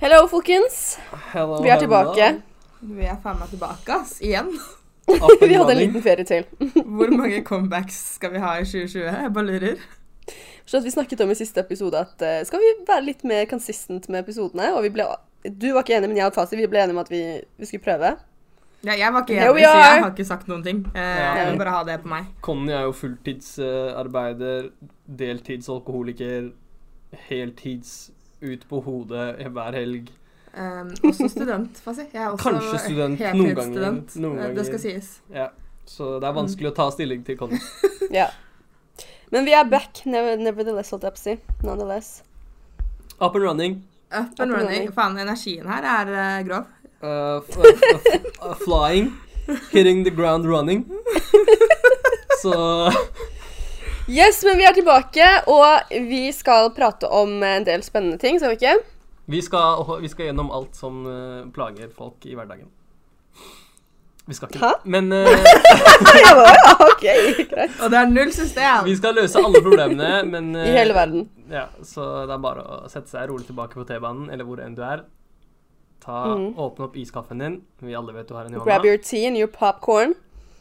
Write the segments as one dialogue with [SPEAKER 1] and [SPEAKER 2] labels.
[SPEAKER 1] Hello, folkens.
[SPEAKER 2] Hello,
[SPEAKER 1] Vi er
[SPEAKER 2] hello.
[SPEAKER 1] tilbake.
[SPEAKER 3] Vi er faen meg tilbake, ass. Igjen.
[SPEAKER 2] Up and
[SPEAKER 1] Vi hadde en
[SPEAKER 2] running.
[SPEAKER 1] liten ferie til.
[SPEAKER 3] Hvor mange comebacks skal vi ha i 2020? Jeg bare lurer.
[SPEAKER 1] Så at vi snakket om i siste episode at eh, skal vi være litt mer consistent med episodene? Og vi ble Du var ikke enig, men jeg og Tasi vi ble enige om at vi, vi skulle prøve.
[SPEAKER 3] Ja, jeg var ikke
[SPEAKER 1] Here we
[SPEAKER 3] enig, så
[SPEAKER 1] are.
[SPEAKER 3] jeg har ikke sagt noen ting. Eh,
[SPEAKER 2] Ja.
[SPEAKER 3] jeg vil bare ha det på meg.
[SPEAKER 2] Conny er jo fulltidsarbeider, deltidsalkoholiker, heltids ut på hodet hver helg.
[SPEAKER 3] Um, også student, får jeg si. Jeg er også
[SPEAKER 2] Kanskje student noen ganger.
[SPEAKER 3] heltidsstudent.
[SPEAKER 2] Noen
[SPEAKER 3] Eh, Det
[SPEAKER 2] ganger.
[SPEAKER 3] skal sies.
[SPEAKER 2] Ja. Så
[SPEAKER 1] Mm.
[SPEAKER 2] det er vanskelig å ta stilling til Conny.
[SPEAKER 1] Ja. Men vi er back, never, nevertheless, holdt jeg på å si. Nonetheless.
[SPEAKER 2] Up and running.
[SPEAKER 3] Up and running. Faen, energien her er eh, grov.
[SPEAKER 2] Uh, f- uh, f- uh, flying. Hitting the ground running. Så
[SPEAKER 1] Yes, men vi er tilbake, og vi skal prate om en del spennende ting, skal vi ikke?
[SPEAKER 2] vi skal, vi skal gjennom alt som eh, plager folk i hverdagen. Vi skal ikke
[SPEAKER 1] Hæ?
[SPEAKER 2] Men eh,
[SPEAKER 1] Ja, ja, ok, greit.
[SPEAKER 3] Og det er null system.
[SPEAKER 2] Vi skal løse alle problemene, men uh,
[SPEAKER 1] I hele verden.
[SPEAKER 2] Ja, så det er bare å sette seg rolig tilbake på T-banen, eller hvor enn du er. Ta,
[SPEAKER 1] Mhm.
[SPEAKER 2] Åpne opp iskaffen din. Vi alle vet du har en i
[SPEAKER 1] Grab
[SPEAKER 2] hånda.
[SPEAKER 1] your tea and your popcorn.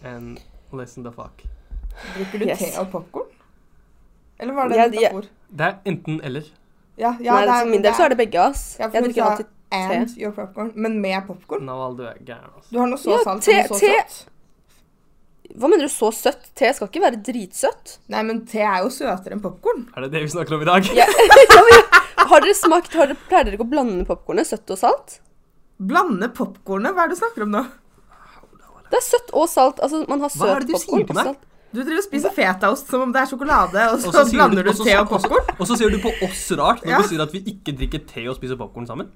[SPEAKER 2] And listen the fuck.
[SPEAKER 3] Drikker du
[SPEAKER 1] Yes.
[SPEAKER 3] te og popkorn? Eller var det
[SPEAKER 1] Ja,
[SPEAKER 3] en
[SPEAKER 1] de-
[SPEAKER 3] metafor?
[SPEAKER 2] Det er enten-eller.
[SPEAKER 3] Ja, ja,
[SPEAKER 1] Nei, for min del så er det begge, ass.
[SPEAKER 3] ja, for
[SPEAKER 1] jeg
[SPEAKER 3] du
[SPEAKER 1] drikker
[SPEAKER 3] sa
[SPEAKER 1] alltid
[SPEAKER 3] And your popcorn. Men med popkorn?
[SPEAKER 2] Naval, du er gæren, altså.
[SPEAKER 3] Du har noe så
[SPEAKER 1] Ja,
[SPEAKER 3] salt
[SPEAKER 1] te-
[SPEAKER 3] og noe så
[SPEAKER 1] te-
[SPEAKER 3] søtt.
[SPEAKER 1] Hva mener du så søtt? Te skal ikke være dritsøtt.
[SPEAKER 3] Nei, men te er jo søtere enn popkorn.
[SPEAKER 2] Er det det vi snakker om i dag?
[SPEAKER 1] Ja, ja, ja. Har dere smakt har dere, Pleier dere ikke å blande popkornet søtt og salt?
[SPEAKER 3] Blande popkornet? Hva er det du snakker om nå?
[SPEAKER 1] Det er søtt og salt. Altså, man har
[SPEAKER 2] Hva
[SPEAKER 1] søt
[SPEAKER 2] er det du sier
[SPEAKER 1] popkorn
[SPEAKER 2] til
[SPEAKER 1] og
[SPEAKER 2] meg?
[SPEAKER 1] salt.
[SPEAKER 3] Du driver og spiser fetaost som om det er sjokolade, og
[SPEAKER 2] Og
[SPEAKER 3] så,
[SPEAKER 2] så sier
[SPEAKER 3] blander du,
[SPEAKER 2] og så-
[SPEAKER 3] te og popkorn?
[SPEAKER 2] Og så sier du på oss rart når
[SPEAKER 3] Ja.
[SPEAKER 2] du sier at vi ikke drikker te og spiser popkorn sammen.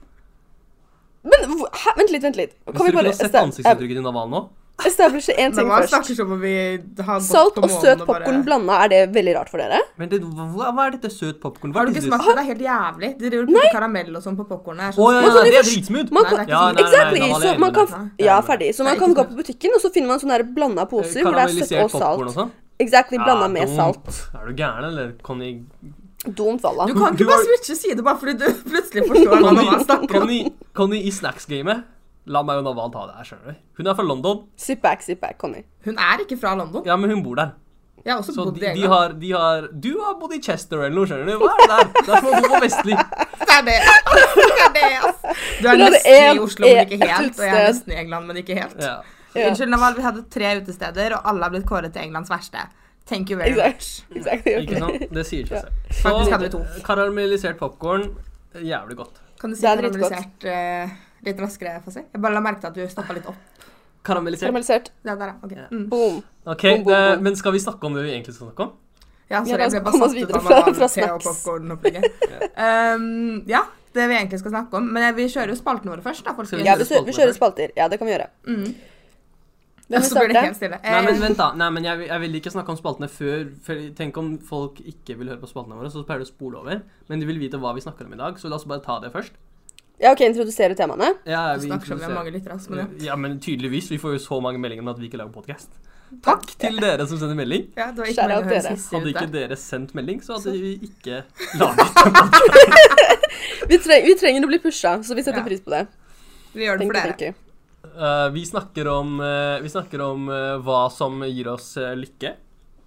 [SPEAKER 1] Men hvor- hæ, vent litt, vent litt. Kan
[SPEAKER 2] Hvis
[SPEAKER 1] vi
[SPEAKER 2] dere
[SPEAKER 1] bare
[SPEAKER 2] kunne sett
[SPEAKER 1] esta-
[SPEAKER 2] ansiktsuttrykket til Naval nå
[SPEAKER 1] establishe én ting
[SPEAKER 3] Det var
[SPEAKER 1] først?
[SPEAKER 3] snakker som om vi har gått
[SPEAKER 1] Salt
[SPEAKER 3] på
[SPEAKER 1] og
[SPEAKER 3] månen
[SPEAKER 1] søt
[SPEAKER 3] bare-
[SPEAKER 1] popkorn blanda, er det veldig rart for dere?
[SPEAKER 2] Men det, hva, hva er dette søt popkorn?
[SPEAKER 3] Har du ikke smakt det? Det er helt jævlig. De driver og putter karamell og sånn på
[SPEAKER 2] Å
[SPEAKER 3] popkornet. Det er sånn-
[SPEAKER 1] Man
[SPEAKER 2] ja, ja,
[SPEAKER 1] kan
[SPEAKER 2] det er
[SPEAKER 1] ikke-
[SPEAKER 2] dritsmooth.
[SPEAKER 1] Man
[SPEAKER 3] Nei,
[SPEAKER 1] kan,
[SPEAKER 3] det er
[SPEAKER 2] Ja, nei, nei,
[SPEAKER 1] exactly!
[SPEAKER 2] nei, Naval,
[SPEAKER 1] Så
[SPEAKER 2] jeg er
[SPEAKER 1] man
[SPEAKER 2] enig
[SPEAKER 1] kan,
[SPEAKER 2] med deg.
[SPEAKER 3] deg.
[SPEAKER 1] ja, ferdig. Så man
[SPEAKER 3] Nei,
[SPEAKER 1] kan gå
[SPEAKER 3] ikke smør.
[SPEAKER 1] på butikken, og så finner man sånne her blanda poser hvor det er søtt og
[SPEAKER 2] Eh, Karamellisert popcorn og
[SPEAKER 1] salt.
[SPEAKER 2] sånn?
[SPEAKER 1] Exactly, blanda
[SPEAKER 2] Ja,
[SPEAKER 1] med
[SPEAKER 2] dumt.
[SPEAKER 1] salt.
[SPEAKER 2] Er du gæren, eller? Conny
[SPEAKER 1] Dumt, Valla.
[SPEAKER 3] Du kan
[SPEAKER 2] Du
[SPEAKER 3] ikke bare
[SPEAKER 2] har-
[SPEAKER 3] switche side bare fordi du plutselig forstår hva
[SPEAKER 2] Conny,
[SPEAKER 3] man snakker om.
[SPEAKER 2] Conny, Conny i snacks-gamet. La meg og Naval ta det her, skjønner du. Hun er fra London.
[SPEAKER 1] Sit back, sit back, Conny.
[SPEAKER 3] Hun er ikke fra London.
[SPEAKER 2] Ja, men hun bor der.
[SPEAKER 3] Jeg har også
[SPEAKER 2] Så
[SPEAKER 3] bodd
[SPEAKER 2] de,
[SPEAKER 3] i
[SPEAKER 2] de,
[SPEAKER 3] England.
[SPEAKER 2] har, de har Du har bodd i Chester eller noe, skjønner du. Hva er det der? Derfor må du på Vestli.
[SPEAKER 3] Det er det. Det er det, ass. Du er
[SPEAKER 1] Hun hadde
[SPEAKER 3] nesten i
[SPEAKER 1] en-
[SPEAKER 3] Oslo, men ikke
[SPEAKER 1] et
[SPEAKER 3] helt. Og jeg er
[SPEAKER 1] utsted.
[SPEAKER 3] nesten i England, men ikke helt.
[SPEAKER 2] Ja.
[SPEAKER 1] Ja.
[SPEAKER 3] Unnskyld, Naval, vi hadde tre utesteder, og alle har blitt kåret til Englands verste. Thank you very much.
[SPEAKER 1] Exact- Exactly. ok.
[SPEAKER 2] Ikke sant? Det sier seg selv.
[SPEAKER 3] Faktisk hadde vi to.
[SPEAKER 2] karamellisert popkorn. Jævlig godt.
[SPEAKER 3] Kan du si
[SPEAKER 1] Det er
[SPEAKER 3] karamellisert eh, litt raskere, Fassi? Jeg bare la merke til at du stoppa litt opp.
[SPEAKER 2] Karamellisert.
[SPEAKER 1] Karamellisert.
[SPEAKER 3] Det der, ja. ok.
[SPEAKER 2] Ja.
[SPEAKER 3] Mm.
[SPEAKER 1] Boom.
[SPEAKER 2] Ok,
[SPEAKER 1] Bom, bom,
[SPEAKER 2] det,
[SPEAKER 1] bom.
[SPEAKER 2] Men skal vi snakke om det vi egentlig skal snakke om?
[SPEAKER 1] Ja,
[SPEAKER 3] Ja,
[SPEAKER 1] la
[SPEAKER 3] sorry, jeg
[SPEAKER 1] oss komme
[SPEAKER 3] ble bare
[SPEAKER 1] oss
[SPEAKER 3] satt ut
[SPEAKER 1] videre
[SPEAKER 3] av Naval,
[SPEAKER 1] fra- fra
[SPEAKER 3] te og
[SPEAKER 1] snacks.
[SPEAKER 3] popcorn-opplegget. um, ja, det vi egentlig skal snakke om. Men vi kjører jo spalten vår først, da,
[SPEAKER 2] Skal
[SPEAKER 3] folkens.
[SPEAKER 1] Ja, vi, kjører- vi kjører spalter. Ja, det kan vi gjøre.
[SPEAKER 3] Mm.
[SPEAKER 1] Hvem
[SPEAKER 3] Og
[SPEAKER 1] vil
[SPEAKER 3] så blir det
[SPEAKER 1] starte?
[SPEAKER 3] helt stille.
[SPEAKER 2] Nei, men
[SPEAKER 3] Eh,
[SPEAKER 2] vent, da. Nei, men jeg, vil- jeg vil ikke snakke om spaltene før, for Tenk om folk ikke vil høre på spaltene våre, så pleier de å spole over. Men de vil vite hva vi snakker om i dag, så la oss bare ta det først.
[SPEAKER 1] Ja, ok, introdusere temaene.
[SPEAKER 2] Ja,
[SPEAKER 3] vi
[SPEAKER 2] vi
[SPEAKER 3] snakker om vi
[SPEAKER 2] introduserer-
[SPEAKER 3] har mange lyttere, ass, men ja.
[SPEAKER 2] Ja, men tydeligvis. Vi får jo så mange meldinger om at vi ikke lager podkast. Takk til dere som sender melding.
[SPEAKER 3] ja, det var
[SPEAKER 1] Shout
[SPEAKER 3] ikke mange
[SPEAKER 1] out
[SPEAKER 3] høres
[SPEAKER 1] dere.
[SPEAKER 3] hissige
[SPEAKER 2] Hadde
[SPEAKER 3] ut
[SPEAKER 2] ikke
[SPEAKER 3] der.
[SPEAKER 2] dere sendt melding, så hadde vi ikke laget den.
[SPEAKER 1] Vi, treng, vi trenger å bli pusha, så vi setter
[SPEAKER 3] Ja.
[SPEAKER 1] pris på det.
[SPEAKER 3] Vi gjør det
[SPEAKER 1] Thank you,
[SPEAKER 3] for dere.
[SPEAKER 1] thank you.
[SPEAKER 2] Eh, vi snakker om, eh, vi snakker om eh, hva som gir oss eh, lykke,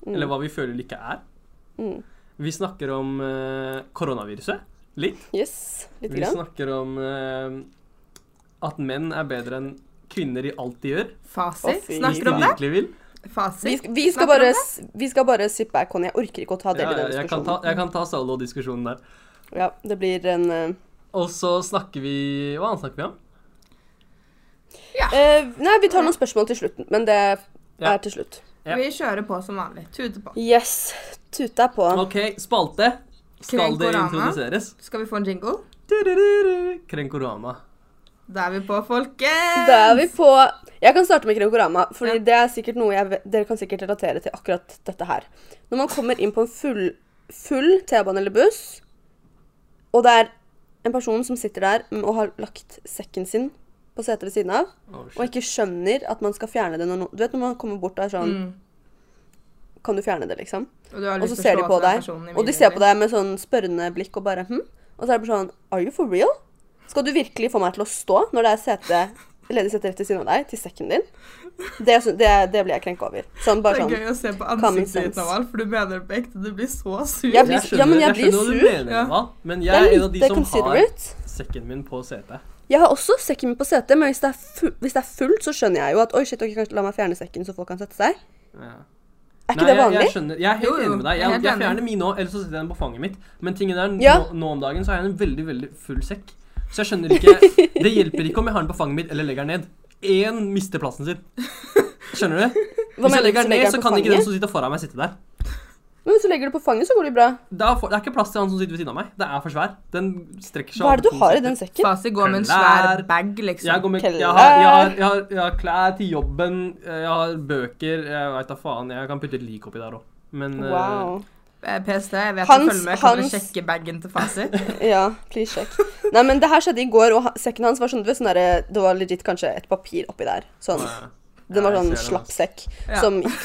[SPEAKER 2] eller hva vi føler lykke er.
[SPEAKER 1] Mm.
[SPEAKER 2] Vi snakker om eh, koronaviruset litt.
[SPEAKER 1] Yes, lite
[SPEAKER 2] Vi
[SPEAKER 1] grann.
[SPEAKER 2] snakker om eh, at menn er bedre enn kvinner i alt de gjør.
[SPEAKER 3] Fasit.
[SPEAKER 1] Å, fy
[SPEAKER 2] Hvis
[SPEAKER 3] Snakker
[SPEAKER 2] de
[SPEAKER 3] om det?
[SPEAKER 2] virkelig vil.
[SPEAKER 1] Vi,
[SPEAKER 3] Fasit.
[SPEAKER 1] sk- vi, skal
[SPEAKER 3] Snakker om
[SPEAKER 1] bare,
[SPEAKER 3] det?
[SPEAKER 1] s- vi skal bare sit back, Conny. Jeg orker ikke å ta del
[SPEAKER 2] Ja,
[SPEAKER 1] i den
[SPEAKER 2] jeg, kan ta,
[SPEAKER 1] diskusjonen.
[SPEAKER 2] jeg kan ta solo-diskusjonen der.
[SPEAKER 1] Ja, det blir en eh,
[SPEAKER 2] Og så snakker vi Hva annet snakker vi om?
[SPEAKER 1] eh, Nei, vi tar noen spørsmål til slutten, men det
[SPEAKER 2] Ja.
[SPEAKER 1] er til slutt.
[SPEAKER 2] Ja.
[SPEAKER 3] Vi kjører på som vanlig. Tute på.
[SPEAKER 1] Yes. Tuta er på.
[SPEAKER 2] OK, spalte. Skal det
[SPEAKER 3] Krenkorama.
[SPEAKER 2] introduseres?
[SPEAKER 3] Skal vi få en jingle?
[SPEAKER 2] Du-du-du-du. Krenkorama.
[SPEAKER 3] Da er vi på, folkens!
[SPEAKER 1] Da er vi på Jeg kan starte med Krenkorama, for
[SPEAKER 3] Ja.
[SPEAKER 1] det er sikkert noe jeg, ve- dere kan sikkert relatere til akkurat dette her. Når man kommer inn på en full, full T-bane eller buss, og det er en person som sitter der mm, og har lagt sekken sin på setet ved siden av,
[SPEAKER 2] Oh,
[SPEAKER 1] og ikke skjønner at man skal fjerne det når noen Du vet når man kommer bort og er sånn
[SPEAKER 3] Mm.
[SPEAKER 1] Kan du fjerne det, liksom?
[SPEAKER 3] Og, du har
[SPEAKER 1] Og
[SPEAKER 3] lyst
[SPEAKER 1] så
[SPEAKER 3] til å
[SPEAKER 1] ser de
[SPEAKER 3] slå
[SPEAKER 1] på
[SPEAKER 3] til den
[SPEAKER 1] deg,
[SPEAKER 3] personen
[SPEAKER 1] og de
[SPEAKER 3] immediately.
[SPEAKER 1] ser på deg med sånn spørrende blikk og bare Hm? Og så er det bare sånn Are you for real? Skal du virkelig få meg til å stå når det er sete, ledig sete rett ved siden av deg, til sekken din? Det, sy- det, det blir jeg krenka over. Sånn,
[SPEAKER 3] Det
[SPEAKER 1] bare
[SPEAKER 3] er
[SPEAKER 1] sånn.
[SPEAKER 3] gøy å se på
[SPEAKER 1] common
[SPEAKER 3] ansiktet
[SPEAKER 1] sense.
[SPEAKER 3] ditt, Naval, for du mener det på ekte. Du blir så sur.
[SPEAKER 1] Jeg blir-
[SPEAKER 2] Jeg skjønner,
[SPEAKER 1] ja, men jeg blir
[SPEAKER 2] skjønner hva du
[SPEAKER 1] sur.
[SPEAKER 2] mener,
[SPEAKER 3] Ja.
[SPEAKER 2] Eva, men
[SPEAKER 1] Det
[SPEAKER 2] jeg
[SPEAKER 1] er
[SPEAKER 2] er en av de
[SPEAKER 1] lite
[SPEAKER 2] som har
[SPEAKER 1] considerate.
[SPEAKER 2] sekken min på setet.
[SPEAKER 1] Jeg har også sekken min på setet, men hvis det, er fu- hvis det er fullt, så skjønner jeg jo at Oi, shit, ok, kanskje la meg fjerne sekken så folk kan sette seg.
[SPEAKER 2] Ja.
[SPEAKER 1] Er ikke
[SPEAKER 2] Nei,
[SPEAKER 1] det vanlig?
[SPEAKER 2] Jeg, jeg, skjønner, jeg er helt
[SPEAKER 3] Jo, jo,
[SPEAKER 2] enig med deg.
[SPEAKER 3] jeg er
[SPEAKER 2] Jeg,
[SPEAKER 3] helt
[SPEAKER 2] jeg
[SPEAKER 3] enig.
[SPEAKER 2] fjerner min nå, ellers så sitter jeg den på fanget mitt. Men tingen er,
[SPEAKER 1] Ja.
[SPEAKER 2] nå, nå om dagen så har jeg en veldig, veldig full sekk. Så jeg skjønner ikke Det hjelper ikke om jeg har den på fanget mitt eller legger den ned. Én mister plassen sin. Skjønner
[SPEAKER 1] Hva
[SPEAKER 2] du? Hvis jeg
[SPEAKER 1] mener du,
[SPEAKER 2] legger den ned,
[SPEAKER 1] den
[SPEAKER 2] så
[SPEAKER 1] på
[SPEAKER 2] kan ikke den
[SPEAKER 1] fanget?
[SPEAKER 2] som sitter foran meg, sitte der.
[SPEAKER 1] Men hvis du legger det på fanget, så går det jo bra.
[SPEAKER 2] Da får, det er ikke plass til han som sitter ved siden av meg. Det er for svær. Den strekker seg
[SPEAKER 1] Hva er det
[SPEAKER 2] over
[SPEAKER 1] du
[SPEAKER 2] to
[SPEAKER 1] har i
[SPEAKER 2] meter.
[SPEAKER 1] den sekken?
[SPEAKER 3] Fasi går med en svær
[SPEAKER 2] Klær.
[SPEAKER 3] bag,
[SPEAKER 2] Jeg,
[SPEAKER 3] liksom.
[SPEAKER 2] går med,
[SPEAKER 1] Keller.
[SPEAKER 2] jeg, har, jeg, har, jeg, har, jeg har klær til jobben, eh, jeg har bøker Jeg veit da faen. Jeg kan putte et lik oppi der òg. Men eh,
[SPEAKER 1] Wow.
[SPEAKER 3] Eh, PST, jeg vet
[SPEAKER 1] Hans-
[SPEAKER 3] du følger med. Kan
[SPEAKER 1] Hans-
[SPEAKER 3] du sjekke bagen til Fasi?
[SPEAKER 1] Ja, please sjekk. Nei, men det her skjedde i går, og ha- sekken hans var sånn, du vet, sånn derre- det var legit kanskje et papir oppi der. Sånn.
[SPEAKER 2] eh,
[SPEAKER 1] Den var
[SPEAKER 2] ja, jeg
[SPEAKER 1] sånn
[SPEAKER 2] ser det,
[SPEAKER 1] slapp
[SPEAKER 2] altså.
[SPEAKER 1] sekk
[SPEAKER 3] Ja.
[SPEAKER 1] som ikke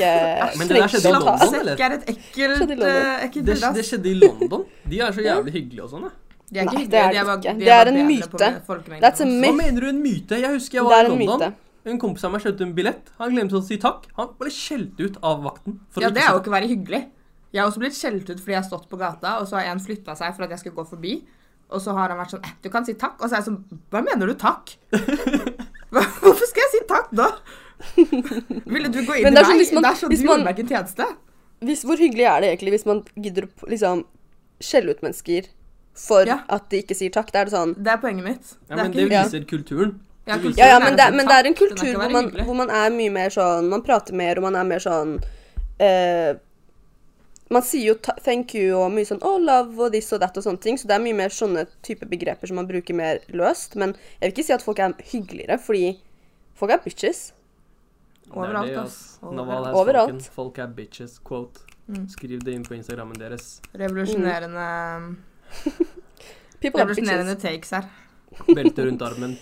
[SPEAKER 2] Men det der skjedde i
[SPEAKER 1] trengte å
[SPEAKER 2] London.
[SPEAKER 1] tas.
[SPEAKER 2] eller?
[SPEAKER 3] Sekk er et ekkelt,
[SPEAKER 1] Skjønner du, London?
[SPEAKER 3] eh, ekkelt
[SPEAKER 2] Det,
[SPEAKER 3] bilde.
[SPEAKER 2] det
[SPEAKER 3] ass.
[SPEAKER 2] skjedde i London. De er så jævlig hyggelige og sånn. da.
[SPEAKER 3] De er ikke
[SPEAKER 1] Nei,
[SPEAKER 3] hyggelige,
[SPEAKER 1] det er
[SPEAKER 3] de
[SPEAKER 1] det
[SPEAKER 3] bare-
[SPEAKER 1] ikke.
[SPEAKER 3] de
[SPEAKER 1] Det er en
[SPEAKER 3] bedre
[SPEAKER 1] myte.
[SPEAKER 3] på folkemengden
[SPEAKER 1] That's a
[SPEAKER 3] enn oss.
[SPEAKER 2] Hva
[SPEAKER 1] myth.
[SPEAKER 2] mener du en myte? Jeg husker jeg
[SPEAKER 1] Det
[SPEAKER 2] var
[SPEAKER 1] er
[SPEAKER 2] i
[SPEAKER 1] en
[SPEAKER 2] London.
[SPEAKER 1] myte.
[SPEAKER 2] En kompis av meg kjøpte en billett. Han glemte å si takk. Han ble skjelt ut av vakten. for
[SPEAKER 3] Ja,
[SPEAKER 2] å
[SPEAKER 3] det er jo
[SPEAKER 2] si
[SPEAKER 3] ikke å være hyggelig. Jeg har også blitt skjelt ut fordi jeg har stått på gata, og så har en flytta seg for at jeg skulle gå forbi. Og så har han vært sånn eh, 'Du kan si takk.' Og så er jeg sånn 'Hva mener du takk?' Hva, hvorfor skal jeg si takk da? Ville du gå inn i
[SPEAKER 1] Men
[SPEAKER 3] meg?
[SPEAKER 1] det er sånn hvis man-
[SPEAKER 3] det er sånn
[SPEAKER 1] hvis
[SPEAKER 3] du
[SPEAKER 1] man-
[SPEAKER 3] gjorde meg ikke en tjeneste.
[SPEAKER 1] Hvis, hvor hyggelig er det egentlig hvis man gidder å p- liksom skjelle ut mennesker for
[SPEAKER 3] Ja.
[SPEAKER 1] at de ikke sier takk? Da er det sånn
[SPEAKER 3] Det er poenget mitt.
[SPEAKER 2] takk. Ja, men
[SPEAKER 3] det
[SPEAKER 2] det
[SPEAKER 3] er
[SPEAKER 1] hyggelig.
[SPEAKER 2] viser kulturen.
[SPEAKER 3] Ja,
[SPEAKER 2] Det viser-
[SPEAKER 1] Ja, ja, men
[SPEAKER 3] Kulturen
[SPEAKER 1] det,
[SPEAKER 3] er å
[SPEAKER 1] men det er
[SPEAKER 3] si
[SPEAKER 1] en
[SPEAKER 3] takk, den er
[SPEAKER 1] kultur
[SPEAKER 3] ikke å
[SPEAKER 1] hvor
[SPEAKER 3] være
[SPEAKER 1] man,
[SPEAKER 3] hyggelig.
[SPEAKER 1] hvor man er mye mer sånn Man prater mer, og man er mer sånn eh, Man sier jo ta, 'thank you' og mye sånn 'oh, love' og this og that og sånne ting. Så det er mye mer sånne type begreper som man bruker mer løst. Men jeg vil ikke si at folk er hyggeligere, fordi folk er bitches.
[SPEAKER 3] Overalt,
[SPEAKER 2] Det er det,
[SPEAKER 3] ass.
[SPEAKER 2] ass. Naval
[SPEAKER 3] Overalt.
[SPEAKER 2] has
[SPEAKER 1] Overalt.
[SPEAKER 2] spoken. Folk er bitches. Quote.
[SPEAKER 3] Mm.
[SPEAKER 2] Skriv det inn på Instagrammen deres.
[SPEAKER 3] Revolusjonerende,
[SPEAKER 1] Mm. People are
[SPEAKER 3] revolusjonerende
[SPEAKER 1] bitches.
[SPEAKER 3] takes her.
[SPEAKER 2] Belte rundt armen.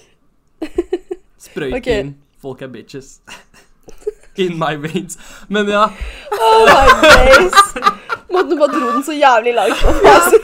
[SPEAKER 2] Sprøyte
[SPEAKER 1] Ok.
[SPEAKER 2] inn. Folk er bitches. In my veins. Men ja.
[SPEAKER 1] Oh my days! Måten du bare dro den så jævlig langt på.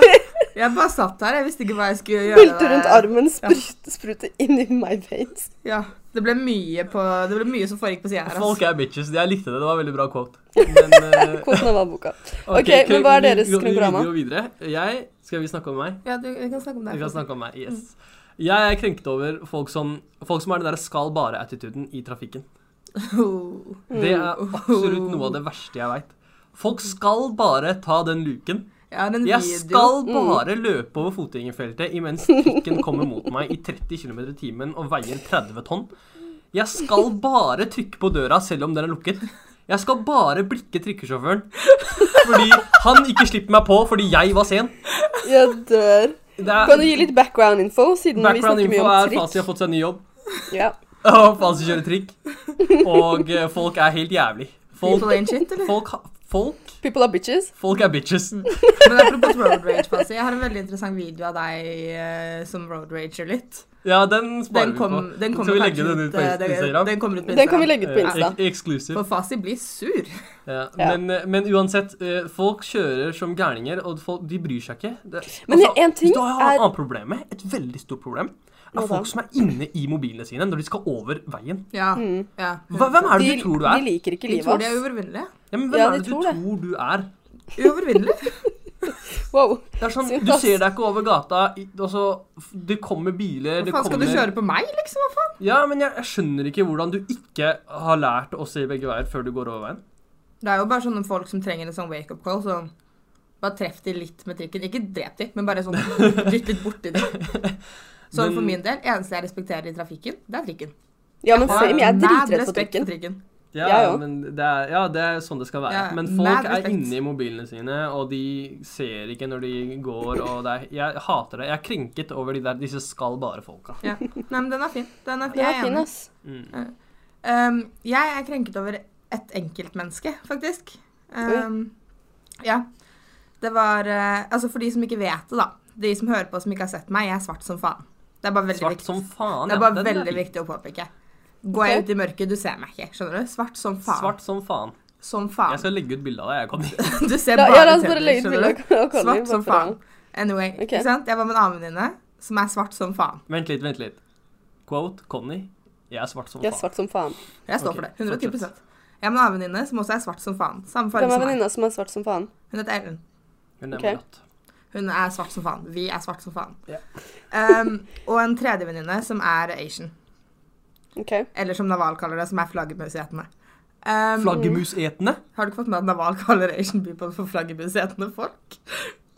[SPEAKER 3] Jeg bare satt her, jeg visste ikke hva jeg skulle gjøre.
[SPEAKER 1] Belte rundt
[SPEAKER 3] der.
[SPEAKER 1] armen, sprut, sprute inn i my veins.
[SPEAKER 3] Ja, det ble mye, på, det ble mye som foregikk på sida her. ass.
[SPEAKER 2] Folk er bitches. Jeg likte det. Det var veldig bra quote. Men, eh,
[SPEAKER 1] Kvoten av boka.
[SPEAKER 2] ok,
[SPEAKER 1] Ok, men hva er
[SPEAKER 2] vi-
[SPEAKER 1] deres
[SPEAKER 2] vi-
[SPEAKER 1] krenkorama?
[SPEAKER 2] Vi går videre. Jeg, skal vi snakke om meg?
[SPEAKER 3] Ja, du, vi kan snakke om
[SPEAKER 2] Vi
[SPEAKER 3] det.
[SPEAKER 2] kan
[SPEAKER 3] faktisk.
[SPEAKER 2] snakke om meg, yes.
[SPEAKER 3] Mm.
[SPEAKER 2] Jeg er krenket over folk som, folk som har den der skal bare-attituden i trafikken.
[SPEAKER 3] Oh.
[SPEAKER 2] Det er
[SPEAKER 1] Mm.
[SPEAKER 2] absolutt noe av det verste jeg veit. Folk skal bare ta den luken.
[SPEAKER 3] Jeg har en
[SPEAKER 2] Jeg
[SPEAKER 3] video.
[SPEAKER 2] skal
[SPEAKER 1] Mm.
[SPEAKER 2] bare løpe over fotgjengerfeltet imens trikken kommer mot meg i 30 km i timen og veier 30 tonn. Jeg skal bare trykke på døra selv om den er lukket. Jeg skal bare blikke trikkesjåføren fordi han ikke slipper meg på fordi jeg var sen.
[SPEAKER 1] Jeg dør.
[SPEAKER 2] Det
[SPEAKER 1] Kan du
[SPEAKER 2] er,
[SPEAKER 1] gi litt background info, siden vi
[SPEAKER 2] background
[SPEAKER 1] snakker mye
[SPEAKER 2] info
[SPEAKER 1] om
[SPEAKER 2] er
[SPEAKER 1] trikk?
[SPEAKER 2] Fasi har fått seg ny jobb,
[SPEAKER 1] Ja.
[SPEAKER 2] og Fasi kjører trikk. Og eh, folk er helt jævlig. Folk,
[SPEAKER 3] People ain't shit, eller?
[SPEAKER 2] folk, ha- folk,
[SPEAKER 1] People are bitches.
[SPEAKER 2] folk er bitches.
[SPEAKER 3] Men apropos road rage, Fasi. Jeg har en veldig interessant video av deg eh, som road rager litt.
[SPEAKER 2] Ja, den sparer
[SPEAKER 3] Den, kom,
[SPEAKER 2] vi på.
[SPEAKER 3] den kommer
[SPEAKER 2] Skal vi legge
[SPEAKER 3] kanskje
[SPEAKER 2] den ut på
[SPEAKER 3] eh,
[SPEAKER 2] Instagram?
[SPEAKER 3] Den kommer ut på
[SPEAKER 1] Den kan vi
[SPEAKER 3] Instagram.
[SPEAKER 1] legge ut på
[SPEAKER 2] Eh,
[SPEAKER 1] Insta.
[SPEAKER 2] ek- Exclusive.
[SPEAKER 3] For Fasi blir sur.
[SPEAKER 2] Ja,
[SPEAKER 1] Ja.
[SPEAKER 2] men, men uansett, eh, folk kjører som gærninger, og folk, de bryr seg ikke. Det, altså,
[SPEAKER 1] Men en ting
[SPEAKER 2] hvis du har et
[SPEAKER 1] er-
[SPEAKER 2] annet problem med, et veldig stort problem,
[SPEAKER 1] Hva
[SPEAKER 2] er
[SPEAKER 1] da?
[SPEAKER 2] folk som er inne i mobilene sine når de skal over veien.
[SPEAKER 3] Ja.
[SPEAKER 1] Mm.
[SPEAKER 3] ja.
[SPEAKER 2] Hva, hvem er det
[SPEAKER 1] de,
[SPEAKER 2] du tror du er?
[SPEAKER 1] De liker ikke
[SPEAKER 3] De tror
[SPEAKER 1] livet,
[SPEAKER 3] de er
[SPEAKER 1] ass.
[SPEAKER 3] uovervinnelige.
[SPEAKER 2] Ja, men hvem
[SPEAKER 1] Ja,
[SPEAKER 2] er
[SPEAKER 1] de
[SPEAKER 2] det du
[SPEAKER 1] tror
[SPEAKER 2] tror,
[SPEAKER 1] det.
[SPEAKER 2] du er?
[SPEAKER 3] Uovervinnelige?
[SPEAKER 1] Wow.
[SPEAKER 2] Det er sånn,
[SPEAKER 1] Sykt,
[SPEAKER 2] Du
[SPEAKER 1] ass.
[SPEAKER 2] ser deg ikke over gata, i- og så f- Det kommer biler
[SPEAKER 3] Hva
[SPEAKER 2] det
[SPEAKER 3] faen skal du
[SPEAKER 2] kommer-
[SPEAKER 3] kjøre på meg, liksom? Hva faen?
[SPEAKER 2] Ja, men jeg, jeg skjønner ikke hvordan du ikke har lært å se begge veier før du går over veien.
[SPEAKER 3] Det er jo bare sånne folk som trenger en sånn wake-up call. sånn bare treff de litt med trikken. Ikke drep de, men bare sånn dytt litt borti de. Sånn for
[SPEAKER 2] Men-
[SPEAKER 3] min del, eneste jeg respekterer i trafikken, det er trikken.
[SPEAKER 1] Ja, men same. Jeg er
[SPEAKER 3] Mad
[SPEAKER 1] dritredd for
[SPEAKER 3] respekt
[SPEAKER 1] trikken.
[SPEAKER 2] Ja,
[SPEAKER 1] Jeg òg.
[SPEAKER 2] men det er, ja, det er sånn det skal være.
[SPEAKER 3] Ja, ja.
[SPEAKER 2] Men folk
[SPEAKER 3] Mad
[SPEAKER 2] er
[SPEAKER 3] respekt.
[SPEAKER 2] inne i mobilene sine, og de ser ikke når de går, og det er, jeg hater det. Jeg er krenket over de der, disse skal bare-folka.
[SPEAKER 3] Ja. Nei, men den er fin. Den er fin.
[SPEAKER 1] Den
[SPEAKER 3] Jeg
[SPEAKER 1] er
[SPEAKER 3] er
[SPEAKER 1] fin,
[SPEAKER 3] enig.
[SPEAKER 1] ass.
[SPEAKER 2] Mm.
[SPEAKER 3] Um, jeg er krenket over et enkeltmenneske, faktisk. Um, ja. Det var eh, Altså, for de som ikke vet det, da. De som hører på som ikke har sett meg, jeg er svart som faen. Det er bare veldig
[SPEAKER 2] Svart
[SPEAKER 3] viktig.
[SPEAKER 2] som faen.
[SPEAKER 3] det
[SPEAKER 2] ja.
[SPEAKER 3] er bare
[SPEAKER 2] Den
[SPEAKER 3] veldig
[SPEAKER 2] fin.
[SPEAKER 3] viktig å påpeke. Går
[SPEAKER 1] Ok.
[SPEAKER 3] jeg ut i mørket, du ser meg ikke. Skjønner du? Svart som faen.
[SPEAKER 2] Svart som faen.
[SPEAKER 3] Som
[SPEAKER 2] Jeg
[SPEAKER 3] faen.
[SPEAKER 2] skal legge ut bilde av deg. jeg kommer.
[SPEAKER 3] Du ser
[SPEAKER 1] La,
[SPEAKER 3] bare
[SPEAKER 1] ja, la oss bare
[SPEAKER 3] tenner,
[SPEAKER 1] legge ut
[SPEAKER 3] skjønner du?
[SPEAKER 1] bilde av Conny.
[SPEAKER 3] Svart som faen. Anyway,
[SPEAKER 1] Ok.
[SPEAKER 3] ikke sant? Jeg var med en annen venninne som er svart som faen.
[SPEAKER 2] Vent litt, vent litt. Quote Conny. Jeg er svart som
[SPEAKER 1] Jeg er
[SPEAKER 2] faen.
[SPEAKER 1] svart som faen.
[SPEAKER 3] Jeg står
[SPEAKER 2] Ok,
[SPEAKER 3] for det. 110
[SPEAKER 2] fortsett.
[SPEAKER 3] Jeg har en annen venninne som også er svart som faen. Samme
[SPEAKER 1] Hvem
[SPEAKER 3] farge
[SPEAKER 1] er
[SPEAKER 3] som meg.
[SPEAKER 1] venninna som er svart som faen?
[SPEAKER 3] Hun heter Ellen.
[SPEAKER 2] Hun er
[SPEAKER 1] Ok.
[SPEAKER 2] mulatt.
[SPEAKER 3] Hun er svart som faen. Vi er svart som faen.
[SPEAKER 2] Ja.
[SPEAKER 3] Ehm, og en tredje venninne som er Asian.
[SPEAKER 1] OK.
[SPEAKER 3] Eller som Naval kaller det, som er flaggermusetene. Ehm,
[SPEAKER 2] Flaggermusetende?
[SPEAKER 3] Har du ikke fått med at Naval kaller Asian people for flaggermusetene folk?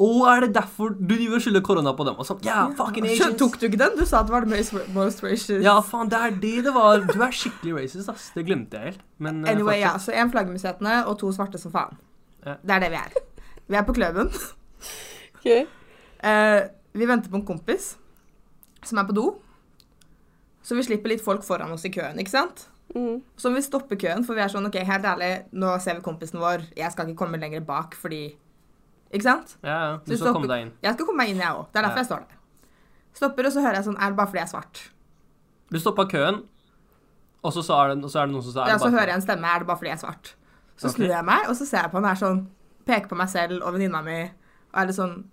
[SPEAKER 2] Å, er det derfor du driver og skylder korona på dem? Og sånn, ja, fucking
[SPEAKER 3] Skjø-
[SPEAKER 2] Asians.
[SPEAKER 3] Tok du ikke den? Du sa at det var the most- most racist.
[SPEAKER 2] Ja, faen, det er det det var. Du er skikkelig racist, ass. Det glemte jeg helt. Men eh,
[SPEAKER 3] Anyway, ja,
[SPEAKER 2] fortsett.
[SPEAKER 3] så en flaggermusetene og to svarte som faen.
[SPEAKER 2] Ja.
[SPEAKER 3] Det er det vi er. Vi er på kløven.
[SPEAKER 1] Ok.
[SPEAKER 3] Eh, vi venter på en kompis som er på do. Så vi slipper litt folk foran oss i køen, ikke sant?
[SPEAKER 1] Mm.
[SPEAKER 3] Så må vi stoppe køen, for vi er sånn OK, helt ærlig, nå ser vi kompisen vår. Jeg skal ikke komme lenger bak fordi Ikke sant?
[SPEAKER 2] ja, ja. Du skal
[SPEAKER 3] Så stopper-
[SPEAKER 2] komme deg inn.
[SPEAKER 3] Jeg skal komme meg inn, jeg òg. Det er derfor
[SPEAKER 2] Ja.
[SPEAKER 3] jeg står der. Stopper, og så hører jeg sånn Er det bare fordi jeg er svart?
[SPEAKER 2] Du stoppa køen, og så, sa er det, og så er det noen som sa
[SPEAKER 3] Ja, så hører jeg en stemme. Er det bare fordi jeg er svart? Så
[SPEAKER 2] Ok.
[SPEAKER 3] snur jeg meg, og så ser jeg på han er sånn Peker på meg selv og venninna mi, og er litt sånn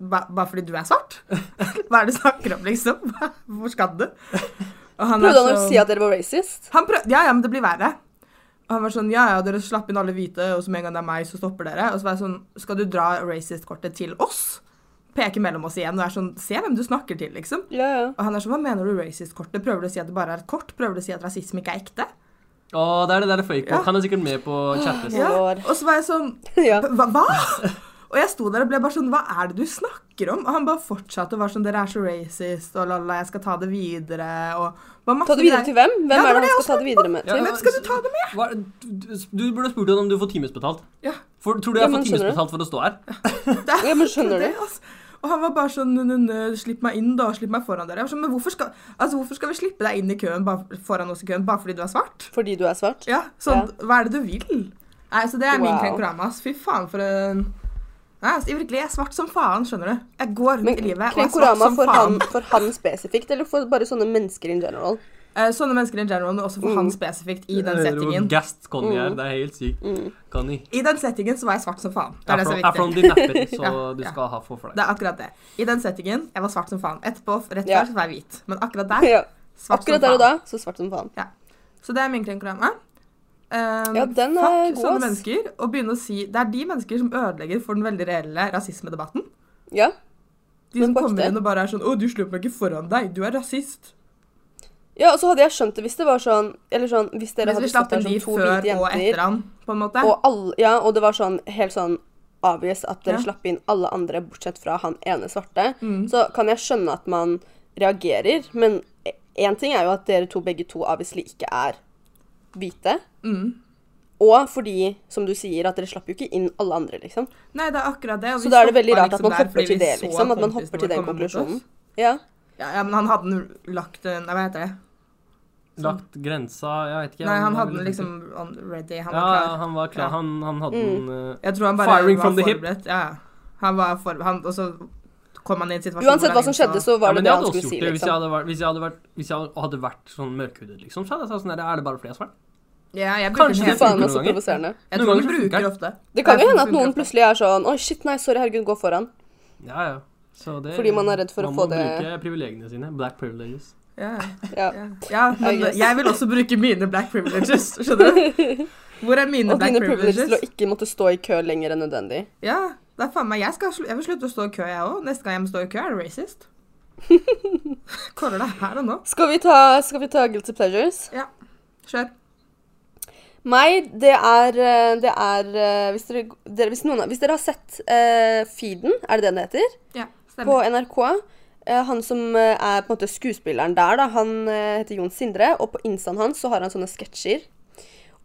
[SPEAKER 3] ba, Bare fordi du er svart? Hva er det du snakker om, liksom? Hvor skal du? Og han er
[SPEAKER 1] Prøvde han å
[SPEAKER 3] sånn-
[SPEAKER 1] si at dere var racist?
[SPEAKER 3] Han prøv, ja, ja, men det blir verre. Og han var sånn, ja, ja, dere slapp inn alle hvite, og så med en gang det er meg, så stopper dere. Og så var jeg sånn, skal du dra racist-kortet til oss? Peker mellom oss igjen, og er sånn, se hvem du snakker til, liksom.
[SPEAKER 1] Ja, ja.
[SPEAKER 3] Og han er sånn, hva mener du racist-kortet? Prøver du å si at det bare er et kort? Prøver du å si at rasisme ikke er ekte?
[SPEAKER 2] Å, det er det der fake
[SPEAKER 3] Ja.
[SPEAKER 2] walk. Han er sikkert med på chattes.
[SPEAKER 1] Ja. lord.
[SPEAKER 3] og så var jeg sånn,
[SPEAKER 1] ja.
[SPEAKER 3] hva? hva? Og jeg sto der og ble bare sånn, hva er det du snakker om? Og han bare fortsatte og var sånn, dere er så racist, og la la, la, jeg skal ta det videre, og var masse
[SPEAKER 1] Ta det videre til hvem? Hvem
[SPEAKER 3] Ja, det
[SPEAKER 1] er
[SPEAKER 3] var
[SPEAKER 1] det han
[SPEAKER 3] det jeg
[SPEAKER 1] skal ta
[SPEAKER 3] også
[SPEAKER 1] det videre med
[SPEAKER 2] Ja,
[SPEAKER 1] til?
[SPEAKER 3] Hvem skal du ta det med?
[SPEAKER 2] Hva, du, du burde spurt henne om du får timesbetalt.
[SPEAKER 3] Ja.
[SPEAKER 2] For, tror du
[SPEAKER 1] Ja,
[SPEAKER 2] jeg
[SPEAKER 1] men skjønner
[SPEAKER 2] får
[SPEAKER 1] du?
[SPEAKER 2] timesbetalt for å stå her?
[SPEAKER 3] Det er
[SPEAKER 1] Ja, men skjønner
[SPEAKER 3] akkurat det, altså. Og han var bare sånn «Nø, nø, nø, Slipp meg inn, da. Slipp meg foran dere. Jeg var sånn, men hvorfor skal, altså, hvorfor skal vi slippe deg inn i køen bare, foran oss i køen bare fordi du er svart?
[SPEAKER 1] Fordi du er svart?
[SPEAKER 3] Ja, sånn, Hva er det du vil? Nei, så Det er min
[SPEAKER 1] Wow.
[SPEAKER 3] krenkorama. ass. Fy faen, for en Nei, altså, jeg, virkelig, jeg er svart som faen, skjønner du. Jeg går rundt
[SPEAKER 1] Men
[SPEAKER 3] i livet og er svart
[SPEAKER 1] Krenkorama
[SPEAKER 3] som
[SPEAKER 1] for
[SPEAKER 3] faen.
[SPEAKER 1] han, for han spesifikt, eller for bare sånne mennesker in general?
[SPEAKER 3] Eh, sånne mennesker in general, men også for
[SPEAKER 1] Mm.
[SPEAKER 3] han spesifikt i den settingen.
[SPEAKER 2] Gast Conny her. Det er helt sykt.
[SPEAKER 1] Mm.
[SPEAKER 2] Conny.
[SPEAKER 3] I den settingen så var jeg svart som faen. Det er det som
[SPEAKER 2] Afro-
[SPEAKER 3] er
[SPEAKER 2] Afroen
[SPEAKER 3] viktig.
[SPEAKER 2] din napper, så
[SPEAKER 3] Ja,
[SPEAKER 2] du
[SPEAKER 3] ja.
[SPEAKER 2] skal ha for for
[SPEAKER 3] Det
[SPEAKER 2] deg.
[SPEAKER 3] er akkurat det. I den settingen, jeg var svart som faen. Etterpå, rett
[SPEAKER 1] Ja.
[SPEAKER 3] før, så var jeg hvit. Men akkurat der,
[SPEAKER 1] Ja.
[SPEAKER 3] svart
[SPEAKER 1] Akkurat
[SPEAKER 3] som
[SPEAKER 1] der
[SPEAKER 3] faen.
[SPEAKER 1] og da, så svart som faen.
[SPEAKER 3] Så det er min krenkorama. Um,
[SPEAKER 1] Ja, den er
[SPEAKER 3] fuck
[SPEAKER 1] god,
[SPEAKER 3] sånne
[SPEAKER 1] ass.
[SPEAKER 3] mennesker, og begynne å si Det er de mennesker som ødelegger for den veldig reelle rasismedebatten.
[SPEAKER 1] Ja.
[SPEAKER 3] De
[SPEAKER 1] Men
[SPEAKER 3] som
[SPEAKER 1] på
[SPEAKER 3] kommer
[SPEAKER 1] ekte.
[SPEAKER 3] inn og bare er sånn 'Å, du slår meg ikke foran deg. Du er rasist.'
[SPEAKER 1] ja, og så hadde jeg skjønt det hvis det var sånn Eller sånn hvis dere
[SPEAKER 3] Hvis vi
[SPEAKER 1] hadde
[SPEAKER 3] slapp
[SPEAKER 1] stått der
[SPEAKER 3] inn de
[SPEAKER 1] som to
[SPEAKER 3] før
[SPEAKER 1] hvite
[SPEAKER 3] og etter
[SPEAKER 1] jenter,
[SPEAKER 3] han, på en måte.
[SPEAKER 1] og, alle, ja, og det var sånn helt sånn obvious at dere
[SPEAKER 3] Ja. Mm.
[SPEAKER 1] slapp inn alle andre bortsett fra han ene svarte, så kan jeg skjønne at man reagerer, men én ting er jo at dere to begge to obviously ikke er hvite.
[SPEAKER 3] Mm.
[SPEAKER 1] Og fordi, som du sier, at dere slapp jo ikke inn alle andre, liksom.
[SPEAKER 3] Nei, det er akkurat det. og vi
[SPEAKER 1] Så da er det veldig
[SPEAKER 3] stoppa
[SPEAKER 1] rart at
[SPEAKER 3] liksom
[SPEAKER 1] man
[SPEAKER 3] der
[SPEAKER 1] hopper
[SPEAKER 3] fordi vi
[SPEAKER 1] til det,
[SPEAKER 3] så
[SPEAKER 1] liksom. At man
[SPEAKER 3] kompisen
[SPEAKER 1] hopper til
[SPEAKER 3] vår
[SPEAKER 1] den
[SPEAKER 3] komme mot oss. Altså,
[SPEAKER 1] konklusjonen. Ja.
[SPEAKER 3] Ja, ja, men han hadde n- lagt en Hva heter det?
[SPEAKER 2] Lagt grensa Jeg vet ikke.
[SPEAKER 3] Nei, han hadde
[SPEAKER 2] var
[SPEAKER 3] den
[SPEAKER 2] veldig
[SPEAKER 3] liksom on- ready. Han
[SPEAKER 2] ja,
[SPEAKER 3] var klar.
[SPEAKER 2] han var klar.
[SPEAKER 3] Ja.
[SPEAKER 2] Han, han hadde
[SPEAKER 1] Mm.
[SPEAKER 2] den eh,
[SPEAKER 3] Jeg tror han bare
[SPEAKER 2] Firing
[SPEAKER 3] var
[SPEAKER 2] from the hip.
[SPEAKER 3] forberedt. Ja, ja. Han var for, han, og så kom han i en situasjon
[SPEAKER 1] Uansett hva
[SPEAKER 3] hvor han
[SPEAKER 1] som
[SPEAKER 3] innså-
[SPEAKER 1] skjedde, så var
[SPEAKER 2] ja,
[SPEAKER 1] det
[SPEAKER 2] men
[SPEAKER 1] det
[SPEAKER 2] jeg
[SPEAKER 1] han
[SPEAKER 2] hadde også
[SPEAKER 1] skulle
[SPEAKER 2] gjort
[SPEAKER 1] si,
[SPEAKER 2] det hvis jeg
[SPEAKER 1] liksom.
[SPEAKER 2] hadde vært, hvis jeg hadde vært, hvis jeg hadde- hadde vært sånn mørkhudet, liksom. Så hadde jeg sagt sånn der, Er det bare fordi jeg er svart?
[SPEAKER 3] Ja, jeg bruker
[SPEAKER 2] Kanskje
[SPEAKER 3] den
[SPEAKER 1] Fy
[SPEAKER 2] det
[SPEAKER 3] helt-
[SPEAKER 1] faen,
[SPEAKER 2] noen
[SPEAKER 1] også
[SPEAKER 2] ganger.
[SPEAKER 1] provoserende.
[SPEAKER 2] Noen
[SPEAKER 3] Jeg tror vi
[SPEAKER 2] ganger så funker
[SPEAKER 3] bruker
[SPEAKER 2] det.
[SPEAKER 3] ofte.
[SPEAKER 1] Det kan jo
[SPEAKER 3] Jeg
[SPEAKER 1] hende
[SPEAKER 3] tror
[SPEAKER 1] at
[SPEAKER 3] det
[SPEAKER 1] noen
[SPEAKER 3] funker ofte.
[SPEAKER 1] plutselig er sånn Oi, shit, nei, sorry, herregud, gå foran.
[SPEAKER 2] Ja, ja. Så det,
[SPEAKER 1] Fordi man er redd for å få
[SPEAKER 2] Man
[SPEAKER 1] det-
[SPEAKER 2] må bruke privilegiene sine. Black privileges.
[SPEAKER 3] Ja,
[SPEAKER 1] Ja.
[SPEAKER 3] ja. ja, men
[SPEAKER 1] guess.
[SPEAKER 3] jeg vil også bruke mine black privileges, skjønner du? Hvor er mine
[SPEAKER 1] Og
[SPEAKER 3] black
[SPEAKER 1] dine privileges til å
[SPEAKER 3] privileges?
[SPEAKER 1] ikke måtte stå i kø lenger enn nødvendig.
[SPEAKER 3] Ja, det er faen meg, jeg, skal, slu- jeg vil slutte å stå i kø, jeg òg. Neste gang jeg må stå i kø, er det racist. Kåler det her og nå.
[SPEAKER 1] Skal vi ta, skal vi ta guilty pleasures?
[SPEAKER 3] Kjør.
[SPEAKER 1] Meg, det er, eh, det er eh, hvis, dere, dere, hvis, noen, har- hvis dere har sett eh, Feeden, er det det den heter?
[SPEAKER 3] Ja,
[SPEAKER 1] På
[SPEAKER 3] stemmer.
[SPEAKER 1] NRK. eh, han som eh, er på en måte skuespilleren der, da, han eh, heter Jon Sindre. Og på instaen hans så har han sånne sketsjer.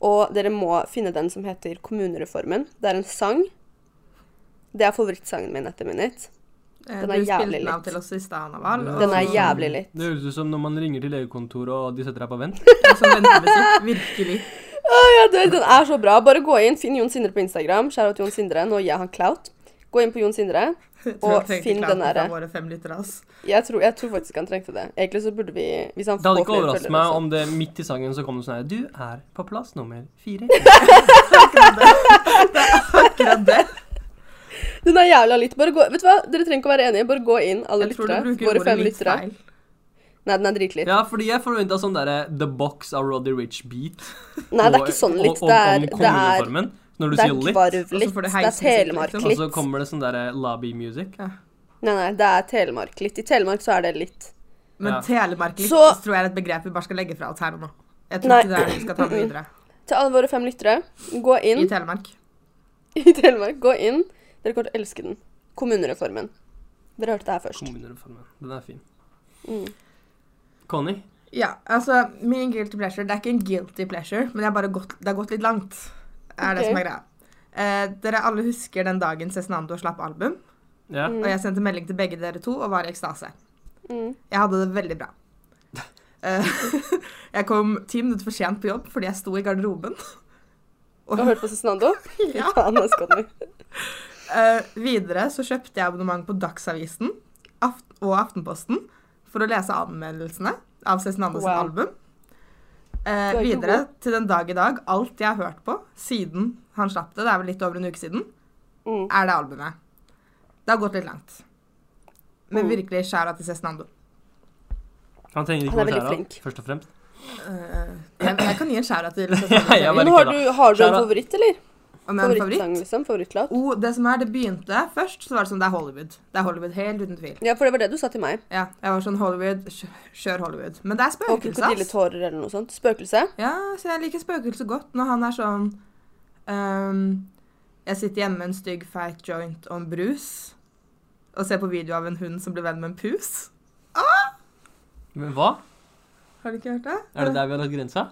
[SPEAKER 1] Og dere må finne den som heter Kommunereformen. Det er en sang. Det er favorittsangen min etter minute.
[SPEAKER 3] Eh,
[SPEAKER 1] den
[SPEAKER 3] Du
[SPEAKER 1] er
[SPEAKER 3] spilte
[SPEAKER 1] jævlig
[SPEAKER 3] den av
[SPEAKER 1] litt.
[SPEAKER 3] til oss i stad, Naval.
[SPEAKER 2] Ja.
[SPEAKER 3] og-
[SPEAKER 1] Den er jævlig litt.
[SPEAKER 2] Det høres ut som når man ringer til legekontoret og de setter deg på vent.
[SPEAKER 3] og Som ventemusikk. Virkelig.
[SPEAKER 1] Ja, det, den er så bra. Bare gå inn, finn Jon Sindre på Instagram. Shout out Jon Sindre. Nå gir jeg han clout. Gå inn på Jon Sindre.
[SPEAKER 3] Jeg
[SPEAKER 1] Og
[SPEAKER 3] tror jeg trengte
[SPEAKER 1] finn
[SPEAKER 3] klagen
[SPEAKER 1] den derre-
[SPEAKER 3] fra Våre fem lyttere, ass.
[SPEAKER 1] Jeg tror, jeg tror faktisk han trengte det. Egentlig så burde vi Hvis han
[SPEAKER 2] Det hadde
[SPEAKER 1] får
[SPEAKER 2] ikke
[SPEAKER 1] flere
[SPEAKER 2] overrasket
[SPEAKER 1] følgere
[SPEAKER 2] meg
[SPEAKER 1] også.
[SPEAKER 2] om det midt i sangen så kom det sånn her Du er på plass nummer fire.
[SPEAKER 3] Akkurat det. Det er akkurat det.
[SPEAKER 1] Den er jævla litt. Bare gå, vet du hva? Dere trenger ikke å være enige. Bare gå inn, alle
[SPEAKER 3] Jeg tror du
[SPEAKER 1] lyttere.
[SPEAKER 3] bruker
[SPEAKER 1] Våre
[SPEAKER 3] ordet
[SPEAKER 1] fem
[SPEAKER 3] litt
[SPEAKER 1] lyttere.
[SPEAKER 3] feil.
[SPEAKER 1] Nei, den er dritlitt.
[SPEAKER 2] Ja, fordi jeg forventa sånn derre The Box av Roddy Rich-beat.
[SPEAKER 1] Nei, det er ikke sånn litt. Det
[SPEAKER 2] Og, og,
[SPEAKER 1] er,
[SPEAKER 2] om
[SPEAKER 1] det er,
[SPEAKER 2] kommuneformen. Når du
[SPEAKER 1] det er
[SPEAKER 2] sier litt,
[SPEAKER 3] og så
[SPEAKER 1] kvarvlitt.
[SPEAKER 3] får
[SPEAKER 1] Det
[SPEAKER 3] det
[SPEAKER 1] er
[SPEAKER 2] og
[SPEAKER 3] heismusikk, liksom.
[SPEAKER 2] så
[SPEAKER 1] telemarklitt.
[SPEAKER 2] kommer det sånn derre lobby-music.
[SPEAKER 1] Nei, nei, det er telemarklitt. I Telemark så er det litt.
[SPEAKER 3] Men
[SPEAKER 2] Ja.
[SPEAKER 3] telemark litt
[SPEAKER 1] Så-
[SPEAKER 3] tror jeg er et begrep vi bare skal legge fra oss her og nå. Jeg tror
[SPEAKER 1] Nei.
[SPEAKER 3] ikke det er vi skal ta med videre.
[SPEAKER 1] Til alle våre fem lyttere, gå inn
[SPEAKER 3] I Telemark.
[SPEAKER 1] i Telemark. Gå inn. Dere kommer til å elske den. Kommunereformen. Dere hørte det her først.
[SPEAKER 2] Kommunereformen. Den er fin.
[SPEAKER 1] Mm.
[SPEAKER 2] Connie?
[SPEAKER 3] Ja, altså, min guilty pleasure Det er ikke en guilty pleasure, men det, er bare gått, det har gått litt langt. Er
[SPEAKER 1] Ok.
[SPEAKER 3] det som er greia. Eh, dere alle husker den dagen Cezinando slapp album,
[SPEAKER 2] Ja.
[SPEAKER 3] og jeg sendte melding til begge dere to og var i ekstase.
[SPEAKER 1] Mm.
[SPEAKER 3] Jeg hadde det veldig bra. Eh, jeg kom ti minutter for sent på jobb fordi jeg sto i garderoben.
[SPEAKER 1] Har du hørt på Cezinando?
[SPEAKER 3] Ja.
[SPEAKER 1] Faen, ass, Conny.
[SPEAKER 3] Eh, videre så kjøpte jeg abonnement på Dagsavisen aft og Aftenposten for å lese anmeldelsene av Cezinando sitt
[SPEAKER 1] Wow.
[SPEAKER 3] album.
[SPEAKER 1] Du
[SPEAKER 3] Eh,
[SPEAKER 1] er ikke
[SPEAKER 3] videre til den dag i dag, alt jeg har hørt på siden han slapp det, det er vel litt over en uke siden,
[SPEAKER 1] Mm.
[SPEAKER 3] er det albumet. Det har gått litt langt. Men
[SPEAKER 1] Mm.
[SPEAKER 3] virkelig skjæra til Cezinando.
[SPEAKER 2] Han trenger ikke
[SPEAKER 1] Han er
[SPEAKER 2] noe
[SPEAKER 1] veldig
[SPEAKER 2] skjæra,
[SPEAKER 1] flink.
[SPEAKER 2] først og fremst.
[SPEAKER 3] Eh, jeg, jeg kan gi en skjæra til
[SPEAKER 2] Ja, jeg
[SPEAKER 3] Cezinando.
[SPEAKER 2] bare-
[SPEAKER 1] Men har du, har du en
[SPEAKER 2] Shara.
[SPEAKER 1] favoritt, eller?
[SPEAKER 3] Om jeg har en favoritt?
[SPEAKER 1] Favorittsang, liksom? Favorittlåt?
[SPEAKER 3] Oh, det som er, det begynte først, så var det sånn, det er Hollywood. Det er Hollywood, helt uten tvil.
[SPEAKER 1] Ja, for det var det du sa til meg.
[SPEAKER 3] Ja, jeg var sånn Hollywood, kjø- kjør Hollywood. Men det er
[SPEAKER 1] Og
[SPEAKER 3] spøkelse, ass.
[SPEAKER 1] krokodilletårer eller noe sånt. Spøkelse.
[SPEAKER 3] Ja, så jeg liker spøkelse godt når han er sånn ehm, Jeg sitter hjemme med en stygg feit joint og en brus og ser på video av en hund som blir venn med en pus.
[SPEAKER 2] Men hva?
[SPEAKER 3] Har du ikke hørt det?
[SPEAKER 2] Er det der vi har lagt grensa?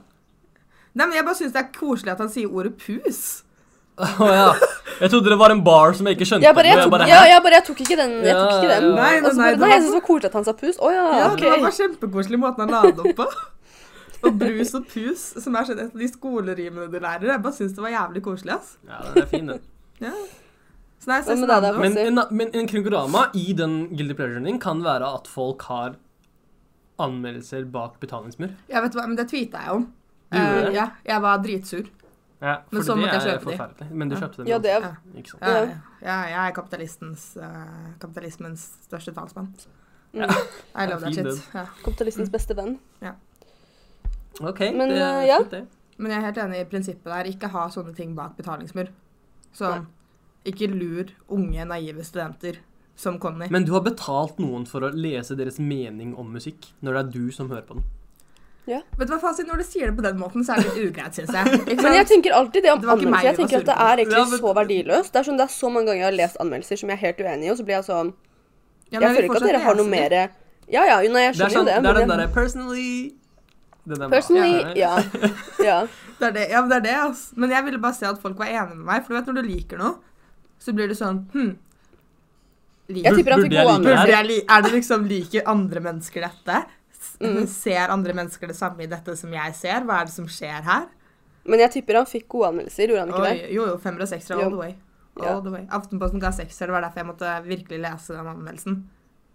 [SPEAKER 3] Nei, men Jeg bare syns det er koselig at han sier ordet pus.
[SPEAKER 2] Å ja. Jeg trodde det var en bar som jeg ikke skjønte.
[SPEAKER 1] Jeg bare, jeg
[SPEAKER 2] og
[SPEAKER 1] tok,
[SPEAKER 2] bare,
[SPEAKER 1] ja,
[SPEAKER 2] hæ?
[SPEAKER 1] jeg bare, jeg tok ikke den. Jeg tok ikke den.
[SPEAKER 2] Ja, ja, ja.
[SPEAKER 3] Nei, nei,
[SPEAKER 1] Og så
[SPEAKER 3] nei,
[SPEAKER 1] bare, nei,
[SPEAKER 3] det var
[SPEAKER 1] jeg synes det var koselig at han sa pus. Å ja,
[SPEAKER 3] Ja,
[SPEAKER 1] Ah, ok.
[SPEAKER 3] Det var bare kjempekoselig måten han la det opp på. Og brus og pus, som er sånn et av de skolerimene du lærer. Jeg bare syns det var jævlig koselig, ass.
[SPEAKER 2] Ja, den er fin, den.
[SPEAKER 3] Ja. Så nei,
[SPEAKER 1] Hva med
[SPEAKER 3] jeg
[SPEAKER 1] deg da,
[SPEAKER 3] ser
[SPEAKER 2] Men en, men en kringorama i den guilty pleasuren din kan være at folk har anmeldelser bak betalingsmur.
[SPEAKER 3] Jeg vet hva, men det tweeta jeg om.
[SPEAKER 2] Du gjorde
[SPEAKER 3] Eh,
[SPEAKER 2] det?
[SPEAKER 3] ja, jeg var dritsur.
[SPEAKER 2] Ja,
[SPEAKER 3] Men
[SPEAKER 2] fordi
[SPEAKER 1] sånn
[SPEAKER 3] så måtte
[SPEAKER 2] det
[SPEAKER 3] jeg
[SPEAKER 2] er
[SPEAKER 3] kjøpe de.
[SPEAKER 2] forferdelig. Men du
[SPEAKER 3] Ja.
[SPEAKER 2] kjøpte dem.
[SPEAKER 1] Ja, det er
[SPEAKER 3] Ja.
[SPEAKER 2] Ikke sant?
[SPEAKER 3] Ja,
[SPEAKER 1] Ja.
[SPEAKER 3] ja, ja, jeg er kapitalistens, eh, kapitalismens største talsmann.
[SPEAKER 1] Mm.
[SPEAKER 3] I love that
[SPEAKER 2] Fin
[SPEAKER 3] shit.
[SPEAKER 2] den.
[SPEAKER 3] Ja.
[SPEAKER 1] Kapitalistens beste venn.
[SPEAKER 2] OK,
[SPEAKER 1] Men,
[SPEAKER 2] det
[SPEAKER 1] eh,
[SPEAKER 2] er
[SPEAKER 1] ja.
[SPEAKER 2] fint, det.
[SPEAKER 3] Men jeg er helt enig i prinsippet der. Ikke ha sånne ting bak betalingsmur. Sånn, ikke lur unge, naive studenter som Conny.
[SPEAKER 2] Men du har betalt noen for å lese deres mening om musikk, når det er du som hører på den.
[SPEAKER 3] Vet du hva fasit? Når du sier det på den måten, så er det litt ugreit, syns jeg. Ikke
[SPEAKER 1] Men jeg
[SPEAKER 3] sant?
[SPEAKER 1] tenker alltid det om
[SPEAKER 3] Det var ikke meg
[SPEAKER 1] anmeldelser. Jeg
[SPEAKER 3] du var
[SPEAKER 1] tenker
[SPEAKER 3] sur
[SPEAKER 1] at det
[SPEAKER 3] på.
[SPEAKER 1] er
[SPEAKER 2] Ja,
[SPEAKER 1] egentlig
[SPEAKER 2] men-
[SPEAKER 1] så verdiløst. Det er, sånn, det er så mange ganger jeg har lest anmeldelser som jeg er helt uenig i, og så blir jeg sånn
[SPEAKER 3] Ja, men
[SPEAKER 1] Jeg
[SPEAKER 3] vil
[SPEAKER 1] føler ikke at dere
[SPEAKER 3] fortsatt
[SPEAKER 1] har noe
[SPEAKER 3] lese
[SPEAKER 1] mer
[SPEAKER 3] det. altså.
[SPEAKER 1] Ja ja, jo, nei, jeg
[SPEAKER 2] Det er,
[SPEAKER 1] skjønner jo
[SPEAKER 2] sånn, det
[SPEAKER 1] det.
[SPEAKER 2] er
[SPEAKER 1] men
[SPEAKER 2] den derre
[SPEAKER 1] det-
[SPEAKER 2] personally Den er bra.
[SPEAKER 1] Personally, ja. ja.
[SPEAKER 3] Det er det, ja, men det er det, altså. Men jeg ville bare se at folk var enige med meg. For du vet, når du liker noe, så blir du sånn hm,
[SPEAKER 1] Jeg
[SPEAKER 3] liker
[SPEAKER 1] tipper han
[SPEAKER 2] Burde
[SPEAKER 1] fikk
[SPEAKER 2] jeg
[SPEAKER 1] gode
[SPEAKER 2] like det her?
[SPEAKER 1] anmeldelser.
[SPEAKER 3] Burde jeg li er det liksom liker andre mennesker dette? S-
[SPEAKER 1] Mm.
[SPEAKER 3] Ser andre mennesker det samme i dette som jeg ser? Hva er det som skjer her?
[SPEAKER 1] Men jeg tipper han fikk gode anmeldelser, gjorde han ikke
[SPEAKER 3] Oi,
[SPEAKER 1] det?
[SPEAKER 3] jo, jo, femmer og seksere
[SPEAKER 1] Jo.
[SPEAKER 3] all the way.
[SPEAKER 1] Ja.
[SPEAKER 3] All the way. Aftenposten ga seksere, det var derfor jeg måtte virkelig lese den anmeldelsen.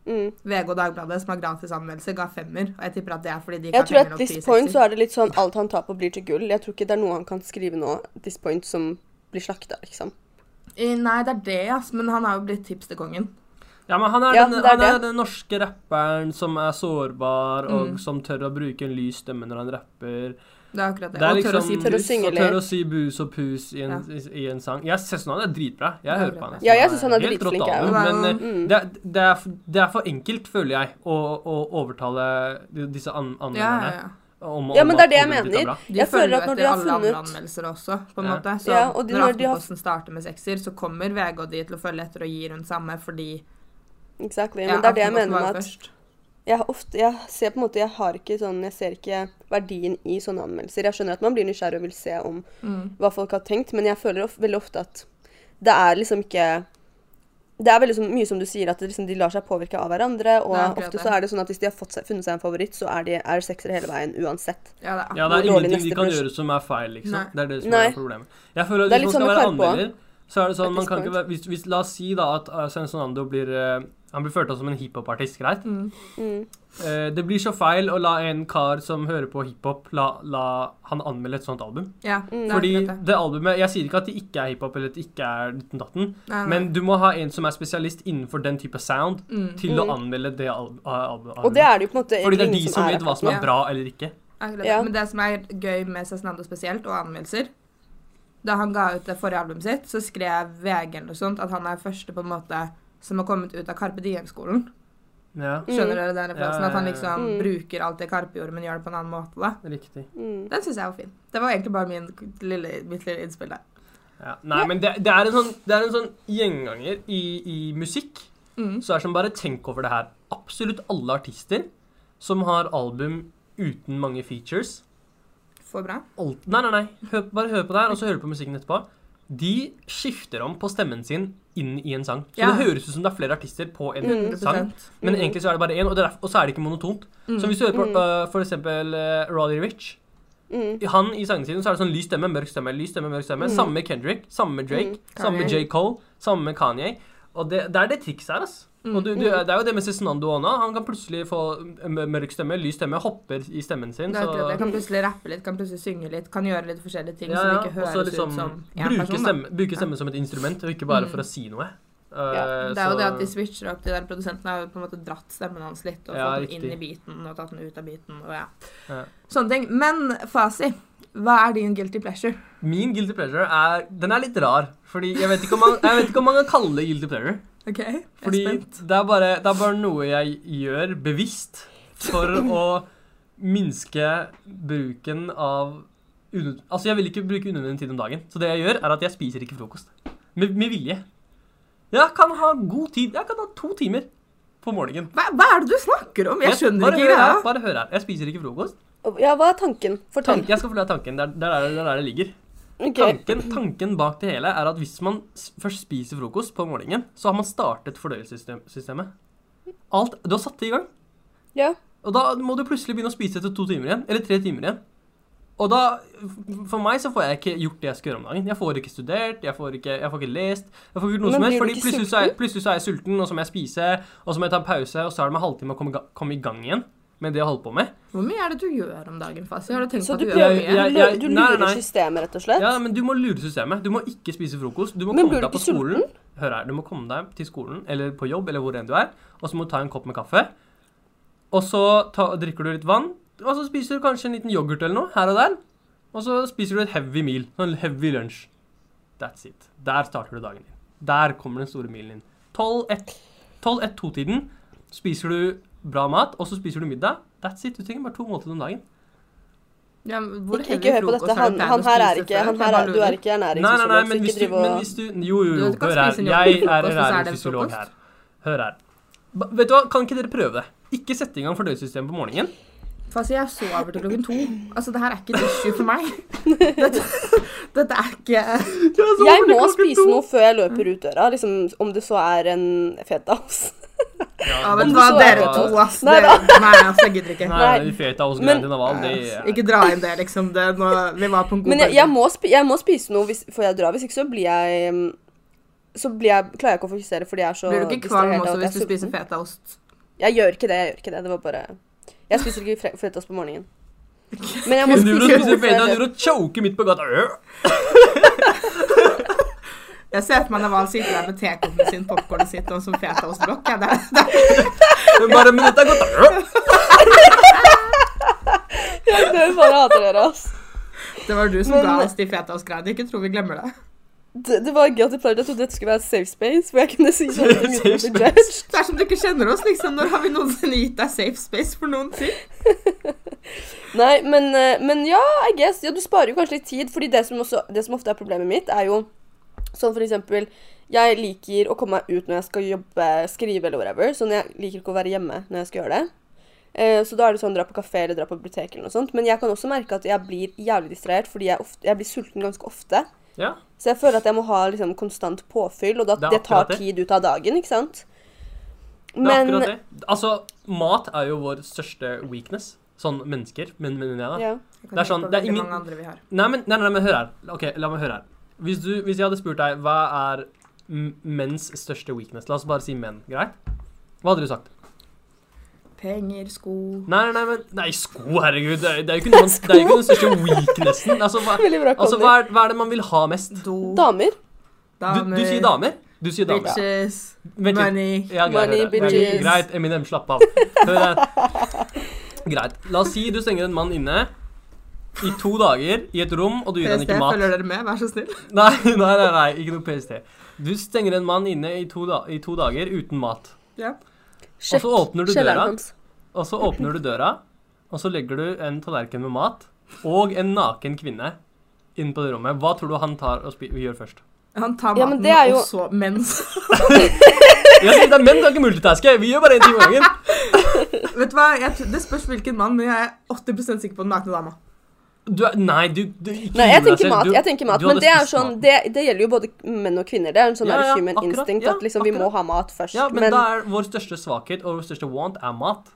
[SPEAKER 1] Mm.
[SPEAKER 3] VG og Dagbladet, som har gratis anmeldelse, ga femmer. Og jeg tipper at det er fordi de ikke
[SPEAKER 1] Jeg
[SPEAKER 3] har
[SPEAKER 1] tror
[SPEAKER 3] penger
[SPEAKER 1] at
[SPEAKER 3] nok til
[SPEAKER 1] this
[SPEAKER 3] å gi
[SPEAKER 1] point så
[SPEAKER 3] sekser.
[SPEAKER 1] er det litt sånn alt han tar på blir til gull. Jeg tror ikke det er noe han kan skrive nå, this point, som blir slakta, liksom.
[SPEAKER 3] I- Nei, det er det, ass. Men han har jo blitt tipsterkongen.
[SPEAKER 2] Ja, men han er,
[SPEAKER 1] Ja,
[SPEAKER 2] den,
[SPEAKER 1] det er
[SPEAKER 2] han er
[SPEAKER 1] det.
[SPEAKER 2] den norske rapperen som er sårbar, og
[SPEAKER 3] Mm.
[SPEAKER 2] som tør å bruke en lys stemme når han rapper.
[SPEAKER 3] Det er akkurat det.
[SPEAKER 2] Det er
[SPEAKER 3] og
[SPEAKER 2] liksom
[SPEAKER 3] tør å si
[SPEAKER 1] Tør å
[SPEAKER 3] pus.
[SPEAKER 1] synge
[SPEAKER 2] og
[SPEAKER 1] litt.
[SPEAKER 2] tør å si bus og pus i en, i, i en sang. Jeg synes han er dritbra. Jeg
[SPEAKER 3] Ja,
[SPEAKER 2] hører
[SPEAKER 3] bra.
[SPEAKER 2] på han.
[SPEAKER 1] Ja, jeg synes han er
[SPEAKER 2] helt
[SPEAKER 1] dritflink,
[SPEAKER 2] rått
[SPEAKER 1] jeg
[SPEAKER 2] av
[SPEAKER 3] også.
[SPEAKER 2] ham, Men eh,
[SPEAKER 1] Mm.
[SPEAKER 2] det, er- det, er, f- det er for enkelt, føler jeg, å, å overtale de- disse an
[SPEAKER 3] Ja, ja,
[SPEAKER 2] anmelderne
[SPEAKER 3] ja.
[SPEAKER 2] om
[SPEAKER 1] Ja, men det er det
[SPEAKER 2] at
[SPEAKER 1] jeg
[SPEAKER 2] albumet ditt er
[SPEAKER 1] mener.
[SPEAKER 2] bra.
[SPEAKER 3] De
[SPEAKER 1] Jeg føler
[SPEAKER 3] følger
[SPEAKER 1] at når
[SPEAKER 3] etter
[SPEAKER 1] de har
[SPEAKER 3] alle andre
[SPEAKER 1] funnet-
[SPEAKER 3] anmeldelser også, på en
[SPEAKER 2] Ja.
[SPEAKER 3] måte. Så
[SPEAKER 1] Ja, og de-
[SPEAKER 3] når
[SPEAKER 1] når de har-
[SPEAKER 3] Aftenposten starter med sekser, så kommer VG og de til å følge etter og gi rundt samme fordi
[SPEAKER 1] Exactly.
[SPEAKER 3] ja,
[SPEAKER 1] Men det er det jeg
[SPEAKER 3] Aftenposten
[SPEAKER 1] mener
[SPEAKER 3] var
[SPEAKER 1] med at
[SPEAKER 3] først.
[SPEAKER 1] jeg, har ofte, jeg ser på en måte, jeg har ikke sånn, jeg ser ikke verdien i sånne anmeldelser. Jeg skjønner at man blir nysgjerrig og vil se om
[SPEAKER 3] mm.
[SPEAKER 1] hva folk har tenkt, men jeg føler of, veldig ofte at det er liksom ikke Det er veldig som, mye som du sier, at det liksom, de lar seg påvirke av hverandre. Og
[SPEAKER 3] Det er akkurat
[SPEAKER 1] ofte
[SPEAKER 3] det.
[SPEAKER 1] så er det sånn at hvis de har fått seg, funnet seg en favoritt, så er de er det seksere hele veien uansett.
[SPEAKER 3] Ja, det er
[SPEAKER 2] Ja, det er
[SPEAKER 1] Hvor dårlig
[SPEAKER 2] ingenting de
[SPEAKER 1] neste
[SPEAKER 2] kan
[SPEAKER 1] blush-
[SPEAKER 2] gjøre som er feil, liksom.
[SPEAKER 3] Nei.
[SPEAKER 2] Det er det som
[SPEAKER 1] Nei.
[SPEAKER 2] er problemet. Jeg føler at
[SPEAKER 1] Det er
[SPEAKER 2] hvis
[SPEAKER 1] litt sånn
[SPEAKER 2] man skal
[SPEAKER 1] med
[SPEAKER 2] være
[SPEAKER 1] Karpe også.
[SPEAKER 2] anmelder, så er det sånn
[SPEAKER 1] At
[SPEAKER 2] man
[SPEAKER 1] this
[SPEAKER 2] kan ikke
[SPEAKER 1] point.
[SPEAKER 2] eh, være hvis, hvis, La oss si da at uh, Sensorando blir uh, Han blir ført opp som en hiphopartist, greit?
[SPEAKER 3] Mm.
[SPEAKER 2] Eh, det blir så feil å la en kar som hører på hiphop, la, la han anmelde et sånt album.
[SPEAKER 3] Ja,
[SPEAKER 1] Mm.
[SPEAKER 3] det er
[SPEAKER 2] Fordi
[SPEAKER 3] akkurat det.
[SPEAKER 2] det albumet Jeg sier ikke at det ikke er hiphop eller at det ikke er ditten datten,
[SPEAKER 3] Nei, nei.
[SPEAKER 2] men du må ha en som er spesialist innenfor den type sound,
[SPEAKER 3] Mm.
[SPEAKER 2] til å
[SPEAKER 1] Mm.
[SPEAKER 2] anmelde det al al albumet.
[SPEAKER 1] Og det er det jo på en måte
[SPEAKER 2] Fordi det er
[SPEAKER 1] ingen
[SPEAKER 2] de som vet hva som
[SPEAKER 3] Ja.
[SPEAKER 2] er bra eller ikke.
[SPEAKER 3] Akkurat.
[SPEAKER 1] Ja.
[SPEAKER 3] Men det som er gøy med Cezinando spesielt, og anmeldelser Da han ga ut det forrige albumet sitt, så skrev VG eller noe sånt at han er første på en måte som har kommet ut av Carpe Diem-skolen.
[SPEAKER 2] Ja,
[SPEAKER 3] Skjønner dere den referansen?
[SPEAKER 2] Ja,
[SPEAKER 3] At han
[SPEAKER 2] ja, ja.
[SPEAKER 3] liksom
[SPEAKER 1] Mm.
[SPEAKER 3] bruker alt det Carpe gjorde, men gjør det på en annen måte. da.
[SPEAKER 2] riktig.
[SPEAKER 1] Mm.
[SPEAKER 3] Den syns jeg var fin. Det var egentlig bare min lille, mitt lille innspill der.
[SPEAKER 2] Ja. Nei, men det, det, er en sånn, det er en sånn gjenganger i, i musikk.
[SPEAKER 3] Mm.
[SPEAKER 2] Så er det som bare tenk over det her. Absolutt alle artister som har album uten mange features
[SPEAKER 3] For bra.
[SPEAKER 2] alt, Nei, nei, nei. Hør, bare hør på det her, og så hører du på musikken etterpå. De skifter om på stemmen sin inn i en sang. Så
[SPEAKER 3] Ja.
[SPEAKER 2] det høres ut som det er flere artister på en
[SPEAKER 1] Mm.
[SPEAKER 2] sang.
[SPEAKER 3] 100%.
[SPEAKER 2] Men
[SPEAKER 1] Mm.
[SPEAKER 2] egentlig så er det bare én, og, det er derf- og så er det ikke monotont. Så hvis du hører på øh, for eksempel øh, Roddy Rich
[SPEAKER 1] Mm.
[SPEAKER 2] Han i sangene sine så er det sånn lys stemme, mørk stemme, lys stemme, mørk stemme. Samme med Kendrick, samme med Drake, samme med
[SPEAKER 3] Mm. Kanye.
[SPEAKER 2] J. Cole, samme med Kanye. Og det, det er det trikset her, altså.
[SPEAKER 3] Mm.
[SPEAKER 2] Og du, du, det er jo det med Cezinando òg nå. Han kan plutselig få m- mørk stemme, lys stemme, hopper i stemmen sin.
[SPEAKER 3] Det er akkurat
[SPEAKER 2] Så
[SPEAKER 3] det. Kan plutselig rappe litt, kan plutselig synge litt, kan gjøre litt forskjellige ting
[SPEAKER 2] Ja,
[SPEAKER 3] som
[SPEAKER 2] ja,
[SPEAKER 3] ikke
[SPEAKER 2] og så
[SPEAKER 3] høres
[SPEAKER 2] liksom
[SPEAKER 3] ut som én
[SPEAKER 2] bruke
[SPEAKER 3] person. Da. Mm.
[SPEAKER 2] stemme, bruke stemme som et instrument, og ikke bare for å si noe. Eh,
[SPEAKER 3] Det er jo
[SPEAKER 2] så-
[SPEAKER 3] det at de switcher opp. De der produsentene har jo på en måte dratt stemmen hans litt og
[SPEAKER 2] Ja,
[SPEAKER 3] fått den
[SPEAKER 2] riktig.
[SPEAKER 3] inn i beaten og tatt den ut av beaten og ja.
[SPEAKER 2] Ja.
[SPEAKER 3] Sånne ting. Men Fasi, hva er din guilty pleasure?
[SPEAKER 2] Min guilty pleasure er Den er litt rar, fordi jeg vet ikke om man, jeg vet ikke om man kan kalle det guilty pleasure.
[SPEAKER 3] OK? jeg er
[SPEAKER 2] Fordi
[SPEAKER 3] spent.
[SPEAKER 2] det er, bare, det er bare noe jeg gjør bevisst for å minske bruken av unød- Altså, jeg vil ikke bruke unødvendig tid om dagen, så det jeg gjør, er at jeg spiser ikke frokost. Med, med vilje. Jeg kan ha god tid. Jeg kan ha to timer på morgenen.
[SPEAKER 3] hva, hva er det du snakker om? Jeg skjønner
[SPEAKER 2] bare
[SPEAKER 3] ikke
[SPEAKER 2] hør her,
[SPEAKER 3] greia.
[SPEAKER 2] bare hør her. Jeg spiser ikke frokost.
[SPEAKER 1] Og- Ja, hva er tanken? Fortell.
[SPEAKER 2] Tank, jeg skal fortelle deg tanken. Det er det er der, det er der det ligger.
[SPEAKER 1] Ok.
[SPEAKER 2] Tanken, tanken bak det hele er at hvis man s- først spiser frokost på morgenen, så har man startet fordøyelsessystemet. Alt Du har satt det i gang.
[SPEAKER 1] Ja.
[SPEAKER 2] Og da må du plutselig begynne å spise etter to timer igjen, eller tre timer igjen. Og da, f- For meg så får jeg ikke gjort det jeg skal gjøre om dagen. Jeg får ikke studert, jeg får ikke, jeg får ikke lest. jeg får ikke gjort noe
[SPEAKER 1] Men
[SPEAKER 2] som helst,
[SPEAKER 1] blir du
[SPEAKER 2] fordi
[SPEAKER 1] ikke
[SPEAKER 2] plutselig så, er, plutselig så er jeg sulten, og så må jeg spise, og så må jeg ta en pause, og så er det med en halvtime å komme, i ga- komme i gang igjen med det jeg holder på med.
[SPEAKER 3] Hvor mye er det du gjør om dagen, Fasi? Har du tenkt
[SPEAKER 1] Så du
[SPEAKER 3] på at du gjør
[SPEAKER 1] prøver
[SPEAKER 2] jeg-
[SPEAKER 3] mye?
[SPEAKER 2] jeg-
[SPEAKER 1] Du, lø- du
[SPEAKER 2] nei, nei,
[SPEAKER 1] lurer
[SPEAKER 2] nei.
[SPEAKER 1] systemet, rett og slett?
[SPEAKER 2] Ja, men Du må lure systemet. Du må ikke spise frokost. Du må
[SPEAKER 1] Men
[SPEAKER 2] komme
[SPEAKER 1] blir du
[SPEAKER 2] deg på
[SPEAKER 1] ikke sulten?
[SPEAKER 2] skolen. Hør her, du må komme deg til skolen eller på jobb eller hvor enn du er, og så må du ta en kopp med kaffe. Og så ta, drikker du litt vann, og så spiser du kanskje en liten yoghurt eller noe her og der. Og så spiser du et heavy meal. Sånn heavy lunsj. That's it. Der starter du dagen din. Der kommer den store milen din. 12-1-2-tiden spiser du bra mat, og så spiser du middag. That's it. Du trenger bare to måltider om dagen.
[SPEAKER 3] Ja, men hvor
[SPEAKER 1] Ikke,
[SPEAKER 3] heavy
[SPEAKER 1] ikke hør på
[SPEAKER 3] frokost
[SPEAKER 1] dette.
[SPEAKER 3] har
[SPEAKER 1] Han,
[SPEAKER 3] du pleid
[SPEAKER 1] han
[SPEAKER 3] å
[SPEAKER 1] her er
[SPEAKER 3] spise
[SPEAKER 1] ikke, han
[SPEAKER 3] før?
[SPEAKER 1] her
[SPEAKER 3] Jeg bare
[SPEAKER 1] er, du
[SPEAKER 3] lurer.
[SPEAKER 1] er ikke
[SPEAKER 2] Nei, nei, nei,
[SPEAKER 1] ernæringsfysiolog, så
[SPEAKER 2] men
[SPEAKER 1] ikke
[SPEAKER 2] hvis du,
[SPEAKER 1] driv
[SPEAKER 2] men
[SPEAKER 1] og
[SPEAKER 2] hvis du Jo, jo, jo,
[SPEAKER 3] Du kan
[SPEAKER 2] hør her.
[SPEAKER 3] spise en
[SPEAKER 2] Jeg
[SPEAKER 3] yoghurt
[SPEAKER 2] er
[SPEAKER 3] til frokost, og så er det
[SPEAKER 2] ernæringsfysiolog
[SPEAKER 3] frokost.
[SPEAKER 2] her. Hør her. Ba- Vet du hva, kan ikke dere prøve det? Ikke sette i gang fordøyelsessystemet på morgenen.
[SPEAKER 3] Fasi, jeg sover til klokken to. Altså, det her er ikke et issue for meg. Dette, dette er ikke
[SPEAKER 1] Jeg må spise noe før jeg løper ut døra, liksom, om det så er en altså. fetaost.
[SPEAKER 3] Ja, vet du
[SPEAKER 1] du
[SPEAKER 3] hva,
[SPEAKER 1] så-
[SPEAKER 3] dere to, ass.
[SPEAKER 1] Nei
[SPEAKER 3] det, nei, ass, jeg gidder ikke.
[SPEAKER 2] Nei, de feta hos
[SPEAKER 1] Men-
[SPEAKER 2] Grandin av all, det
[SPEAKER 3] Ass,
[SPEAKER 2] er-
[SPEAKER 3] Ikke dra inn det, liksom. Det, nå, vi var på en god
[SPEAKER 1] Men jeg,
[SPEAKER 3] bølge.
[SPEAKER 1] jeg, må spi, jeg må spise noe hvis, før jeg drar, hvis ikke så blir jeg mm, Så blir jeg, klarer jeg ikke å fokusere fordi jeg er så
[SPEAKER 3] Blir du ikke
[SPEAKER 1] distrahert
[SPEAKER 3] kvalm
[SPEAKER 1] av
[SPEAKER 3] også
[SPEAKER 1] at jeg
[SPEAKER 3] hvis du
[SPEAKER 1] er
[SPEAKER 3] spiser
[SPEAKER 1] sulten.
[SPEAKER 3] fetaost?
[SPEAKER 1] Jeg gjør ikke det. Jeg gjør ikke det. Det var bare Jeg spiser ikke fre- fetaost på morgenen. Men jeg må
[SPEAKER 2] Men
[SPEAKER 1] spise
[SPEAKER 2] du vil spise
[SPEAKER 1] noe før jeg
[SPEAKER 2] feta, du
[SPEAKER 1] løper.
[SPEAKER 2] vil choke midt på gata. Øh.
[SPEAKER 3] Jeg ser for meg Naval sitter der med tekoppen sin, popkornet sitt og en sånn fetaostblokk. Ja, det, er- det, er-
[SPEAKER 2] Men Bare minuttet er gått. Øh.
[SPEAKER 1] Jeg dør faen, jeg hater dere, ass.
[SPEAKER 3] det var du som
[SPEAKER 1] Men-
[SPEAKER 3] ga oss de fetaostgreiene. Ikke tro vi glemmer det.
[SPEAKER 1] Det, det var gøy at du pleide Jeg trodde dette skulle være et safe space, hvor jeg kunne si sånne ting uten å
[SPEAKER 2] Safe
[SPEAKER 1] bli judged.
[SPEAKER 3] Det er som du ikke kjenner oss, liksom. Når har vi noensinne gitt deg safe space for noen ting?
[SPEAKER 1] Nei, men, eh, men ja, I guess. Ja, du sparer jo kanskje litt tid, fordi det som, også, det som ofte er problemet mitt, er jo sånn for eksempel Jeg liker å komme meg ut når jeg skal jobbe, skrive eller whatever, så jeg liker ikke å være hjemme når jeg skal gjøre det. Eh, Så da er det sånn dra på kafé eller dra på biblioteket eller noe sånt. Men jeg kan også merke at jeg blir jævlig distrahert, fordi jeg, ofte, jeg blir sulten ganske ofte.
[SPEAKER 2] Ja.
[SPEAKER 1] Så jeg føler at jeg må ha liksom konstant påfyll, og da,
[SPEAKER 2] Det er
[SPEAKER 1] det tar
[SPEAKER 2] akkurat det.
[SPEAKER 1] tid ut av dagen, ikke sant?
[SPEAKER 2] Det er
[SPEAKER 1] Men
[SPEAKER 2] akkurat det. Altså, mat er jo vår største weakness. Sånn mennesker, men, men jeg da.
[SPEAKER 1] Ja.
[SPEAKER 2] Det er sånn, det er ingen-
[SPEAKER 3] mange andre vi har.
[SPEAKER 2] Nei, men, nei, nei, men hør her. Ok, La meg høre her. Hvis, du, hvis jeg hadde spurt deg hva er m- menns største weakness La oss bare si menn, greit? Hva hadde du sagt?
[SPEAKER 3] Penger, sko
[SPEAKER 2] Nei, nei, nei, men Nei, sko, herregud. Det er, det er jo ikke noe man- det er jo ikke den største weaknessen. Altså, hva,
[SPEAKER 1] Veldig bra,
[SPEAKER 2] altså
[SPEAKER 1] Conny.
[SPEAKER 2] hva, er, hva er det man vil ha mest?
[SPEAKER 3] Do
[SPEAKER 1] Damer.
[SPEAKER 2] Du, du sier damer. Du sier damer.
[SPEAKER 3] Bitches.
[SPEAKER 2] Vent litt.
[SPEAKER 3] Money.
[SPEAKER 2] Ja, greit,
[SPEAKER 1] Money,
[SPEAKER 2] greit, greit.
[SPEAKER 1] bitches.
[SPEAKER 2] Greit, Eminem, slapp av. Hør her. Greit. La oss si du stenger en mann inne i to dager i et rom, og du gir han
[SPEAKER 3] PST,
[SPEAKER 2] ikke mat.
[SPEAKER 3] følger dere med? Vær så snill.
[SPEAKER 2] Nei, nei, nei, nei, ikke noe PST. Du stenger en mann inne i to, da i to dager uten mat.
[SPEAKER 3] Ja.
[SPEAKER 1] Sjekk
[SPEAKER 2] åpner du
[SPEAKER 1] kjelleren
[SPEAKER 2] døra.
[SPEAKER 1] hans.
[SPEAKER 2] Og så åpner du døra, og så legger du en tallerken med mat og en naken kvinne inn på det rommet. Hva tror du han tar og spi gjør først?
[SPEAKER 3] Han tar
[SPEAKER 1] Ja,
[SPEAKER 3] maten,
[SPEAKER 1] men det er jo-
[SPEAKER 3] og så mens
[SPEAKER 2] Jeg sier det er menn, det er ikke multitaske. Vi gjør bare én ting om gangen.
[SPEAKER 3] Vet du hva, jeg, tr- Det spørs hvilken mann, men jeg er 80 sikker på den nakne dama.
[SPEAKER 2] Du er, nei, du, du ikke
[SPEAKER 1] Nei, jeg
[SPEAKER 2] gi deg
[SPEAKER 1] tenker
[SPEAKER 2] selv.
[SPEAKER 1] mat.
[SPEAKER 2] altså, Du-
[SPEAKER 1] jeg tenker mat,
[SPEAKER 2] du
[SPEAKER 1] Men
[SPEAKER 2] hadde
[SPEAKER 1] det er
[SPEAKER 2] spist
[SPEAKER 1] sånn,
[SPEAKER 2] maten.
[SPEAKER 1] det, det gjelder jo både menn og kvinner. Det er en sånn
[SPEAKER 2] Ja,
[SPEAKER 1] der
[SPEAKER 2] ja,
[SPEAKER 1] human
[SPEAKER 2] akkurat,
[SPEAKER 1] instinct
[SPEAKER 2] ja,
[SPEAKER 1] at liksom, vi må
[SPEAKER 2] akkurat.
[SPEAKER 1] ha mat først.
[SPEAKER 2] Ja, men,
[SPEAKER 1] men
[SPEAKER 2] da er vår største svakhet og vår største want er mat.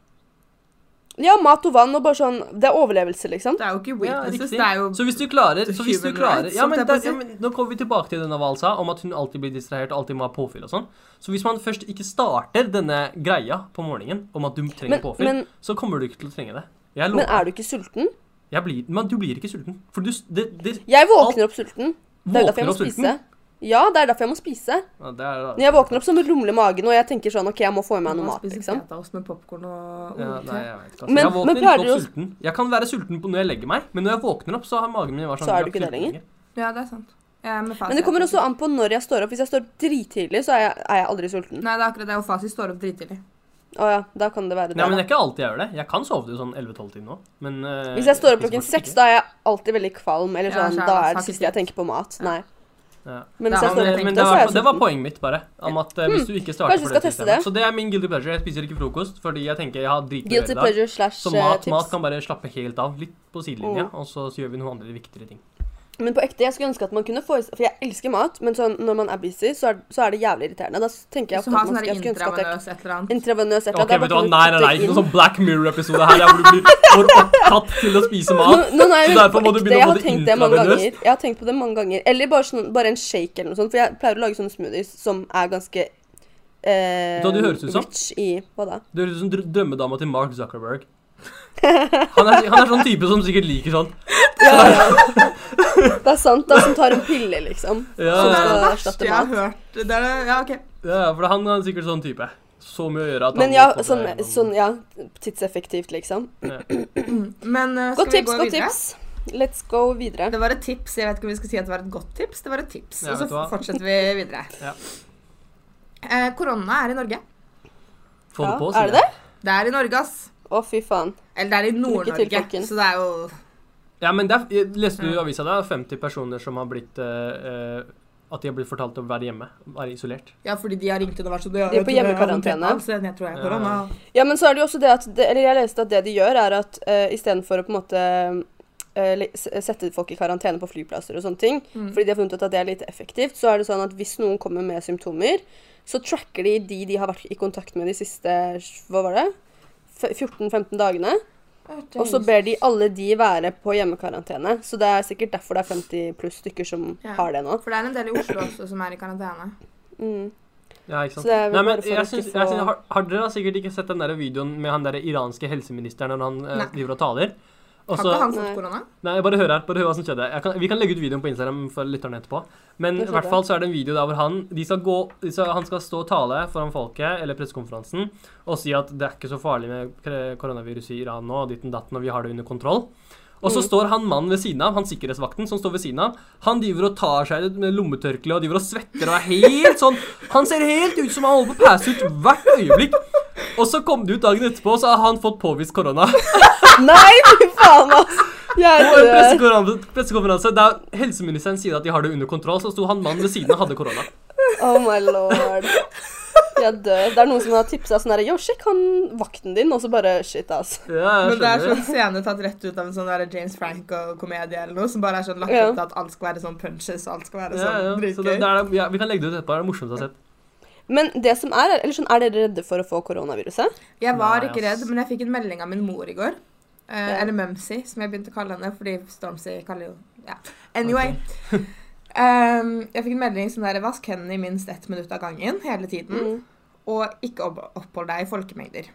[SPEAKER 1] ja, mat og vann og bare sånn Det er overlevelse, liksom.
[SPEAKER 3] Det er jo ikke
[SPEAKER 2] Ja,
[SPEAKER 3] weaknesses.
[SPEAKER 2] riktig.
[SPEAKER 3] det er jo
[SPEAKER 2] så hvis du klarer, så hvis du
[SPEAKER 3] human
[SPEAKER 2] klarer
[SPEAKER 3] rights,
[SPEAKER 2] ja, men,
[SPEAKER 3] holdt jeg på
[SPEAKER 2] der,
[SPEAKER 3] å si.
[SPEAKER 2] ja, men, Nå kommer vi tilbake til denne valsa om at hun alltid blir distrahert og alltid må ha påfyll og sånn. Så hvis man først ikke starter denne greia på morgenen om at du trenger
[SPEAKER 1] Men-
[SPEAKER 2] påfyll,
[SPEAKER 1] men-
[SPEAKER 2] så kommer du ikke til å trenge det. Jeg
[SPEAKER 1] Men
[SPEAKER 2] lover.
[SPEAKER 1] er du ikke sulten?
[SPEAKER 2] Jeg blir, men du blir ikke sulten. For du s- det, det,
[SPEAKER 1] Jeg våkner opp sulten. Det er jo derfor jeg
[SPEAKER 2] Våkner
[SPEAKER 1] må
[SPEAKER 2] opp sulten?
[SPEAKER 1] spise. Ja, det er derfor jeg må spise.
[SPEAKER 2] ja, det er,
[SPEAKER 1] Når jeg våkner opp, så rumler magen, og jeg tenker sånn OK, jeg må få i meg
[SPEAKER 3] Man
[SPEAKER 1] noe mat,
[SPEAKER 3] spiser
[SPEAKER 1] liksom.
[SPEAKER 3] fetaost med popcorn og
[SPEAKER 2] ja,
[SPEAKER 3] olte.
[SPEAKER 2] nei, jeg vet ikke. Altså,
[SPEAKER 1] Men-
[SPEAKER 2] jeg våkner
[SPEAKER 1] men klarer
[SPEAKER 2] ikke
[SPEAKER 1] du
[SPEAKER 2] opp
[SPEAKER 1] å-
[SPEAKER 2] sulten. Jeg kan være sulten på når jeg legger meg, men når jeg våkner opp, så har magen min vært sånn
[SPEAKER 1] Så er
[SPEAKER 2] jeg
[SPEAKER 1] du ikke det
[SPEAKER 2] sulten
[SPEAKER 1] lenger.
[SPEAKER 3] Ja, det er sant. Jeg er med fasit.
[SPEAKER 1] Men det kommer også an på når jeg står opp. Hvis jeg står opp drittidlig, så er jeg, er jeg aldri sulten.
[SPEAKER 3] Nei, det er akkurat det. Og fasit står opp drittidlig.
[SPEAKER 1] Å ja, da kan det være det.
[SPEAKER 2] Nei, men
[SPEAKER 1] da.
[SPEAKER 2] det er ikke alltid jeg gjør det. Jeg kan sove til sånn 11-12 timer nå, men eh,
[SPEAKER 1] Hvis jeg står opp
[SPEAKER 2] spiser
[SPEAKER 1] klokken
[SPEAKER 2] fortsatt
[SPEAKER 1] seks,
[SPEAKER 2] ikke.
[SPEAKER 1] da er jeg alltid veldig kvalm. Eller
[SPEAKER 3] Ja,
[SPEAKER 1] sånn,
[SPEAKER 3] så
[SPEAKER 1] da
[SPEAKER 3] er det-
[SPEAKER 1] er det
[SPEAKER 3] har ikke
[SPEAKER 1] siste jeg
[SPEAKER 3] tid.
[SPEAKER 1] tenker på mat. Nei.
[SPEAKER 2] Ja.
[SPEAKER 1] Men hvis
[SPEAKER 3] Ja,
[SPEAKER 1] jeg står opp
[SPEAKER 2] Men, men
[SPEAKER 1] åtte,
[SPEAKER 2] det,
[SPEAKER 1] så er
[SPEAKER 2] var,
[SPEAKER 1] jeg
[SPEAKER 2] det var
[SPEAKER 1] sulten.
[SPEAKER 2] poenget mitt, bare. Om at eh, Hvis du ikke starter
[SPEAKER 1] Kanskje vi
[SPEAKER 2] på
[SPEAKER 1] skal
[SPEAKER 2] det
[SPEAKER 1] teste det?
[SPEAKER 2] systemet. Så det er min guilty pleasure. Jeg spiser ikke frokost fordi jeg tenker jeg har dritmye å
[SPEAKER 1] Guilty
[SPEAKER 2] gjøre i dag.
[SPEAKER 1] pleasure slash
[SPEAKER 2] Så mat,
[SPEAKER 1] eh,
[SPEAKER 2] mat
[SPEAKER 1] tips.
[SPEAKER 2] kan bare slappe helt av. Litt på sidelinja,
[SPEAKER 1] Mm.
[SPEAKER 2] og så, så gjør vi noen andre viktigere ting.
[SPEAKER 1] Men på ekte, jeg skulle ønske at man kunne få i For jeg elsker mat, men sånn, når man er busy, så er, så er det jævlig irriterende. Da tenker jeg
[SPEAKER 3] Så
[SPEAKER 1] ofte
[SPEAKER 3] ha
[SPEAKER 1] at
[SPEAKER 3] sånn
[SPEAKER 1] man
[SPEAKER 3] der
[SPEAKER 1] jeg skulle ønske at jeg
[SPEAKER 3] intravenøs et eller annet.
[SPEAKER 1] Intravenøs et eller
[SPEAKER 2] Ok,
[SPEAKER 1] annet. Da
[SPEAKER 2] vet du
[SPEAKER 1] bare
[SPEAKER 2] hva?
[SPEAKER 1] kan
[SPEAKER 2] Nei, nei,
[SPEAKER 1] du
[SPEAKER 2] nei,
[SPEAKER 1] putte
[SPEAKER 2] ikke noe
[SPEAKER 1] inn-
[SPEAKER 2] sånn Black Mirror-episode her der hvor du blir for opptatt til å spise mat.
[SPEAKER 1] Nå- nå- nei,
[SPEAKER 2] Så
[SPEAKER 1] men
[SPEAKER 2] derfor må du
[SPEAKER 1] på ekte,
[SPEAKER 2] begynne
[SPEAKER 1] jeg har
[SPEAKER 2] både
[SPEAKER 1] tenkt det mange
[SPEAKER 2] intravenøst-
[SPEAKER 1] ganger. Jeg har tenkt på det mange ganger. Eller bare, sånn, bare en shake eller noe sånt. For jeg pleier å lage sånne smoothies som er ganske eh,
[SPEAKER 2] Vet du hva du høres ut som?
[SPEAKER 1] rich i Hva da?
[SPEAKER 2] Du høres ut som dr- drømmedama til Mark Zuckerberg. Han er, han er sånn type som sikkert liker sånn.
[SPEAKER 1] Det er sant, da, som tar en pille, liksom.
[SPEAKER 2] Ja,
[SPEAKER 1] Som
[SPEAKER 3] Det er
[SPEAKER 2] ja,
[SPEAKER 3] det
[SPEAKER 1] skal
[SPEAKER 3] verste
[SPEAKER 1] erstatte
[SPEAKER 3] jeg har
[SPEAKER 1] mat.
[SPEAKER 3] hørt. Det er det, ja, ok.
[SPEAKER 2] ja, for han er sikkert sånn type. Så mye å gjøre at han
[SPEAKER 1] Men ja,
[SPEAKER 2] må få
[SPEAKER 1] sånn,
[SPEAKER 2] seg noen-
[SPEAKER 1] sånn ja, tidseffektivt, liksom.
[SPEAKER 3] Men eh, skal
[SPEAKER 1] Godt
[SPEAKER 3] vi
[SPEAKER 1] tips,
[SPEAKER 3] gå
[SPEAKER 1] godt
[SPEAKER 3] videre?
[SPEAKER 1] tips. Let's go videre.
[SPEAKER 3] Det var et tips. Jeg vet ikke om vi skal si at det var et godt tips. Det var et tips.
[SPEAKER 2] Ja,
[SPEAKER 3] og så
[SPEAKER 2] vet du hva?
[SPEAKER 3] fortsetter vi videre.
[SPEAKER 2] Ja.
[SPEAKER 3] Eh, korona er i Norge.
[SPEAKER 2] Få det
[SPEAKER 1] Ja,
[SPEAKER 2] på,
[SPEAKER 1] er
[SPEAKER 2] sier
[SPEAKER 1] det det?
[SPEAKER 2] jeg.
[SPEAKER 3] Det er i Norge, ass.
[SPEAKER 1] Å, fy faen.
[SPEAKER 3] Eller det er i
[SPEAKER 1] til,
[SPEAKER 3] Nord-Norge.
[SPEAKER 1] folkens.
[SPEAKER 3] Så det er jo
[SPEAKER 2] Ja, men der, jeg- Leste du i avisa da? 50 personer som har blitt eh, eh, At de har blitt fortalt å være hjemme. Være isolert.
[SPEAKER 3] Ja, fordi de har ringt inn og vært sånn «Ja,
[SPEAKER 1] De er
[SPEAKER 3] jeg
[SPEAKER 1] på
[SPEAKER 3] tror jeg har
[SPEAKER 1] hjemmekarantene.
[SPEAKER 3] håndtert angsten, Jeg tror jeg har
[SPEAKER 2] Ja.
[SPEAKER 3] korona.
[SPEAKER 1] Ja, men så er det jo også det at det, Eller jeg leste at det de gjør, er at uh, istedenfor å på en måte eh, li- s- sette folk i karantene på flyplasser og sånne ting,
[SPEAKER 3] Mm.
[SPEAKER 1] fordi de har funnet ut at det er litt effektivt, så er det sånn at hvis noen kommer med symptomer, så tracker de de de har vært i kontakt med de siste Hva var det? F- 14-15 dagene. Og så ber de alle de være på hjemmekarantene. Så det er sikkert derfor det er 50 pluss stykker som
[SPEAKER 3] Ja.
[SPEAKER 1] har det nå.
[SPEAKER 3] For det er en del i Oslo også som er i karantene.
[SPEAKER 1] Mm.
[SPEAKER 2] Ja, ikke sant?
[SPEAKER 1] Så det er vel
[SPEAKER 2] Sånn. Nei, men
[SPEAKER 1] bare for å
[SPEAKER 2] jeg
[SPEAKER 1] ikke
[SPEAKER 2] syns,
[SPEAKER 1] få-
[SPEAKER 2] jeg syns, har, har dere da sikkert ikke sett den der videoen med han der iranske helseministeren når han eh,
[SPEAKER 3] Nei.
[SPEAKER 2] driver og taler? Og
[SPEAKER 3] Har
[SPEAKER 2] så-
[SPEAKER 3] ikke han
[SPEAKER 1] Nei.
[SPEAKER 3] fått korona?
[SPEAKER 2] Nei, bare hør her, bare hør hva som skjedde. Jeg kan, vi kan legge ut videoen på Instagram for lytterne etterpå. Men i
[SPEAKER 1] Det skjedde.
[SPEAKER 2] hvert fall så er det en video der hvor han, de skal gå, de skal, han skal stå og tale foran folket eller pressekonferansen og si at det er ikke så farlig med kre- koronaviruset i Iran nå, ditten datten, og vi har det under kontroll. Og
[SPEAKER 1] Mm.
[SPEAKER 2] så står han mannen ved siden av, han sikkerhetsvakten som står ved siden av, han driver og tar seg med lommetørkle og driver og svetter og er helt sånn Han ser helt ut som han holder på å passe ut hvert øyeblikk. Og så kom det ut dagen etterpå, så har han fått påvist korona.
[SPEAKER 1] Nei, fy faen, ass! Jeg
[SPEAKER 2] På en
[SPEAKER 1] dør.
[SPEAKER 2] pressekonferanse, pressekonferanse der helseministeren sier at de har det under kontroll, så sto han mannen ved siden av hadde korona.
[SPEAKER 1] Oh my lord. Jeg dør. Det er noen som har tipsa sånn her Yo, sjekk han vakten din, og så bare shit, ass.
[SPEAKER 2] Ja, jeg
[SPEAKER 3] Men det er
[SPEAKER 2] skjønner
[SPEAKER 3] sånn scene tatt rett ut av en sånn der James Franco-komedie eller noe, som bare er sånn lagt
[SPEAKER 1] Ja.
[SPEAKER 3] opp til at alt skal være sånn punches, og alt skal være
[SPEAKER 2] Ja, ja.
[SPEAKER 3] sånn
[SPEAKER 2] Så det,
[SPEAKER 3] dritgøy.
[SPEAKER 2] det er, ja, vi kan legge det ut etterpå. Det er det morsomste jeg har sett.
[SPEAKER 1] Men det som er, er- eller sånn, er dere redde for å få koronaviruset?
[SPEAKER 3] Jeg var
[SPEAKER 2] Nei,
[SPEAKER 3] ikke
[SPEAKER 2] ass.
[SPEAKER 3] redd, men jeg fikk en melding av min mor i går. Eh,
[SPEAKER 1] Ja.
[SPEAKER 3] Eller Mumsy, som jeg begynte å kalle henne, fordi Stormzy kaller jo Ja. Anyway. ehm, Um, jeg fikk en melding som der Vask hendene i minst ett minutt av gangen hele tiden. og ikke opp- opphold deg i folkemengder.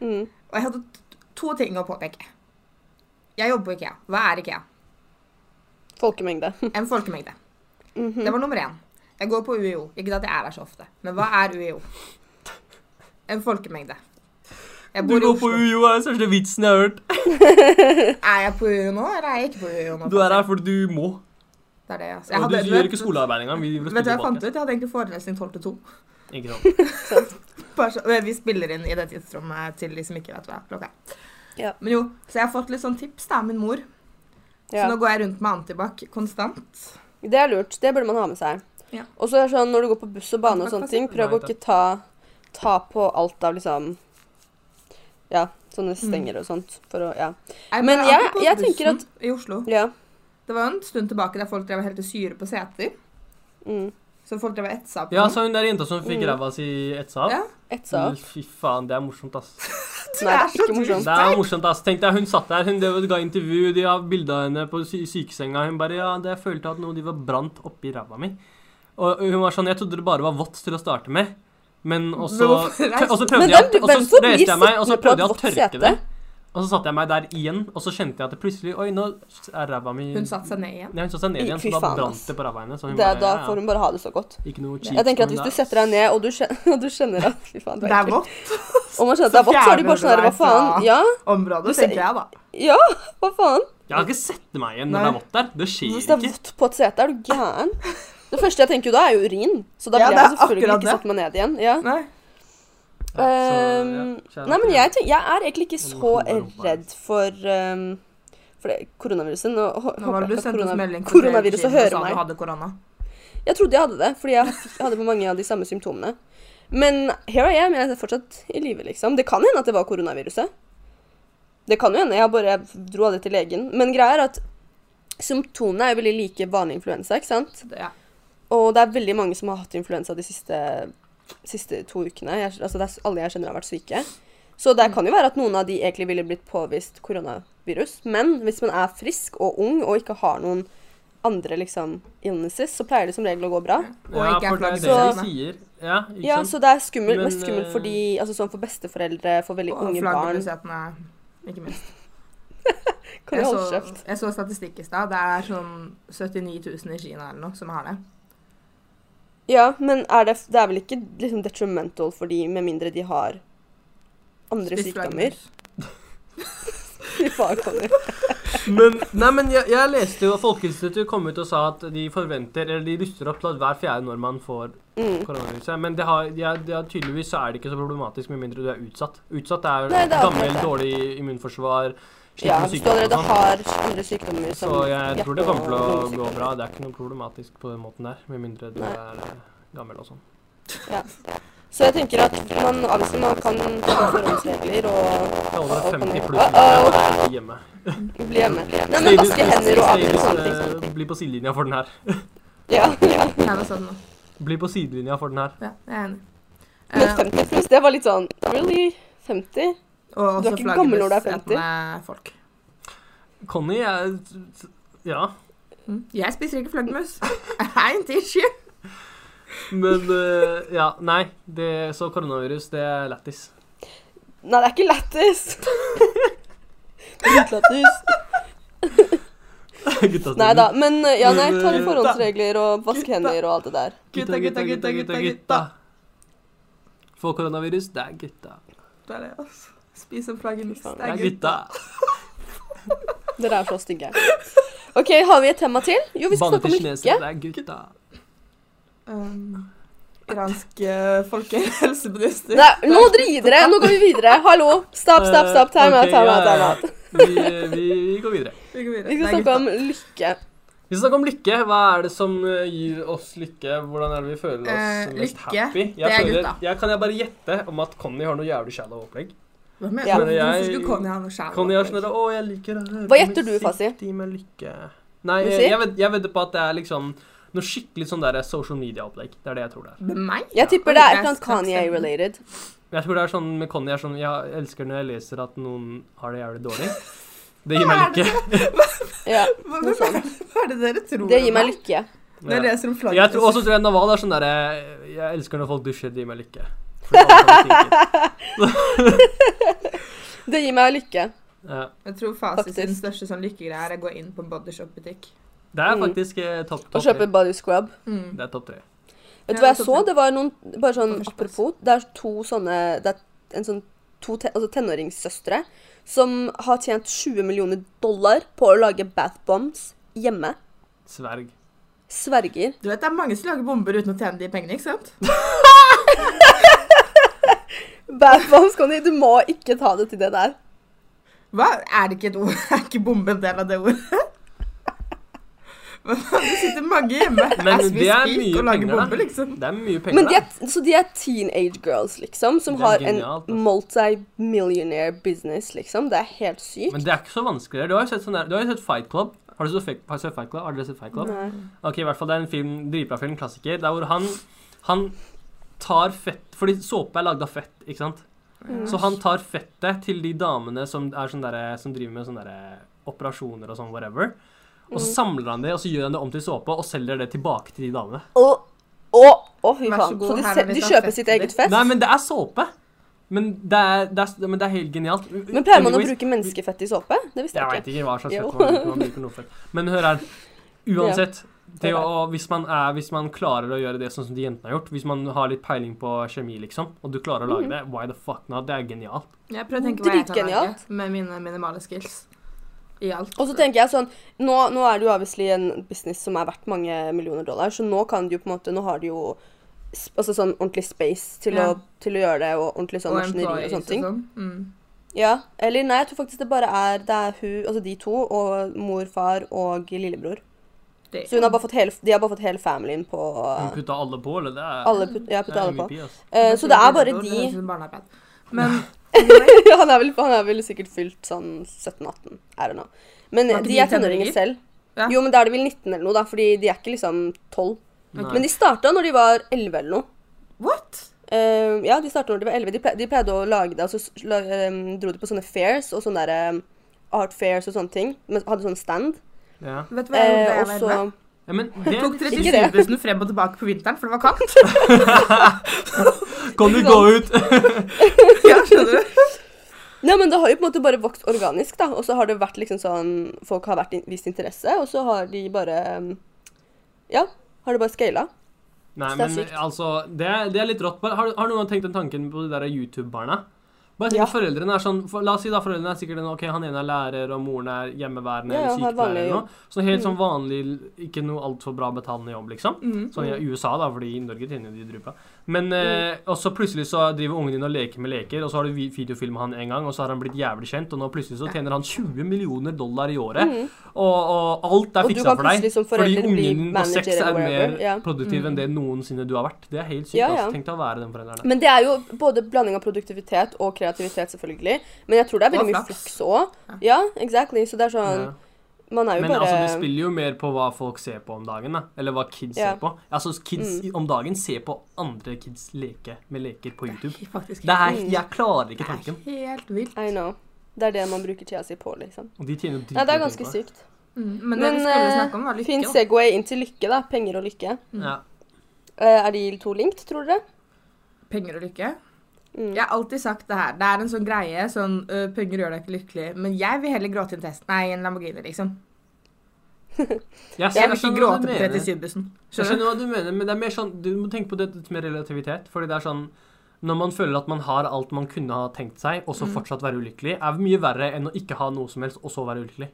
[SPEAKER 1] Mm.
[SPEAKER 3] Og jeg hadde t- to ting å påpeke. Jeg jobber på IKEA. Hva er IKEA?
[SPEAKER 1] Folkemengde.
[SPEAKER 3] En folkemengde.
[SPEAKER 1] Mhm.
[SPEAKER 3] Det var nummer én. Jeg går på UiO. Ikke at jeg er der så ofte, men hva er UiO? En folkemengde. Jeg
[SPEAKER 2] Du
[SPEAKER 3] bor i
[SPEAKER 2] går på
[SPEAKER 3] Oslo.
[SPEAKER 2] UiO, er den største vitsen jeg har hørt.
[SPEAKER 3] Er jeg på UiO nå, eller er jeg ikke på UiO nå?
[SPEAKER 2] Du er her fordi du må.
[SPEAKER 3] Det er det, altså. Jeg
[SPEAKER 2] Og du
[SPEAKER 3] hadde-
[SPEAKER 2] gjør
[SPEAKER 3] vet-
[SPEAKER 2] ikke skolearbeid engang. Vi vil
[SPEAKER 3] Vet du hva
[SPEAKER 2] spille
[SPEAKER 3] jeg fant
[SPEAKER 2] podcast.
[SPEAKER 3] ut? Jeg hadde egentlig forelesning 12 til 2.
[SPEAKER 2] Ikke sant?
[SPEAKER 3] Bare så, øh, vi spiller inn i det tidsrommet til de som ikke vet hva klokka er.
[SPEAKER 1] Ja.
[SPEAKER 3] Men jo, så jeg har fått litt sånn tips da, av min mor. Så
[SPEAKER 1] Ja.
[SPEAKER 3] nå går jeg rundt med antibac konstant.
[SPEAKER 1] Det er lurt. Det burde man ha med seg.
[SPEAKER 3] Ja.
[SPEAKER 1] Og så er det sånn når du går på buss og bane og
[SPEAKER 3] Antibac
[SPEAKER 1] sånne ting,
[SPEAKER 2] passer.
[SPEAKER 1] prøv å
[SPEAKER 2] Nei,
[SPEAKER 1] ikke ta, ta på alt av liksom Ja, sånne
[SPEAKER 3] Mm.
[SPEAKER 1] stenger og sånt for å Ja.
[SPEAKER 3] Jeg
[SPEAKER 1] Men
[SPEAKER 3] bare
[SPEAKER 1] jeg-
[SPEAKER 3] akkurat på
[SPEAKER 1] jeg tenker
[SPEAKER 3] bussen I Oslo.
[SPEAKER 1] ja.
[SPEAKER 3] Det var jo en stund tilbake der folk drev og helte syre på seter.
[SPEAKER 1] Mm.
[SPEAKER 3] Så folk drev og etsa på
[SPEAKER 2] Ja,
[SPEAKER 3] den.
[SPEAKER 2] så hun der jenta som fikk
[SPEAKER 1] Mm.
[SPEAKER 2] ræva si etsa av.
[SPEAKER 3] Ja.
[SPEAKER 1] Etsa opp.
[SPEAKER 2] Fy faen, det er morsomt, ass.
[SPEAKER 3] Du
[SPEAKER 1] Nei,
[SPEAKER 3] er
[SPEAKER 1] det er
[SPEAKER 3] så
[SPEAKER 1] ikke
[SPEAKER 3] dust.
[SPEAKER 1] morsomt.
[SPEAKER 2] Det er morsomt, ass. Tenk deg, hun satt der, hun drev og ga intervju, de har bilde av henne på sy sykesenga. Hun bare Ja, det jeg følte at noe de var brant oppi ræva mi. Og hun var sånn Jeg trodde det bare var vått til å starte med, men også
[SPEAKER 3] Men
[SPEAKER 2] Og
[SPEAKER 3] hvorfor reiser du-
[SPEAKER 2] så
[SPEAKER 1] Men
[SPEAKER 2] prøvde jeg,
[SPEAKER 1] hvem-
[SPEAKER 2] og
[SPEAKER 1] hvem
[SPEAKER 2] så
[SPEAKER 1] forblir
[SPEAKER 2] reiste jeg meg, og så
[SPEAKER 1] sittende på
[SPEAKER 2] prøvde jeg
[SPEAKER 1] et
[SPEAKER 2] å
[SPEAKER 1] vått
[SPEAKER 2] tørke
[SPEAKER 1] sete?
[SPEAKER 2] det. Og så satte jeg meg der igjen, og så kjente jeg at det plutselig Oi, nå er ræva mi
[SPEAKER 3] Hun satte seg ned igjen.
[SPEAKER 2] Ja, hun satte seg ned igjen,
[SPEAKER 1] Fy
[SPEAKER 2] så da
[SPEAKER 1] faen,
[SPEAKER 2] brant
[SPEAKER 1] ass.
[SPEAKER 2] det på ræva hennes.
[SPEAKER 3] Mm.
[SPEAKER 1] Det, da får hun bare ha det så godt.
[SPEAKER 2] Ikke noe cheat.
[SPEAKER 1] Jeg tenker at
[SPEAKER 2] men
[SPEAKER 1] Hvis du
[SPEAKER 2] det-
[SPEAKER 1] setter deg ned, og du kjenner, og du kjenner at Fy faen, det
[SPEAKER 3] Det
[SPEAKER 1] var
[SPEAKER 3] er
[SPEAKER 1] ekkelt.
[SPEAKER 3] vått
[SPEAKER 1] Og man kjenner at det er vått, så er du bare sånn her Hva faen? Ja,
[SPEAKER 3] område,
[SPEAKER 1] Du ser-
[SPEAKER 3] tenker jeg da.
[SPEAKER 1] ja, hva faen?
[SPEAKER 2] Jeg har ikke sett meg igjen når
[SPEAKER 3] Nei.
[SPEAKER 2] det er vått der. Det skjer
[SPEAKER 1] Hvis det er
[SPEAKER 2] ikke.
[SPEAKER 1] vått på et sete, er du gæren? Det første jeg tenker jo da, er jo urin. Så da
[SPEAKER 3] Ja,
[SPEAKER 1] ville
[SPEAKER 3] det
[SPEAKER 1] jeg
[SPEAKER 3] er
[SPEAKER 1] selvfølgelig
[SPEAKER 3] akkurat
[SPEAKER 1] ikke
[SPEAKER 3] det.
[SPEAKER 1] satt meg ned igjen. Ja.
[SPEAKER 3] Nei.
[SPEAKER 2] Ja, så,
[SPEAKER 1] Ehm,
[SPEAKER 2] ja, kjære
[SPEAKER 1] nei, men
[SPEAKER 2] til-
[SPEAKER 1] jeg, tenk- jeg er egentlig ikke
[SPEAKER 2] Nå
[SPEAKER 1] så
[SPEAKER 2] holder jeg rumpa her.
[SPEAKER 1] redd for, ehm, for det, koronaviruset. Nå, hå-
[SPEAKER 3] Nå var
[SPEAKER 1] håper jeg
[SPEAKER 3] det du
[SPEAKER 1] ikke at
[SPEAKER 3] sendte oss
[SPEAKER 1] korona-
[SPEAKER 3] melding for tre uker
[SPEAKER 1] Koronaviruset
[SPEAKER 3] siden og sa
[SPEAKER 1] hører
[SPEAKER 3] du
[SPEAKER 1] meg.
[SPEAKER 3] hadde korona.
[SPEAKER 1] Jeg trodde jeg hadde det, fordi jeg hadde på mange av de samme symptomene. Men here I am, jeg er fortsatt i live, liksom. Det kan hende at det var koronaviruset. Det kan jo hende. Jeg bare dro aldri til legen. Men greia er at symptomene er jo veldig like vanlig influensa, ikke sant?
[SPEAKER 3] Så det- Ja.
[SPEAKER 1] Og det er veldig mange som har hatt influensa de siste, siste to ukene. Jeg, altså det er, alle jeg kjenner har vært syke. Så det kan jo være at noen av de egentlig ville blitt påvist koronavirus. Men hvis man er frisk og ung og ikke har noen andre liksom, illnesses, så pleier det som regel å gå bra.
[SPEAKER 3] Og ikke er
[SPEAKER 2] for det
[SPEAKER 3] flagget
[SPEAKER 2] det
[SPEAKER 1] flaggermus.
[SPEAKER 2] de sier. Ja, ikke
[SPEAKER 1] Ja,
[SPEAKER 2] sant?
[SPEAKER 1] så det er skummelt,
[SPEAKER 2] Men, eh,
[SPEAKER 1] mest skummelt for, de, altså, sånn for besteforeldre, for veldig
[SPEAKER 3] Og
[SPEAKER 1] unge barn.
[SPEAKER 3] flaggermussetene, ikke minst.
[SPEAKER 1] Kan du
[SPEAKER 3] Jeg
[SPEAKER 1] holde kjeft?
[SPEAKER 3] så, jeg så statistikk i stad. Det er sånn 79 000 i Kina eller noe som har det.
[SPEAKER 1] Ja, men er det, det er vel ikke liksom, detrimental for de, med mindre de har andre
[SPEAKER 3] Spist
[SPEAKER 1] sykdommer?
[SPEAKER 3] flaggermus.
[SPEAKER 1] Fy faen, Conny.
[SPEAKER 2] Men, nei, men jeg, jeg leste jo at Folkeinstituttet kom ut og sa at de forventer, eller de ruster opp til at hver fjerde nordmann får
[SPEAKER 1] Mm.
[SPEAKER 2] koronaviruset. Men det har, de har, de har, tydeligvis så er det ikke så problematisk med mindre du er utsatt. Utsatt er,
[SPEAKER 1] Nei, det er akkurat
[SPEAKER 2] gammel,
[SPEAKER 1] det.
[SPEAKER 2] dårlig immunforsvar,
[SPEAKER 1] Ja,
[SPEAKER 2] sliten
[SPEAKER 1] hvis du
[SPEAKER 2] med sykdom og
[SPEAKER 1] allerede
[SPEAKER 2] sånn.
[SPEAKER 1] har andre sykdommer som
[SPEAKER 2] Så jeg tror det
[SPEAKER 1] hjerte-
[SPEAKER 2] kommer til
[SPEAKER 1] og
[SPEAKER 2] å
[SPEAKER 1] lungesykdommer.
[SPEAKER 2] gå bra. Det er ikke noe problematisk på den måten der, med mindre du
[SPEAKER 1] Nei.
[SPEAKER 2] er eh, gammel og sånn.
[SPEAKER 1] Så jeg tenker at man, altså, man kan ta forholdsregler og
[SPEAKER 2] Det er over
[SPEAKER 1] Og- og-
[SPEAKER 2] 50 pluss
[SPEAKER 1] Uh-oh!
[SPEAKER 2] millioner er hjemme.
[SPEAKER 1] bli hjemme. Nei, men vaske hender og sånn, avgjøre sånne ting. som-
[SPEAKER 2] Eh, Bli på sidelinja for den her.
[SPEAKER 1] Ja, ja.
[SPEAKER 3] Jeg har noe sånt nå.
[SPEAKER 2] Bli på sidelinja for den her.
[SPEAKER 3] sånn. Ja, jeg er enig.
[SPEAKER 1] Men
[SPEAKER 3] Eh,
[SPEAKER 1] 50 pluss, det var litt sånn Really? 50?
[SPEAKER 3] og
[SPEAKER 1] du er
[SPEAKER 3] også
[SPEAKER 1] ikke gammel når du er
[SPEAKER 3] flaggermusetende folk.
[SPEAKER 2] Conny er Ja.
[SPEAKER 3] Mm. Jeg spiser ikke flaggermus. I ain't issue.
[SPEAKER 2] Men eh, Ja, nei. Det, så koronavirus, det er lættis.
[SPEAKER 1] Nei, det er ikke lættis. Dritlættis.
[SPEAKER 2] Gutta
[SPEAKER 1] Nei da. Men ja, nei,
[SPEAKER 2] Men,
[SPEAKER 1] ta
[SPEAKER 2] eh,
[SPEAKER 1] litt forholdsregler og vask hender og alt det der.
[SPEAKER 3] Gutta, gutta, gutta, gutta, gutta.
[SPEAKER 2] Få koronavirus, det er gutta.
[SPEAKER 3] Det er det, altså. Spis en flaggermus.
[SPEAKER 1] Fy faen,
[SPEAKER 2] Det er gutta.
[SPEAKER 1] Dere er så stygge. OK, har vi et tema til? Jo, vi skal
[SPEAKER 2] Banne
[SPEAKER 1] snakke om
[SPEAKER 2] til kinesere,
[SPEAKER 1] lykke.
[SPEAKER 2] det er gutta.
[SPEAKER 3] Um, iransk eh, folkehelseminister.
[SPEAKER 1] Nei, nå må dere gi dere. Nå går vi videre. Hallo. Stopp, stopp, stopp. Time out,
[SPEAKER 2] Eh, Ok,
[SPEAKER 1] time
[SPEAKER 2] ja,
[SPEAKER 1] out, time
[SPEAKER 2] ja,
[SPEAKER 1] out.
[SPEAKER 2] ja. Vi, vi, vi går videre.
[SPEAKER 3] Vi går videre.
[SPEAKER 1] Vi
[SPEAKER 3] Nei,
[SPEAKER 1] skal snakke
[SPEAKER 3] gutta.
[SPEAKER 1] om lykke.
[SPEAKER 2] Vi skal snakke om lykke. Hva er det som eh, gir oss lykke? Hvordan er det vi føler oss
[SPEAKER 3] Eh,
[SPEAKER 2] mest
[SPEAKER 3] lykke,
[SPEAKER 2] happy? Jeg
[SPEAKER 3] det er
[SPEAKER 2] føler-
[SPEAKER 3] gutta.
[SPEAKER 2] Jeg, kan jeg bare gjette om at Conny har noe jævlig shallow opplegg?
[SPEAKER 3] Hva mener
[SPEAKER 1] Ja.
[SPEAKER 3] du?
[SPEAKER 2] Men jeg-
[SPEAKER 3] Hvorfor skulle Conny ha noe skjær?
[SPEAKER 2] Conny har sånn der, Å, jeg liker å høre
[SPEAKER 1] Hva gjetter du,
[SPEAKER 2] musikk,
[SPEAKER 1] Fasi?
[SPEAKER 2] de med lykke. Nei, jeg,
[SPEAKER 1] Musikk?
[SPEAKER 2] jeg, ved, jeg vedder på at det er liksom noe skikkelig sånn der sosial media-opplegg. Det er det jeg tror det er.
[SPEAKER 3] Med meg?
[SPEAKER 1] Jeg tipper
[SPEAKER 3] Oi,
[SPEAKER 1] det er
[SPEAKER 3] jeg
[SPEAKER 1] et eller annet
[SPEAKER 3] snakker stemmen.
[SPEAKER 1] Kanye-related.
[SPEAKER 2] Jeg tror det er sånn med Conny er sånn Jeg elsker når jeg leser at noen har det jævlig dårlig. Det
[SPEAKER 3] Hva
[SPEAKER 2] gir meg
[SPEAKER 3] er det?
[SPEAKER 2] lykke.
[SPEAKER 1] Ja,
[SPEAKER 3] Hva,
[SPEAKER 1] noe
[SPEAKER 3] hva,
[SPEAKER 1] sånt.
[SPEAKER 3] hva er det dere tror?
[SPEAKER 1] Det gir
[SPEAKER 3] om
[SPEAKER 1] meg lykke.
[SPEAKER 3] Når jeg
[SPEAKER 2] Ja.
[SPEAKER 3] leser om
[SPEAKER 2] Jeg tror
[SPEAKER 3] flaggermus.
[SPEAKER 2] «Eh, også tror jeg Naval er sånn derre Jeg elsker når folk dusjer, det gir meg lykke. for alle som stikker.
[SPEAKER 1] Det gir meg lykke.
[SPEAKER 2] Ja.
[SPEAKER 3] Jeg tror fasitens
[SPEAKER 1] Faktisk.
[SPEAKER 3] største sånn lykkegreie er å gå inn på en bodyshop-butikk.
[SPEAKER 2] Det er
[SPEAKER 1] Mm.
[SPEAKER 2] faktisk eh, topp
[SPEAKER 1] Å
[SPEAKER 2] topp
[SPEAKER 1] kjøpe
[SPEAKER 2] tre.
[SPEAKER 1] body scrub.
[SPEAKER 3] Mm.
[SPEAKER 2] Det er topp tre.
[SPEAKER 1] Vet du
[SPEAKER 3] Ja,
[SPEAKER 1] hva
[SPEAKER 3] det
[SPEAKER 1] jeg så?
[SPEAKER 3] er topp.
[SPEAKER 1] Det var noen Bare sånn
[SPEAKER 3] På førsteplass.
[SPEAKER 1] apropos. Det er to sånne Det er en sånn to te, altså tenåringssøstre som har tjent 20 millioner dollar på å lage bath bombs hjemme.
[SPEAKER 2] Sverg.
[SPEAKER 1] Sverger.
[SPEAKER 3] Du vet, Det er mange som lager bomber uten å tjene de pengene, ikke sant?
[SPEAKER 1] Bath bombs, Conny. Du må ikke ta det til det der.
[SPEAKER 3] Hva? Er det ikke et ord? Er ikke bombe en del av det ordet? Men det sitter mange hjemme
[SPEAKER 2] Men
[SPEAKER 3] as we
[SPEAKER 2] det er
[SPEAKER 3] speak
[SPEAKER 2] mye
[SPEAKER 3] og lager
[SPEAKER 2] penger, da.
[SPEAKER 3] bomber, liksom.
[SPEAKER 2] Det er mye penger,
[SPEAKER 1] Men de er, så de er teenage girls, liksom, som
[SPEAKER 2] Det er
[SPEAKER 1] har
[SPEAKER 2] genialt,
[SPEAKER 1] en
[SPEAKER 2] altså.
[SPEAKER 1] multimillionaire business, liksom. Det er helt sykt.
[SPEAKER 2] Men det er ikke så vanskelig. Du har jo sett, sånn der, du har jo sett Fight Club. Har du sett Fight har du sett Fight Club? Har dere sett Fight Club?
[SPEAKER 1] Nei.
[SPEAKER 2] Ok, i hvert fall det er en film, dritbra film, klassiker, der hvor han, han tar fett, fordi såpe er lagd av fett, ikke sant?
[SPEAKER 1] Mm.
[SPEAKER 2] Så han tar fettet til de damene som, er sånn derre- som driver med sånne derre operasjoner og sånn, whatever. Og
[SPEAKER 1] Mm.
[SPEAKER 2] så samler han det, og så gjør han det om til såpe, og selger det tilbake til de damene.
[SPEAKER 1] Å, å, å, fy
[SPEAKER 3] Vær så
[SPEAKER 1] faen.
[SPEAKER 3] god,
[SPEAKER 1] Så de,
[SPEAKER 3] her
[SPEAKER 1] se-
[SPEAKER 3] er litt
[SPEAKER 1] de
[SPEAKER 3] av
[SPEAKER 1] kjøper
[SPEAKER 3] fettet
[SPEAKER 1] sitt eget
[SPEAKER 3] ditt.
[SPEAKER 1] fett?
[SPEAKER 2] Nei, men det er såpe. Men det er, det er, men det er helt genialt.
[SPEAKER 1] Men pleier man å
[SPEAKER 2] Anyways,
[SPEAKER 1] bruke menneskefett i såpe? Det visste
[SPEAKER 2] Jeg
[SPEAKER 1] jeg
[SPEAKER 2] veit
[SPEAKER 1] ikke.
[SPEAKER 2] ikke hva slags
[SPEAKER 1] Jo.
[SPEAKER 2] fett man bruker, man bruker noe fett. Men hør her. Uansett. Det
[SPEAKER 1] Hør her.
[SPEAKER 2] å, hvis, man er, hvis man klarer å gjøre det sånn som de jentene har gjort, hvis man har litt peiling på kjemi, liksom, og du klarer å
[SPEAKER 1] Mhm.
[SPEAKER 2] lage det, why the fuck not? Det er genialt.
[SPEAKER 3] Jeg prøver å tenke hva jeg kan
[SPEAKER 1] Dritgenialt.
[SPEAKER 3] lage med mine minimale skills. I alt.
[SPEAKER 1] Og så tenker jeg sånn, nå, nå er det jo obviously en business som er verdt mange millioner dollar, så nå kan du jo på en måte, nå har du jo sp- altså sånn ordentlig space til,
[SPEAKER 3] Ja.
[SPEAKER 1] å, til å gjøre det, og ordentlig sånn maskineri og
[SPEAKER 3] employees
[SPEAKER 1] sånne ting.
[SPEAKER 3] sånn. Mm.
[SPEAKER 1] Ja, eller nei, jeg tror faktisk det bare er, det er hun, altså de to, og mor, far og lillebror.
[SPEAKER 3] Det-
[SPEAKER 1] Så hun har bare fått hele, de har bare fått hele familien på,
[SPEAKER 2] Hun putta alle på, eller? Det er,
[SPEAKER 1] Ah. alle putt, ja,
[SPEAKER 2] det
[SPEAKER 1] putta
[SPEAKER 2] er
[SPEAKER 1] alle på.
[SPEAKER 2] MVP, altså.
[SPEAKER 1] Eh, så det er bare
[SPEAKER 3] Det
[SPEAKER 1] de,
[SPEAKER 3] høres ut som barnearbeid. Men
[SPEAKER 1] han, er vel, han er vel sikkert fylt sånn 17-18, I don't know. Men
[SPEAKER 3] Var ikke
[SPEAKER 1] de
[SPEAKER 3] de
[SPEAKER 1] er tenåringer
[SPEAKER 3] tenåringer?
[SPEAKER 1] selv.
[SPEAKER 3] Ja.
[SPEAKER 1] Jo, men da er de vel 19 eller noe, da, fordi de er ikke liksom 12.
[SPEAKER 2] Nei.
[SPEAKER 1] Men de starta når de var 11 eller noe.
[SPEAKER 3] what?
[SPEAKER 1] Eh, ja, de starta når de var 11. De, ple de pleide å lage det, og så s- la eh, dro de på sånne fairs og sånne der, eh, art fairs og sånne ting. Men hadde sånn stand.
[SPEAKER 2] ja.
[SPEAKER 3] Vet du hva jeg
[SPEAKER 1] Eh, og
[SPEAKER 3] gjorde da jeg var
[SPEAKER 1] så
[SPEAKER 3] elleve?
[SPEAKER 2] ja, men
[SPEAKER 3] Jeg tok
[SPEAKER 2] det
[SPEAKER 3] 37
[SPEAKER 1] det.
[SPEAKER 3] 000 frem og tilbake på vinteren, for det var kaldt.
[SPEAKER 2] Kan du gå ut?
[SPEAKER 3] ja, skjønner du?
[SPEAKER 1] Nei, men det har jo på en måte bare vokst organisk, da. Og så har det vært liksom sånn Folk har vært in vist interesse, og så har de bare eh, Ja, har det bare scala.
[SPEAKER 2] Nei,
[SPEAKER 1] Så det er
[SPEAKER 2] men
[SPEAKER 1] sykt.
[SPEAKER 2] altså Det, er- det er litt rått. Bare, har, har noen gang tenkt den tanken på de der YouTube-barna? Bare tenk
[SPEAKER 1] Ja.
[SPEAKER 2] at foreldrene er sånn for, La oss si da foreldrene er sikkert en, Ok, han ene er lærer, og moren er hjemmeværende
[SPEAKER 1] Ja,
[SPEAKER 2] eller
[SPEAKER 1] ja, har
[SPEAKER 2] sykepleier
[SPEAKER 1] vanlig
[SPEAKER 2] eller
[SPEAKER 1] jobb. Mm.
[SPEAKER 2] noe. Så helt sånn vanlig, ikke noe altfor bra betalende jobb, liksom.
[SPEAKER 3] Mm.
[SPEAKER 2] Sånn
[SPEAKER 1] Mm.
[SPEAKER 2] i USA, da, fordi i Norge tjener jo de drupa. Men eh, og så plutselig så driver ungen din og leker med leker, og så har du vi- videofilmet han en gang, og så har han blitt jævlig kjent, og nå plutselig så tjener han 20 millioner dollar i året,
[SPEAKER 1] Mm.
[SPEAKER 2] og, og alt er
[SPEAKER 1] Og du
[SPEAKER 2] fiksa
[SPEAKER 1] kan
[SPEAKER 2] for deg.
[SPEAKER 1] plutselig som
[SPEAKER 2] fordi
[SPEAKER 1] forelder
[SPEAKER 2] ungen
[SPEAKER 1] bli
[SPEAKER 2] din på seks
[SPEAKER 1] manager
[SPEAKER 2] er
[SPEAKER 1] eller
[SPEAKER 2] mer
[SPEAKER 1] whatever, ja. Mm.
[SPEAKER 2] produktiv enn det noensinne du har vært. Det er helt sykt.
[SPEAKER 1] Ja, ja.
[SPEAKER 2] Altså. Tenk deg å være den forelderen der.
[SPEAKER 1] Men det er jo både blanding av produktivitet og kreativitet, selvfølgelig. Men jeg tror det er veldig
[SPEAKER 3] Og
[SPEAKER 1] mye
[SPEAKER 3] flaks.
[SPEAKER 1] flaks òg. Ja, exactly. Så det er sånn
[SPEAKER 2] Ja.
[SPEAKER 1] Man er jo
[SPEAKER 2] Men
[SPEAKER 1] bare
[SPEAKER 2] altså, det spiller jo mer på hva folk ser på om dagen, da. Eller hva kids
[SPEAKER 1] Ja. Mm.
[SPEAKER 2] ser på. Altså, kids i- om dagen ser på andre kids leke med leker på YouTube.
[SPEAKER 3] Faktisk.
[SPEAKER 2] Det
[SPEAKER 1] Mm.
[SPEAKER 2] er, jeg klarer ikke
[SPEAKER 3] Det
[SPEAKER 2] tanken.
[SPEAKER 3] er helt vilt.
[SPEAKER 1] I know. Det er det man bruker tida si på, liksom.
[SPEAKER 2] Og de tjener jo
[SPEAKER 1] Nei, det
[SPEAKER 2] dritmye
[SPEAKER 1] er ganske
[SPEAKER 2] penger på
[SPEAKER 1] sykt.
[SPEAKER 3] Mm. Men det
[SPEAKER 1] Men
[SPEAKER 3] vi skulle snakke om, var
[SPEAKER 1] uh,
[SPEAKER 3] lykke.
[SPEAKER 1] fin
[SPEAKER 3] da.
[SPEAKER 1] Segway inn til lykke, da. Penger og lykke.
[SPEAKER 2] Ja.
[SPEAKER 1] Eh, er de to linked, tror dere?
[SPEAKER 3] Penger og lykke.
[SPEAKER 1] Mm.
[SPEAKER 3] Jeg har alltid sagt det her. Det er en sånn greie sånn øh, Penger gjør deg ikke lykkelig, men jeg vil heller gråte i en test. Nei, i en Lamborghini, liksom.
[SPEAKER 2] Jeg,
[SPEAKER 3] Jeg
[SPEAKER 2] ser- jeg
[SPEAKER 3] vil ikke
[SPEAKER 2] skjønner hva sånn du
[SPEAKER 3] gråte på
[SPEAKER 2] mener.
[SPEAKER 3] 37-bussen.
[SPEAKER 2] Jeg
[SPEAKER 3] Skjønner du?
[SPEAKER 2] skjønner hva du mener, men det er sånn mer sånn Du må tenke på det med relativitet. Fordi det er sånn Når man føler at man har alt man kunne ha tenkt seg, og så fortsatt være ulykkelig, er mye verre enn å ikke ha noe som helst, og så være ulykkelig.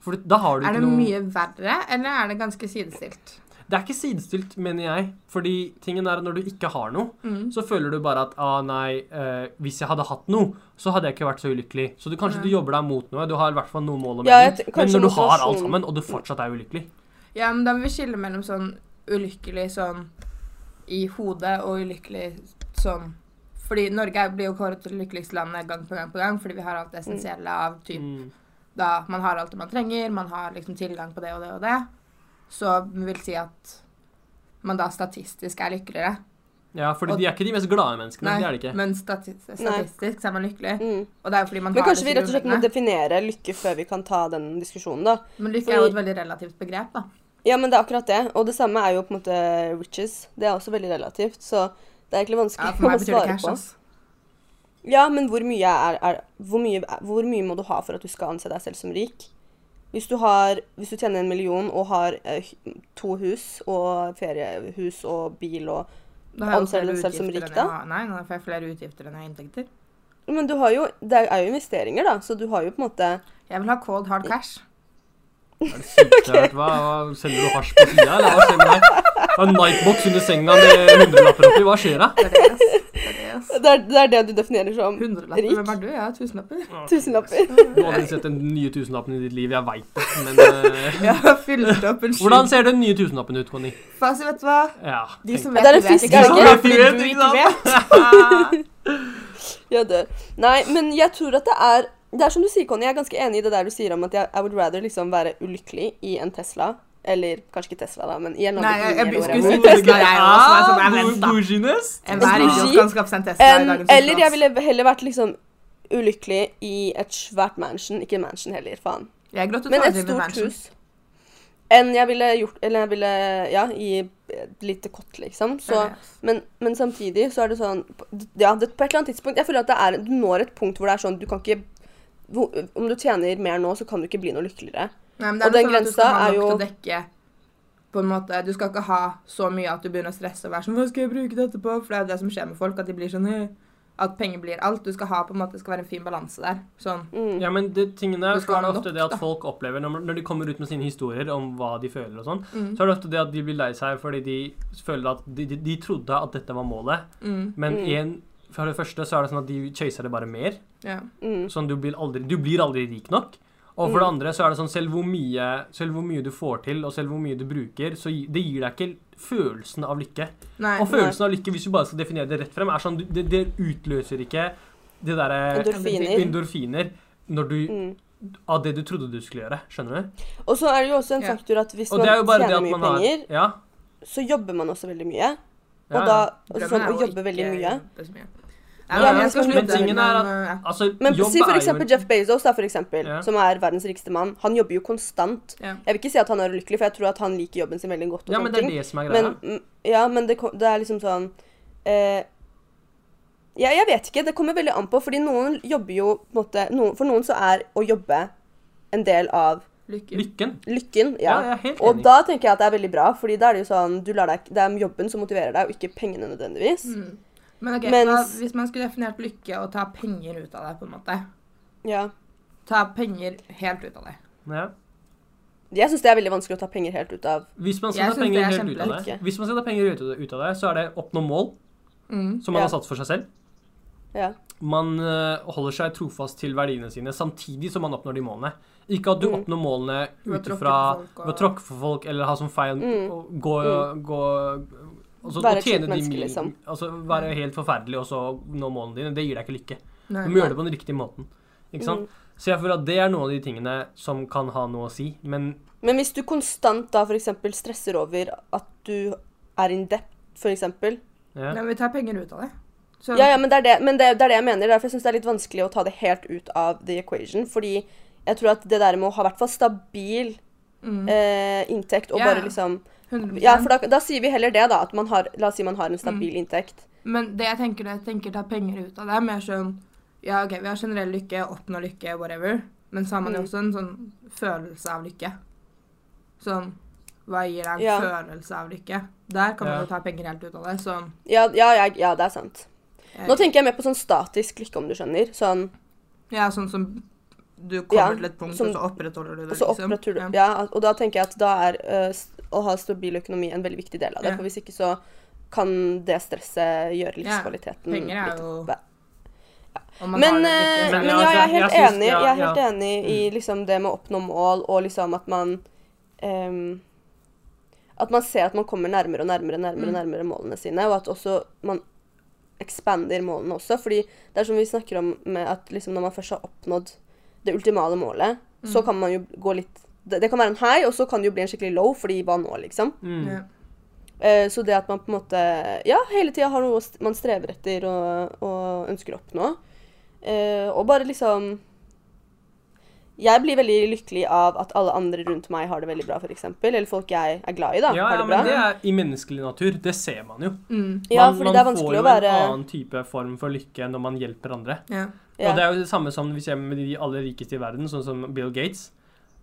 [SPEAKER 2] For da har du
[SPEAKER 3] Er
[SPEAKER 2] ikke
[SPEAKER 3] det
[SPEAKER 2] noe
[SPEAKER 3] mye verre, eller er det ganske sidestilt?
[SPEAKER 2] Det er ikke sidestilt, mener jeg. Fordi tingen er at når du ikke har noe, så føler du bare at ah, nei, eh, hvis jeg hadde hatt noe, så hadde jeg ikke vært så ulykkelig. Så du, kanskje du jobber deg mot noe. Du har i hvert fall noe mål og
[SPEAKER 1] Ja,
[SPEAKER 2] mening.
[SPEAKER 1] jeg t-
[SPEAKER 2] men
[SPEAKER 1] kanskje sånn
[SPEAKER 2] når du har alt
[SPEAKER 1] motivasjon.
[SPEAKER 2] sammen, og du fortsatt er ulykkelig
[SPEAKER 3] Ja, men da må vi skille mellom sånn ulykkelig sånn i hodet og ulykkelig sånn Fordi Norge er- blir jo kåret til lykkeligste landet gang på gang på gang fordi vi har alt det essensielle av typ
[SPEAKER 2] Mm.
[SPEAKER 3] da man har alt det man trenger, man har liksom tilgang på det og det og det. Så vi vil si at man da statistisk er lykkeligere.
[SPEAKER 2] Ja, fordi
[SPEAKER 3] Og-
[SPEAKER 2] de er ikke de mest glade menneskene. det er de ikke.
[SPEAKER 3] men stati statistisk så er man lykkelig.
[SPEAKER 1] Mm.
[SPEAKER 3] Og det er jo fordi man
[SPEAKER 1] Men
[SPEAKER 3] har
[SPEAKER 1] kanskje
[SPEAKER 3] det
[SPEAKER 1] vi rett
[SPEAKER 3] til
[SPEAKER 1] og slett må
[SPEAKER 3] grunnleggende.
[SPEAKER 1] definere lykke før vi kan ta den diskusjonen, da.
[SPEAKER 3] Men lykke er jo
[SPEAKER 1] fordi-
[SPEAKER 3] et veldig relativt begrep, da.
[SPEAKER 1] Ja, men det er akkurat det. Og det samme er jo på en måte riches. Det er også veldig relativt. Så Det er egentlig vanskelig
[SPEAKER 3] Ja, for meg
[SPEAKER 1] å
[SPEAKER 3] betyr det
[SPEAKER 1] svare
[SPEAKER 3] cash,
[SPEAKER 1] på.
[SPEAKER 3] ass.
[SPEAKER 1] Ja, men hvor mye, er, er, hvor, mye, hvor mye må du ha for at du skal anse deg selv som rik? Hvis du, har, hvis du tjener en million og har eh, hu- to hus og feriehus og bil og
[SPEAKER 3] Da har jeg jo
[SPEAKER 1] Anser du
[SPEAKER 3] flere
[SPEAKER 1] deg selv som
[SPEAKER 3] utgifter
[SPEAKER 1] rik,
[SPEAKER 3] enn
[SPEAKER 1] da?
[SPEAKER 3] jeg har- Nei, nå får jeg flere utgifter enn jeg har inntekter.
[SPEAKER 1] Men du har jo Det er jo investeringer, da, så du har jo på en måte
[SPEAKER 3] Jeg vil ha cold hard cash.
[SPEAKER 2] Er det sykt jeg har hørt? Hva, hva Selger du hasj på sida, eller hva skjer med deg? Det er en nightbox under senga med hundrelapper oppi, hva skjer da?
[SPEAKER 3] Det er det, ass. Det er det, ass.
[SPEAKER 1] Det er det, er det du definerer som
[SPEAKER 3] Hundrelapper. Hvem er du? Jeg har tusenlapper.
[SPEAKER 1] tusenlapper.
[SPEAKER 2] Du har aldri sett den nye tusenlappen i ditt liv, jeg veit det, men eh,
[SPEAKER 3] Jeg har fylt opp en sju.
[SPEAKER 2] Hvordan ser den nye tusenlappen ut, Conny?
[SPEAKER 3] Fasi, vet du hva?
[SPEAKER 2] Ja,
[SPEAKER 3] De som
[SPEAKER 1] Ja,
[SPEAKER 3] vet,
[SPEAKER 1] det er en
[SPEAKER 3] de vet
[SPEAKER 1] fisk,
[SPEAKER 3] ikke.
[SPEAKER 1] er det ikke?
[SPEAKER 3] De som vet, de
[SPEAKER 2] Du vet,
[SPEAKER 3] vet.
[SPEAKER 1] Jeg dør. Nei, men jeg tror at det er Det er som du sier, Conny, jeg er ganske enig i det der du sier om at jeg I would rather liksom være ulykkelig i en Tesla. Eller kanskje ikke Tesla, da, men i en
[SPEAKER 3] Nei, jeg- jeg
[SPEAKER 1] Lamborghini eller
[SPEAKER 3] skulle
[SPEAKER 1] whatever.
[SPEAKER 3] si Tesla, jeg også, men sånn, jeg
[SPEAKER 2] Ah,
[SPEAKER 3] venter.
[SPEAKER 2] bouginess.
[SPEAKER 3] Enhver
[SPEAKER 1] Bougie.
[SPEAKER 3] idiot kan skape seg en Tesla i
[SPEAKER 1] Em,
[SPEAKER 2] sånn
[SPEAKER 3] dagens
[SPEAKER 1] eller jeg
[SPEAKER 3] situasjon.
[SPEAKER 1] ville heller vært liksom ulykkelig i et svært mansion. Ikke mansion heller, faen.
[SPEAKER 3] Jeg gråt ut
[SPEAKER 1] Men et
[SPEAKER 3] aldri med
[SPEAKER 1] stort
[SPEAKER 3] mansion.
[SPEAKER 1] hus. Enn jeg ville gjort Eller jeg ville Ja, i et lite kott, liksom. Så
[SPEAKER 3] Ja, ja.
[SPEAKER 1] men, men samtidig så er det sånn Ja, det, på et eller annet tidspunkt Jeg føler at det er, du når et punkt hvor det er sånn Du kan ikke hvor, Om du tjener mer nå, så kan du ikke bli noe lykkeligere.
[SPEAKER 3] Nei, men
[SPEAKER 1] Og den grensa er
[SPEAKER 3] sånn Du skal ha nok til
[SPEAKER 1] jo-
[SPEAKER 3] å dekke på en måte, du skal ikke ha så mye at du begynner å stresse og være sånn 'Hva skal jeg bruke dette på?' For det er jo det som skjer med folk, at de blir sånn «Hø», At penger blir alt. Du skal ha på en måte, det skal være en fin balanse der. Sånn.
[SPEAKER 1] Mm.
[SPEAKER 2] Ja, men det, tingene
[SPEAKER 3] Du
[SPEAKER 2] er,
[SPEAKER 3] skal
[SPEAKER 2] så er det
[SPEAKER 3] ha nok,
[SPEAKER 2] ofte det at
[SPEAKER 3] da.
[SPEAKER 2] folk opplever, når, når de kommer ut med sine historier om hva de føler og sånn,
[SPEAKER 3] Mm.
[SPEAKER 2] så er det ofte det at de blir lei seg fordi de føler at de, de, de trodde at dette var målet,
[SPEAKER 3] Mm,
[SPEAKER 2] men
[SPEAKER 1] Mm.
[SPEAKER 2] en, for det første så er det sånn at de chaser det bare mer,
[SPEAKER 3] ja.
[SPEAKER 1] Mm.
[SPEAKER 2] sånn du blir aldri, du blir aldri rik nok. Og for det andre så er det sånn, selv hvor mye, selv hvor mye du får til, og selv hvor mye du bruker, så gi- det gir deg ikke følelsen av lykke.
[SPEAKER 3] Nei.
[SPEAKER 2] Og følelsen av lykke, hvis du bare skal definere det rett frem, er sånn, du- det, det utløser ikke det derre
[SPEAKER 1] Endorfiner.
[SPEAKER 2] endorfiner når du
[SPEAKER 1] Mm.
[SPEAKER 2] av det du trodde du skulle gjøre. Skjønner du?
[SPEAKER 1] Og så er det jo også en
[SPEAKER 3] Ja.
[SPEAKER 1] faktor at hvis
[SPEAKER 2] Og
[SPEAKER 1] man
[SPEAKER 2] det er jo bare det
[SPEAKER 1] tjener
[SPEAKER 2] at
[SPEAKER 1] mye
[SPEAKER 2] man har
[SPEAKER 1] penger,
[SPEAKER 2] Ja.
[SPEAKER 1] så jobber man også veldig mye.
[SPEAKER 2] ja,
[SPEAKER 1] Og da
[SPEAKER 2] ja.
[SPEAKER 1] altså,
[SPEAKER 3] Drømmen
[SPEAKER 1] sånn,
[SPEAKER 3] er
[SPEAKER 1] å
[SPEAKER 3] jo
[SPEAKER 1] jobbe
[SPEAKER 3] ikke
[SPEAKER 1] veldig mye.
[SPEAKER 3] jobbe så mye.
[SPEAKER 2] Ja,
[SPEAKER 3] Nei,
[SPEAKER 1] men
[SPEAKER 3] jeg skal
[SPEAKER 1] men
[SPEAKER 3] slutte,
[SPEAKER 2] tingen er at-
[SPEAKER 3] men, uh,
[SPEAKER 2] Altså,
[SPEAKER 1] Men
[SPEAKER 2] jobb
[SPEAKER 1] si
[SPEAKER 2] er
[SPEAKER 1] for
[SPEAKER 2] jo
[SPEAKER 1] eksempel
[SPEAKER 2] en-
[SPEAKER 1] Jeff Bezos, da, for eksempel,
[SPEAKER 2] Ja.
[SPEAKER 1] som er verdens rikeste mann. Han jobber jo konstant.
[SPEAKER 3] Ja.
[SPEAKER 1] Jeg vil ikke si at han er ulykkelig, for jeg tror at han liker jobben sin veldig godt. og
[SPEAKER 2] Ja, men
[SPEAKER 1] sånne
[SPEAKER 2] det er
[SPEAKER 1] ting.
[SPEAKER 2] det som er greia.
[SPEAKER 1] Men, mm, ja, men det, ko- det er liksom sånn eh, ja, Jeg vet ikke. Det kommer veldig an på. Fordi noen jobber jo på en måte, noen, For noen så er å jobbe en del av
[SPEAKER 3] Lykke.
[SPEAKER 2] Lykken.
[SPEAKER 1] lykken.
[SPEAKER 2] Ja,
[SPEAKER 1] Ja.
[SPEAKER 2] jeg er helt
[SPEAKER 1] og
[SPEAKER 2] enig.
[SPEAKER 1] da tenker jeg at det er veldig bra, fordi da er det jo sånn du lar deg, Det er jobben som motiverer deg, og ikke pengene nødvendigvis.
[SPEAKER 3] Mm. Men ok,
[SPEAKER 1] Mens-
[SPEAKER 3] da, hvis man skulle definert lykke og ta penger ut av det, på en måte
[SPEAKER 1] Ja.
[SPEAKER 3] Ta penger helt ut av det.
[SPEAKER 2] Ja.
[SPEAKER 1] Jeg syns det er veldig vanskelig å ta penger helt ut av
[SPEAKER 2] Hvis man
[SPEAKER 3] Jeg
[SPEAKER 2] skal ta
[SPEAKER 3] synes det
[SPEAKER 2] penger
[SPEAKER 3] er
[SPEAKER 2] helt ut av det,
[SPEAKER 1] kjempelykke.
[SPEAKER 2] Hvis man skal ta penger ut ut av det, så er det oppnå mål
[SPEAKER 3] Mm.
[SPEAKER 2] som man
[SPEAKER 1] Ja.
[SPEAKER 2] har satt for seg selv.
[SPEAKER 1] Ja.
[SPEAKER 2] Man øh, holder seg trofast til verdiene sine samtidig som man oppnår de målene. Ikke at du
[SPEAKER 1] Mm.
[SPEAKER 2] oppnår målene
[SPEAKER 3] Ved å
[SPEAKER 2] ut
[SPEAKER 3] tråkke
[SPEAKER 2] ifra
[SPEAKER 3] på folk og-
[SPEAKER 2] ved å tråkke for folk eller ha som feil
[SPEAKER 1] Mm.
[SPEAKER 2] å gå, gå altså,
[SPEAKER 1] Være
[SPEAKER 2] å
[SPEAKER 1] et slikt
[SPEAKER 2] tjene de
[SPEAKER 1] menneske,
[SPEAKER 2] mil-
[SPEAKER 1] liksom.
[SPEAKER 2] Altså være helt forferdelig og så nå målene dine. Det gir deg ikke lykke.
[SPEAKER 3] Nei.
[SPEAKER 2] Du må gjøre det på den riktige måten. Ikke sant?
[SPEAKER 1] Mm.
[SPEAKER 2] Så jeg føler at det er noen av de tingene som kan ha noe å si. Men
[SPEAKER 1] Men hvis du konstant da f.eks. stresser over at du er in debt, f.eks.
[SPEAKER 2] ja.
[SPEAKER 3] Nei, men vi tar penger ut av det. Så,
[SPEAKER 1] Ja, ja, men det er det, men det, det, er det jeg mener. Derfor jeg syns det er litt vanskelig å ta det helt ut av the equation. Fordi jeg tror at det der med å ha i hvert fall stabil
[SPEAKER 3] Mm,
[SPEAKER 1] eh, inntekt og
[SPEAKER 3] Ja,
[SPEAKER 1] bare
[SPEAKER 3] ja.
[SPEAKER 1] liksom
[SPEAKER 3] 100%.
[SPEAKER 1] Ja, for da, da sier vi heller det, da. At man har La oss si man har en stabil
[SPEAKER 3] Mm.
[SPEAKER 1] inntekt.
[SPEAKER 3] Men det jeg tenker, jeg tenker ta penger ut av det, er mer sånn Ja, OK, vi har generell lykke, oppnå lykke, whatever. Men så har man jo
[SPEAKER 1] Mm.
[SPEAKER 3] også en sånn følelse av lykke. Sånn Hva gir deg en
[SPEAKER 1] Ja.
[SPEAKER 3] følelse av lykke? Der
[SPEAKER 2] Ja.
[SPEAKER 3] kan man jo ta penger helt ut av det. Sånn
[SPEAKER 1] Ja, ja, ja, ja, det er sant.
[SPEAKER 3] eh,
[SPEAKER 1] Nå tenker jeg mer på sånn statisk lykke, om du skjønner. Sånn
[SPEAKER 3] Ja, sånn som du kommer
[SPEAKER 1] Ja,
[SPEAKER 3] til et punkt,
[SPEAKER 1] som-
[SPEAKER 3] og så opprettholder du det, liksom.
[SPEAKER 1] Og så opprettholder ja. og da tenker jeg at da er eh, s- å ha stabil økonomi en veldig viktig del av det.
[SPEAKER 3] Ja.
[SPEAKER 1] For hvis ikke så kan det stresset gjøre
[SPEAKER 3] Ja,
[SPEAKER 1] livskvaliteten
[SPEAKER 3] Penger er
[SPEAKER 1] Mm, litt-
[SPEAKER 3] jo
[SPEAKER 1] Hva-
[SPEAKER 3] Om man
[SPEAKER 1] Men,
[SPEAKER 3] har det
[SPEAKER 1] eh,
[SPEAKER 3] litt,
[SPEAKER 1] men
[SPEAKER 2] ja, altså,
[SPEAKER 1] ja, jeg er helt
[SPEAKER 2] jeg syns-
[SPEAKER 1] enig,
[SPEAKER 2] ja, Mm.
[SPEAKER 1] jeg er helt
[SPEAKER 2] ja.
[SPEAKER 1] enig i liksom det med å oppnå mål, og liksom at man ehm, At man ser at man kommer nærmere og nærmere nærmere,
[SPEAKER 3] Mm.
[SPEAKER 1] nærmere målene sine, og at også man ekspander målene også. Fordi det er som vi snakker om med at liksom når man først har oppnådd det ultimale målet,
[SPEAKER 2] Mm.
[SPEAKER 1] så kan man jo gå litt det, det kan være en high, og så kan det jo bli en skikkelig low, fordi hva nå, liksom?
[SPEAKER 2] mm.
[SPEAKER 3] ja.
[SPEAKER 1] Eh, så det at man på en måte ja, hele tida har noe å st- man strever etter og, og ønsker å oppnå. Eh, og bare liksom Jeg blir veldig lykkelig av at alle andre rundt meg har det veldig bra, f.eks. Eller folk jeg er glad i, da.
[SPEAKER 2] Ja,
[SPEAKER 1] har
[SPEAKER 2] ja,
[SPEAKER 1] det bra.
[SPEAKER 2] men det er i menneskelig natur. Det ser man jo.
[SPEAKER 3] Mm.
[SPEAKER 1] ja,
[SPEAKER 2] man,
[SPEAKER 1] fordi
[SPEAKER 2] man
[SPEAKER 1] det er vanskelig å være
[SPEAKER 2] får jo en annen type form for lykke når man hjelper andre.
[SPEAKER 3] Ja.
[SPEAKER 1] ja.
[SPEAKER 2] Og det er jo det samme som vi ser med de aller rikeste i verden, sånn som Bill Gates.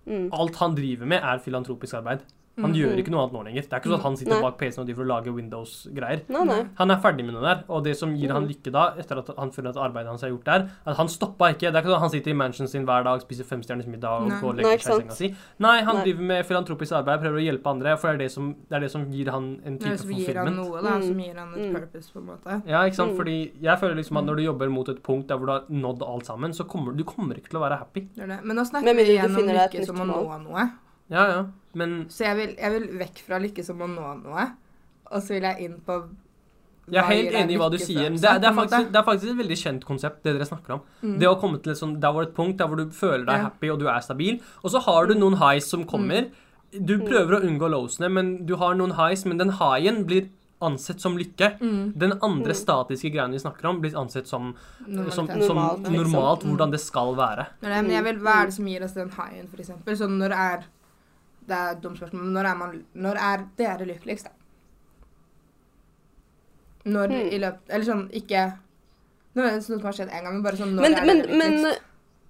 [SPEAKER 1] Mm.
[SPEAKER 2] Alt han driver med, er filantropisk arbeid. Han gjør ikke noe annet nå lenger. Det er ikke sånn at han sitter
[SPEAKER 1] Mhm. Nei.
[SPEAKER 2] bak PC-en og driver og lager Windows-greier.
[SPEAKER 1] Nei, nei.
[SPEAKER 2] Han er ferdig med det der, og det som gir
[SPEAKER 1] Mhm.
[SPEAKER 2] han lykke da, etter at han føler at arbeidet hans er gjort der, at han stoppa ikke. Det er ikke sånn at han sitter i mansionen sin hver dag, spiser femstjerners middag og
[SPEAKER 3] Nei.
[SPEAKER 2] går og
[SPEAKER 1] Nei,
[SPEAKER 2] legger
[SPEAKER 1] ikke
[SPEAKER 2] seg i
[SPEAKER 1] sant.
[SPEAKER 2] senga si. Nei, han
[SPEAKER 1] Nei.
[SPEAKER 2] driver med filantropisk arbeid, prøver å hjelpe andre, for det er det som, det er det som gir han en
[SPEAKER 3] Det er
[SPEAKER 2] type
[SPEAKER 3] jo som gir han
[SPEAKER 2] fulfillment.
[SPEAKER 3] noe, da. Som
[SPEAKER 1] Mm.
[SPEAKER 3] gir han et
[SPEAKER 1] Mm.
[SPEAKER 3] purpose, på en måte.
[SPEAKER 2] Ja, ikke sant?
[SPEAKER 1] Mm.
[SPEAKER 2] Fordi jeg føler liksom at når du jobber mot et punkt der hvor du har nådd alt sammen, så kommer du kommer ikke til å være happy.
[SPEAKER 3] Det er det. Men nå
[SPEAKER 1] Men
[SPEAKER 3] snakker
[SPEAKER 1] mindre
[SPEAKER 3] vi
[SPEAKER 1] du
[SPEAKER 3] igjen om
[SPEAKER 1] finner deg et
[SPEAKER 3] lykke som å
[SPEAKER 1] nytt
[SPEAKER 3] nå noe.
[SPEAKER 2] Ja, ja. Men
[SPEAKER 3] Så jeg vil, jeg vil vekk fra lykke som å nå noe, og så vil jeg inn på
[SPEAKER 2] jeg er
[SPEAKER 3] hva gir
[SPEAKER 2] helt
[SPEAKER 3] deg
[SPEAKER 2] enig i hva du
[SPEAKER 3] lykke
[SPEAKER 2] sier.
[SPEAKER 3] følelse,
[SPEAKER 2] Det er, det, er
[SPEAKER 3] på en måte.
[SPEAKER 2] faktisk, det er faktisk et veldig kjent konsept, det dere snakker om.
[SPEAKER 1] Mm.
[SPEAKER 2] Det å komme til et sånt, der hvor det er et punkt der hvor du føler deg
[SPEAKER 3] Ja.
[SPEAKER 2] happy og du er stabil, og så har du noen highs som kommer. Du
[SPEAKER 1] Mm.
[SPEAKER 2] prøver å unngå lowsene, men du har noen highs, men den highen blir ansett som lykke.
[SPEAKER 3] Mm.
[SPEAKER 2] Den andre statiske greien vi snakker om, blir ansett som som,
[SPEAKER 3] Normalitet.
[SPEAKER 2] som
[SPEAKER 1] Mm. Normalt,
[SPEAKER 2] normalt,
[SPEAKER 1] liksom.
[SPEAKER 2] hvordan det skal være.
[SPEAKER 3] Det er det, men jeg vil, hva er det som gir oss den high-en, for eksempel? Sånn når er Det er et dumt spørsmål, men når er, man, når er dere lykkeligst, da?
[SPEAKER 1] Hmm.
[SPEAKER 3] Når i løpet Eller sånn, ikke Nå er det noe som har skjedd en gang, men bare sånn når
[SPEAKER 1] Men,
[SPEAKER 3] er
[SPEAKER 1] men,
[SPEAKER 3] dere
[SPEAKER 1] men
[SPEAKER 3] lykkeligst?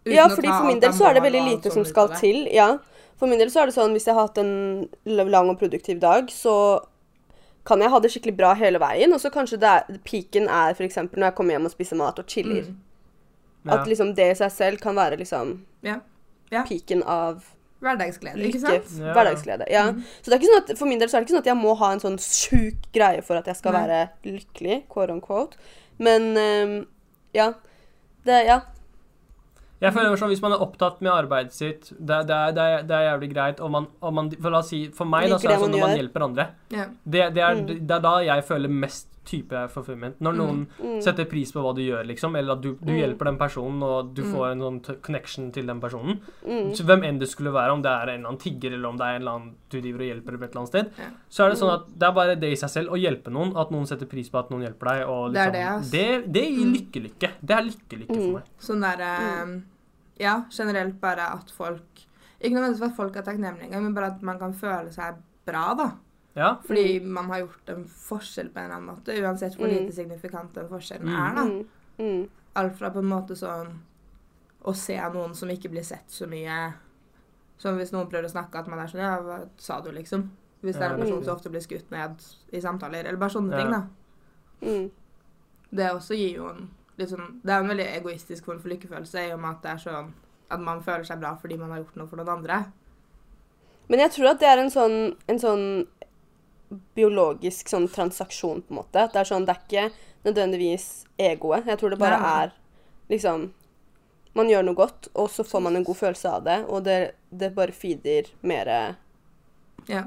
[SPEAKER 3] Uten
[SPEAKER 1] Ja,
[SPEAKER 3] å
[SPEAKER 1] fordi
[SPEAKER 3] ta
[SPEAKER 1] for min
[SPEAKER 3] alt
[SPEAKER 1] del så er det
[SPEAKER 3] anbefalene
[SPEAKER 1] veldig
[SPEAKER 3] og alt
[SPEAKER 1] lite
[SPEAKER 3] sånn
[SPEAKER 1] som
[SPEAKER 3] ut
[SPEAKER 1] skal
[SPEAKER 3] av det.
[SPEAKER 1] til. Ja. For min del så er det sånn hvis jeg har hatt en l- lang og produktiv dag, så kan jeg ha det skikkelig bra hele veien, og så kanskje det er, peaken er f.eks. når jeg kommer hjem og spiser mat og chiller.
[SPEAKER 3] Mm.
[SPEAKER 2] Ja.
[SPEAKER 1] At liksom det i seg selv kan være liksom
[SPEAKER 3] Ja. ja.
[SPEAKER 1] peaken av
[SPEAKER 3] Hverdagsglede, ikke
[SPEAKER 1] lykke,
[SPEAKER 3] sant? Mm.
[SPEAKER 2] Ja.
[SPEAKER 1] hverdagsglede. Ja. Så det er ikke sånn at, for min del så er det ikke sånn at jeg må ha en sånn sjuk greie for at jeg skal
[SPEAKER 3] Nei.
[SPEAKER 1] være lykkelig, quote on quote. Men ehm, ja. Det, ja.
[SPEAKER 2] Jeg føler sånn, Hvis man er opptatt med arbeidet sitt, det, det, er- det, er- det er jævlig greit. Og man, og man, for, la oss si, for meg da,
[SPEAKER 1] Liker
[SPEAKER 2] så er
[SPEAKER 1] det
[SPEAKER 2] det sånn
[SPEAKER 1] man
[SPEAKER 2] når man
[SPEAKER 1] gjør.
[SPEAKER 2] hjelper andre.
[SPEAKER 3] Ja.
[SPEAKER 2] Det, det,
[SPEAKER 3] Mm.
[SPEAKER 2] er, det er da jeg føler mest type fulfillment. Når noen
[SPEAKER 1] Mm.
[SPEAKER 3] Mm.
[SPEAKER 2] setter pris på hva du gjør, liksom, eller at du, du hjelper den personen, og du
[SPEAKER 3] Mm.
[SPEAKER 2] får en sånn t- connection til den personen.
[SPEAKER 1] Mm.
[SPEAKER 2] Så hvem enn det skulle være, om det er en eller annen tigger, eller om det er en eller annen du driver og hjelper på et eller annet sted,
[SPEAKER 3] Ja. Mm.
[SPEAKER 2] så er det sånn at det er bare det i seg selv å hjelpe noen, at noen setter pris på at noen hjelper deg, og
[SPEAKER 3] Det er
[SPEAKER 2] liksom
[SPEAKER 3] det, ass. Mm.
[SPEAKER 2] Det, det gir lykke-lykke. Det er lykke-lykke for meg.
[SPEAKER 3] Sånn derre Ja, generelt bare at folk Ikke nødvendigvis at folk er takknemlige, engang, men bare at man kan føle seg bra, da.
[SPEAKER 2] Ja.
[SPEAKER 3] Fordi man har gjort en forskjell på en eller annen måte, uansett hvor lite signifikant den forskjellen er, da.
[SPEAKER 1] Mm.
[SPEAKER 3] Alt fra på en måte sånn å se noen som ikke blir sett så mye Som hvis noen prøver å snakke, at man er sånn Ja, hva sa du, liksom? Hvis det er en
[SPEAKER 2] Ja,
[SPEAKER 3] person
[SPEAKER 2] mm.
[SPEAKER 3] som ofte blir skutt ned i samtaler, eller bare sånne
[SPEAKER 2] Ja.
[SPEAKER 3] ting, da.
[SPEAKER 1] Mm.
[SPEAKER 3] Det også gir jo en litt sånn Det er en veldig egoistisk form for lykkefølelse i og med at det er sånn at man føler seg bra fordi man har gjort noe for noen andre.
[SPEAKER 1] Men jeg tror at det er en sånn, en sånn biologisk sånn transaksjon, på en måte. At det er sånn, det er ikke nødvendigvis egoet. Jeg tror det bare
[SPEAKER 3] Nei, nei.
[SPEAKER 1] er liksom Man gjør noe godt, og så får man en god følelse av det, og det, det bare feeder mer At
[SPEAKER 3] Ja.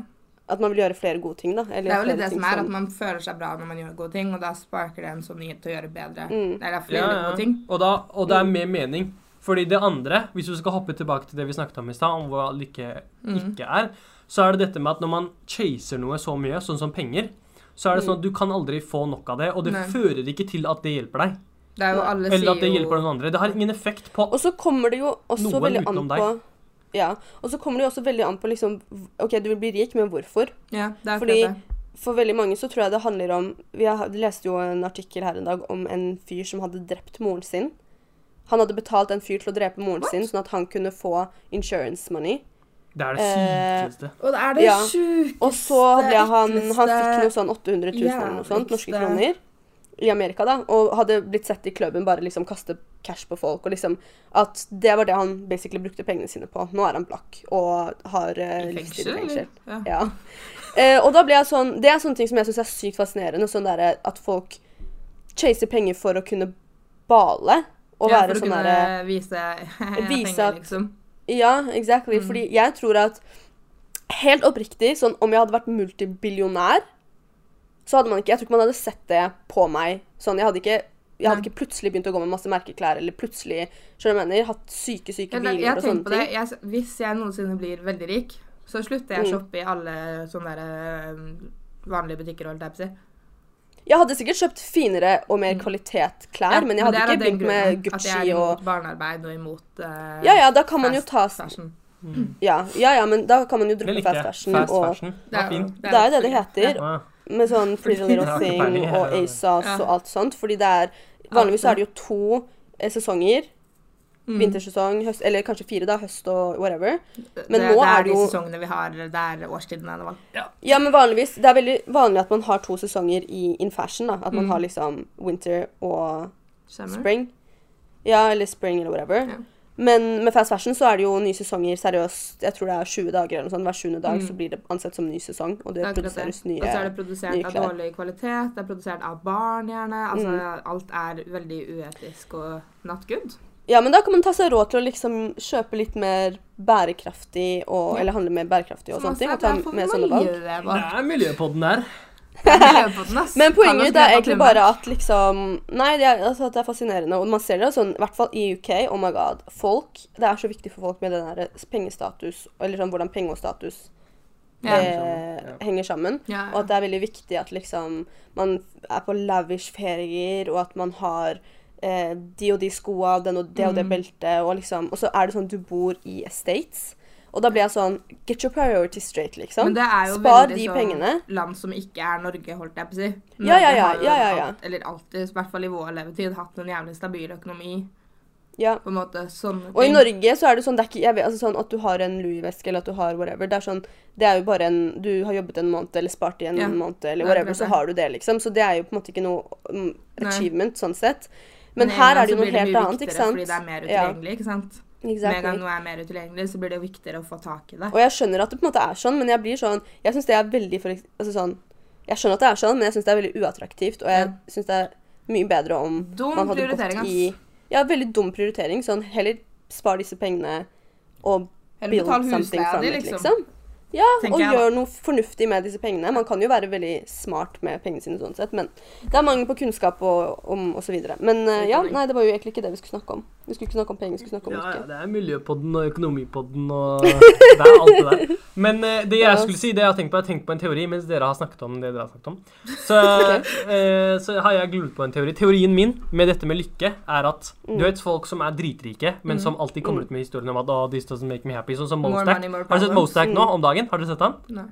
[SPEAKER 1] man vil gjøre flere gode ting, da. Eller
[SPEAKER 3] Det er jo litt
[SPEAKER 1] flere
[SPEAKER 3] det
[SPEAKER 1] ting
[SPEAKER 3] som er, at man føler seg bra når man gjør gode ting, og da sparker det en sånn nyhet til å gjøre bedre.
[SPEAKER 1] Mm.
[SPEAKER 3] Eller flere gode ting.
[SPEAKER 2] Og, da, og det er mer mening. Fordi det andre, hvis du skal hoppe tilbake til det vi snakket om i stad, om hva lykke ikke er, så er det dette med at når man chaser noe så mye, sånn som penger, så er det sånn at du kan aldri få nok av det, og det
[SPEAKER 3] Nei.
[SPEAKER 2] fører ikke til at det hjelper deg.
[SPEAKER 3] Det er jo alle
[SPEAKER 2] Eller at det
[SPEAKER 3] sier jo
[SPEAKER 2] hjelper noen andre. Det har ingen effekt på
[SPEAKER 1] Og så kommer det jo også
[SPEAKER 2] Noen
[SPEAKER 1] veldig an
[SPEAKER 2] utenom deg.
[SPEAKER 1] på Ja. Og så kommer det jo også veldig an på liksom OK, du vil bli rik, men hvorfor?
[SPEAKER 3] Ja, det er
[SPEAKER 1] Fordi
[SPEAKER 3] akkurat det.
[SPEAKER 1] for veldig mange så tror jeg det handler om Vi har- leste jo en artikkel her en dag om en fyr som hadde drept moren sin. Han hadde betalt en fyr til å drepe moren sin, sånn at han kunne få insurance money.
[SPEAKER 2] Det er det sykeste.
[SPEAKER 3] Og det er
[SPEAKER 1] det
[SPEAKER 3] det
[SPEAKER 1] Ja.
[SPEAKER 3] sjukeste,
[SPEAKER 1] Og så ble han Han fikk noe sånn 800 000 eller noe sånt, norske
[SPEAKER 3] jævligste.
[SPEAKER 1] kroner. I Amerika, da. Og hadde blitt sett i klubben bare liksom kaste cash på folk. Og liksom At det var det han basically brukte pengene sine på. Nå er han blakk og har uh, livstid i fengsel.
[SPEAKER 3] Ja.
[SPEAKER 1] Ja. Eh, og da ble jeg sånn Det er sånne ting som jeg syns er sykt fascinerende. Sånn derre at folk chaser penger for å kunne bale. Og
[SPEAKER 3] ja, for
[SPEAKER 1] være
[SPEAKER 3] å
[SPEAKER 1] sånn
[SPEAKER 3] kunne
[SPEAKER 1] derre
[SPEAKER 3] vise,
[SPEAKER 1] vise
[SPEAKER 3] penger,
[SPEAKER 1] at-
[SPEAKER 3] liksom.
[SPEAKER 1] Ja,
[SPEAKER 3] Mm.
[SPEAKER 1] exactly. Fordi jeg tror at Helt oppriktig, sånn om jeg hadde vært multibillionær, så hadde man ikke Jeg tror ikke man hadde sett det på meg. Sånn, jeg hadde ikke jeg hadde
[SPEAKER 3] Nei.
[SPEAKER 1] ikke plutselig begynt å gå med masse merkeklær eller plutselig skjønner du hva jeg mener, hatt syke, syke
[SPEAKER 3] Jeg, jeg,
[SPEAKER 1] biler
[SPEAKER 3] har
[SPEAKER 1] og
[SPEAKER 3] tenkt på
[SPEAKER 1] sånne
[SPEAKER 3] det.
[SPEAKER 1] ting. Mm.
[SPEAKER 3] Jeg, hvis jeg noensinne blir veldig rik, så slutter jeg å shoppe i alle sånne der, eh, vanlige butikker. Holdt jeg på å si.
[SPEAKER 1] Jeg hadde sikkert kjøpt finere og mer kvalitet klær,
[SPEAKER 3] Mm. Ja,
[SPEAKER 1] men jeg hadde
[SPEAKER 3] det er av
[SPEAKER 1] ikke
[SPEAKER 3] den
[SPEAKER 1] begynt med
[SPEAKER 3] grunnen at
[SPEAKER 1] Gucci
[SPEAKER 3] jeg er
[SPEAKER 1] og
[SPEAKER 3] imot barnearbeid og imot eh,
[SPEAKER 1] Ja ja, da kan man jo
[SPEAKER 3] fast
[SPEAKER 1] ta
[SPEAKER 3] fashion.
[SPEAKER 1] Ja ja, ja men da kan man jo
[SPEAKER 2] Det
[SPEAKER 1] drukke
[SPEAKER 2] likte
[SPEAKER 1] fast
[SPEAKER 2] jeg.
[SPEAKER 1] fashion
[SPEAKER 2] Fast
[SPEAKER 1] og
[SPEAKER 2] fashion. Det var
[SPEAKER 3] jo-
[SPEAKER 2] fint.
[SPEAKER 1] Det er jo det det heter,
[SPEAKER 2] Ja.
[SPEAKER 1] med sånn Pretty Little
[SPEAKER 2] har ikke
[SPEAKER 1] Thing
[SPEAKER 2] peiling, jeg
[SPEAKER 1] og
[SPEAKER 2] heller.
[SPEAKER 1] ASAS
[SPEAKER 3] Ja.
[SPEAKER 1] og alt sånt, fordi det er Vanligvis så er det jo to eh, sesonger.
[SPEAKER 3] Mm.
[SPEAKER 1] Vintersesong, høst Eller kanskje fire, da. Høst og whatever.
[SPEAKER 3] det,
[SPEAKER 1] Men nå
[SPEAKER 3] det
[SPEAKER 1] er
[SPEAKER 3] er
[SPEAKER 1] det
[SPEAKER 3] de
[SPEAKER 1] jo-
[SPEAKER 3] sesongene vi har, det er årstidene. det var-
[SPEAKER 1] Ja, men vanligvis Det er veldig vanlig at man har to sesonger i in fashion, da. At man
[SPEAKER 3] Mm.
[SPEAKER 1] har liksom winter og
[SPEAKER 3] Summer.
[SPEAKER 1] spring. Ja, eller spring eller whatever.
[SPEAKER 3] Ja.
[SPEAKER 1] Men med fast fashion så er det jo nye sesonger seriøst. Jeg tror det er 20 dager eller noe sånt. Hver 20. dag
[SPEAKER 3] Mm.
[SPEAKER 1] så blir det ansett som ny sesong, og det
[SPEAKER 3] Akkurat det.
[SPEAKER 1] produseres
[SPEAKER 3] Og så er
[SPEAKER 1] nye
[SPEAKER 3] det produsert
[SPEAKER 1] nye
[SPEAKER 3] av
[SPEAKER 1] klær.
[SPEAKER 3] dårlig kvalitet, det er produsert av barn gjerne. Altså,
[SPEAKER 1] Mm.
[SPEAKER 3] Alt er veldig uetisk og not good.
[SPEAKER 1] Ja, men da kan man ta seg råd til å liksom kjøpe litt mer bærekraftig og Eller handle mer bærekraftig og
[SPEAKER 3] Som
[SPEAKER 1] sånne ting.
[SPEAKER 3] også
[SPEAKER 1] Og ta
[SPEAKER 3] altså, er derfor
[SPEAKER 1] med
[SPEAKER 3] man
[SPEAKER 1] sånne valg.
[SPEAKER 3] gjør det,
[SPEAKER 2] Det
[SPEAKER 3] bare.
[SPEAKER 2] er miljøpodden her.
[SPEAKER 3] Miljøpodden, ass.
[SPEAKER 1] Men
[SPEAKER 3] Kan
[SPEAKER 1] poenget
[SPEAKER 3] oss
[SPEAKER 1] mitt er
[SPEAKER 3] ned på
[SPEAKER 1] egentlig
[SPEAKER 3] trimmen.
[SPEAKER 1] bare at liksom Nei, det er, altså, at det er fascinerende. Og man ser det jo sånn, i hvert fall i UK. Oh my god. Folk Det er så viktig for folk med den der pengestatus, eller sånn hvordan penge og status
[SPEAKER 3] Ja.
[SPEAKER 1] eh,
[SPEAKER 2] Henger sammen, ja.
[SPEAKER 1] henger sammen.
[SPEAKER 3] Ja,
[SPEAKER 1] Og at det er veldig viktig at liksom man er på lavish ferier, og at man har eh, de og de skoa, den og det og det
[SPEAKER 3] Mm.
[SPEAKER 1] beltet, og liksom Og så er det sånn du bor i estates. Og da blir jeg sånn Get your priorities straight, liksom.
[SPEAKER 3] Men det er jo
[SPEAKER 1] Spar
[SPEAKER 3] veldig
[SPEAKER 1] de
[SPEAKER 3] sånn
[SPEAKER 1] pengene.
[SPEAKER 3] land som ikke er Norge, holdt jeg på å si.
[SPEAKER 1] Ja, ja, ja,
[SPEAKER 3] Norge har jo
[SPEAKER 1] ja, ja, ja.
[SPEAKER 3] Alt, eller alltid, i hvert fall i vår levetid, hatt en jævlig stabil økonomi.
[SPEAKER 1] Ja.
[SPEAKER 3] På en måte sånne
[SPEAKER 1] Og i Norge så er det sånn, det er ikke, jeg vet, altså sånn at du har en Louis-veske eller at du har whatever. Det er sånn, det er jo bare en Du har jobbet en måned eller spart i en
[SPEAKER 3] Ja.
[SPEAKER 1] måned eller
[SPEAKER 3] Nei,
[SPEAKER 1] whatever,
[SPEAKER 3] akkurat
[SPEAKER 1] så
[SPEAKER 3] det.
[SPEAKER 1] har du det, liksom. Så det er jo på en måte ikke noe mm,
[SPEAKER 3] Nei.
[SPEAKER 1] achievement sånn sett. Men,
[SPEAKER 3] i
[SPEAKER 1] her
[SPEAKER 3] England
[SPEAKER 1] er det
[SPEAKER 3] så
[SPEAKER 1] jo noe
[SPEAKER 3] blir
[SPEAKER 1] helt
[SPEAKER 3] mye
[SPEAKER 1] annet,
[SPEAKER 3] viktigere
[SPEAKER 1] ikke sant?
[SPEAKER 3] Fordi det er mer
[SPEAKER 1] Ja,
[SPEAKER 3] utilgjengelig, ikke sant. Med en gang
[SPEAKER 1] exactly.
[SPEAKER 3] noe er mer utilgjengelig, så blir det jo viktigere å få tak i det.
[SPEAKER 1] Og jeg skjønner at det på en måte er sånn, men jeg blir sånn Jeg syns det er veldig for, altså sånn, Jeg skjønner at det er sånn, men jeg syns det er veldig uattraktivt, og jeg
[SPEAKER 3] Ja.
[SPEAKER 1] syns det er mye bedre om
[SPEAKER 3] Dum
[SPEAKER 1] man hadde
[SPEAKER 3] prioritering,
[SPEAKER 1] gått
[SPEAKER 3] ass.
[SPEAKER 1] i Ja, veldig dum prioritering. Sånn heller spar disse pengene og
[SPEAKER 3] Eller
[SPEAKER 1] build
[SPEAKER 3] betal
[SPEAKER 1] something
[SPEAKER 3] husleia
[SPEAKER 1] from
[SPEAKER 3] di,
[SPEAKER 1] it,
[SPEAKER 3] liksom.
[SPEAKER 1] liksom. Ja,
[SPEAKER 3] Tenker
[SPEAKER 1] og
[SPEAKER 3] jeg, da.
[SPEAKER 1] gjør noe fornuftig med disse pengene. Man kan jo være veldig smart med pengene sine, sånn sett, men det er mangel på kunnskap og, om, og så videre. Men eh, ja,
[SPEAKER 3] Utdanning.
[SPEAKER 1] nei, det var jo egentlig ikke det vi skulle snakke om. Vi skulle ikke snakke om penger, vi skulle snakke om
[SPEAKER 2] Ja, ja,
[SPEAKER 1] lykke.
[SPEAKER 2] det er miljøpodden og økonomipodden og Det er alt det der. Men eh, det jeg skulle si, det jeg har tenkt på, jeg har tenkt på en teori mens dere har snakket om det dere har snakket om. Så, eh, så har jeg glurt på en teori. Teorien min med dette med lykke er at
[SPEAKER 1] Mm.
[SPEAKER 2] du vet folk som er dritrike, men som alltid kommer ut med historien om at oh, this doesn't make me happy, sånn som
[SPEAKER 3] More
[SPEAKER 2] Mostak.
[SPEAKER 3] money, more
[SPEAKER 2] Har du sett
[SPEAKER 3] problems.
[SPEAKER 2] Mostak nå om dagen? Har dere sett han?
[SPEAKER 3] Nei.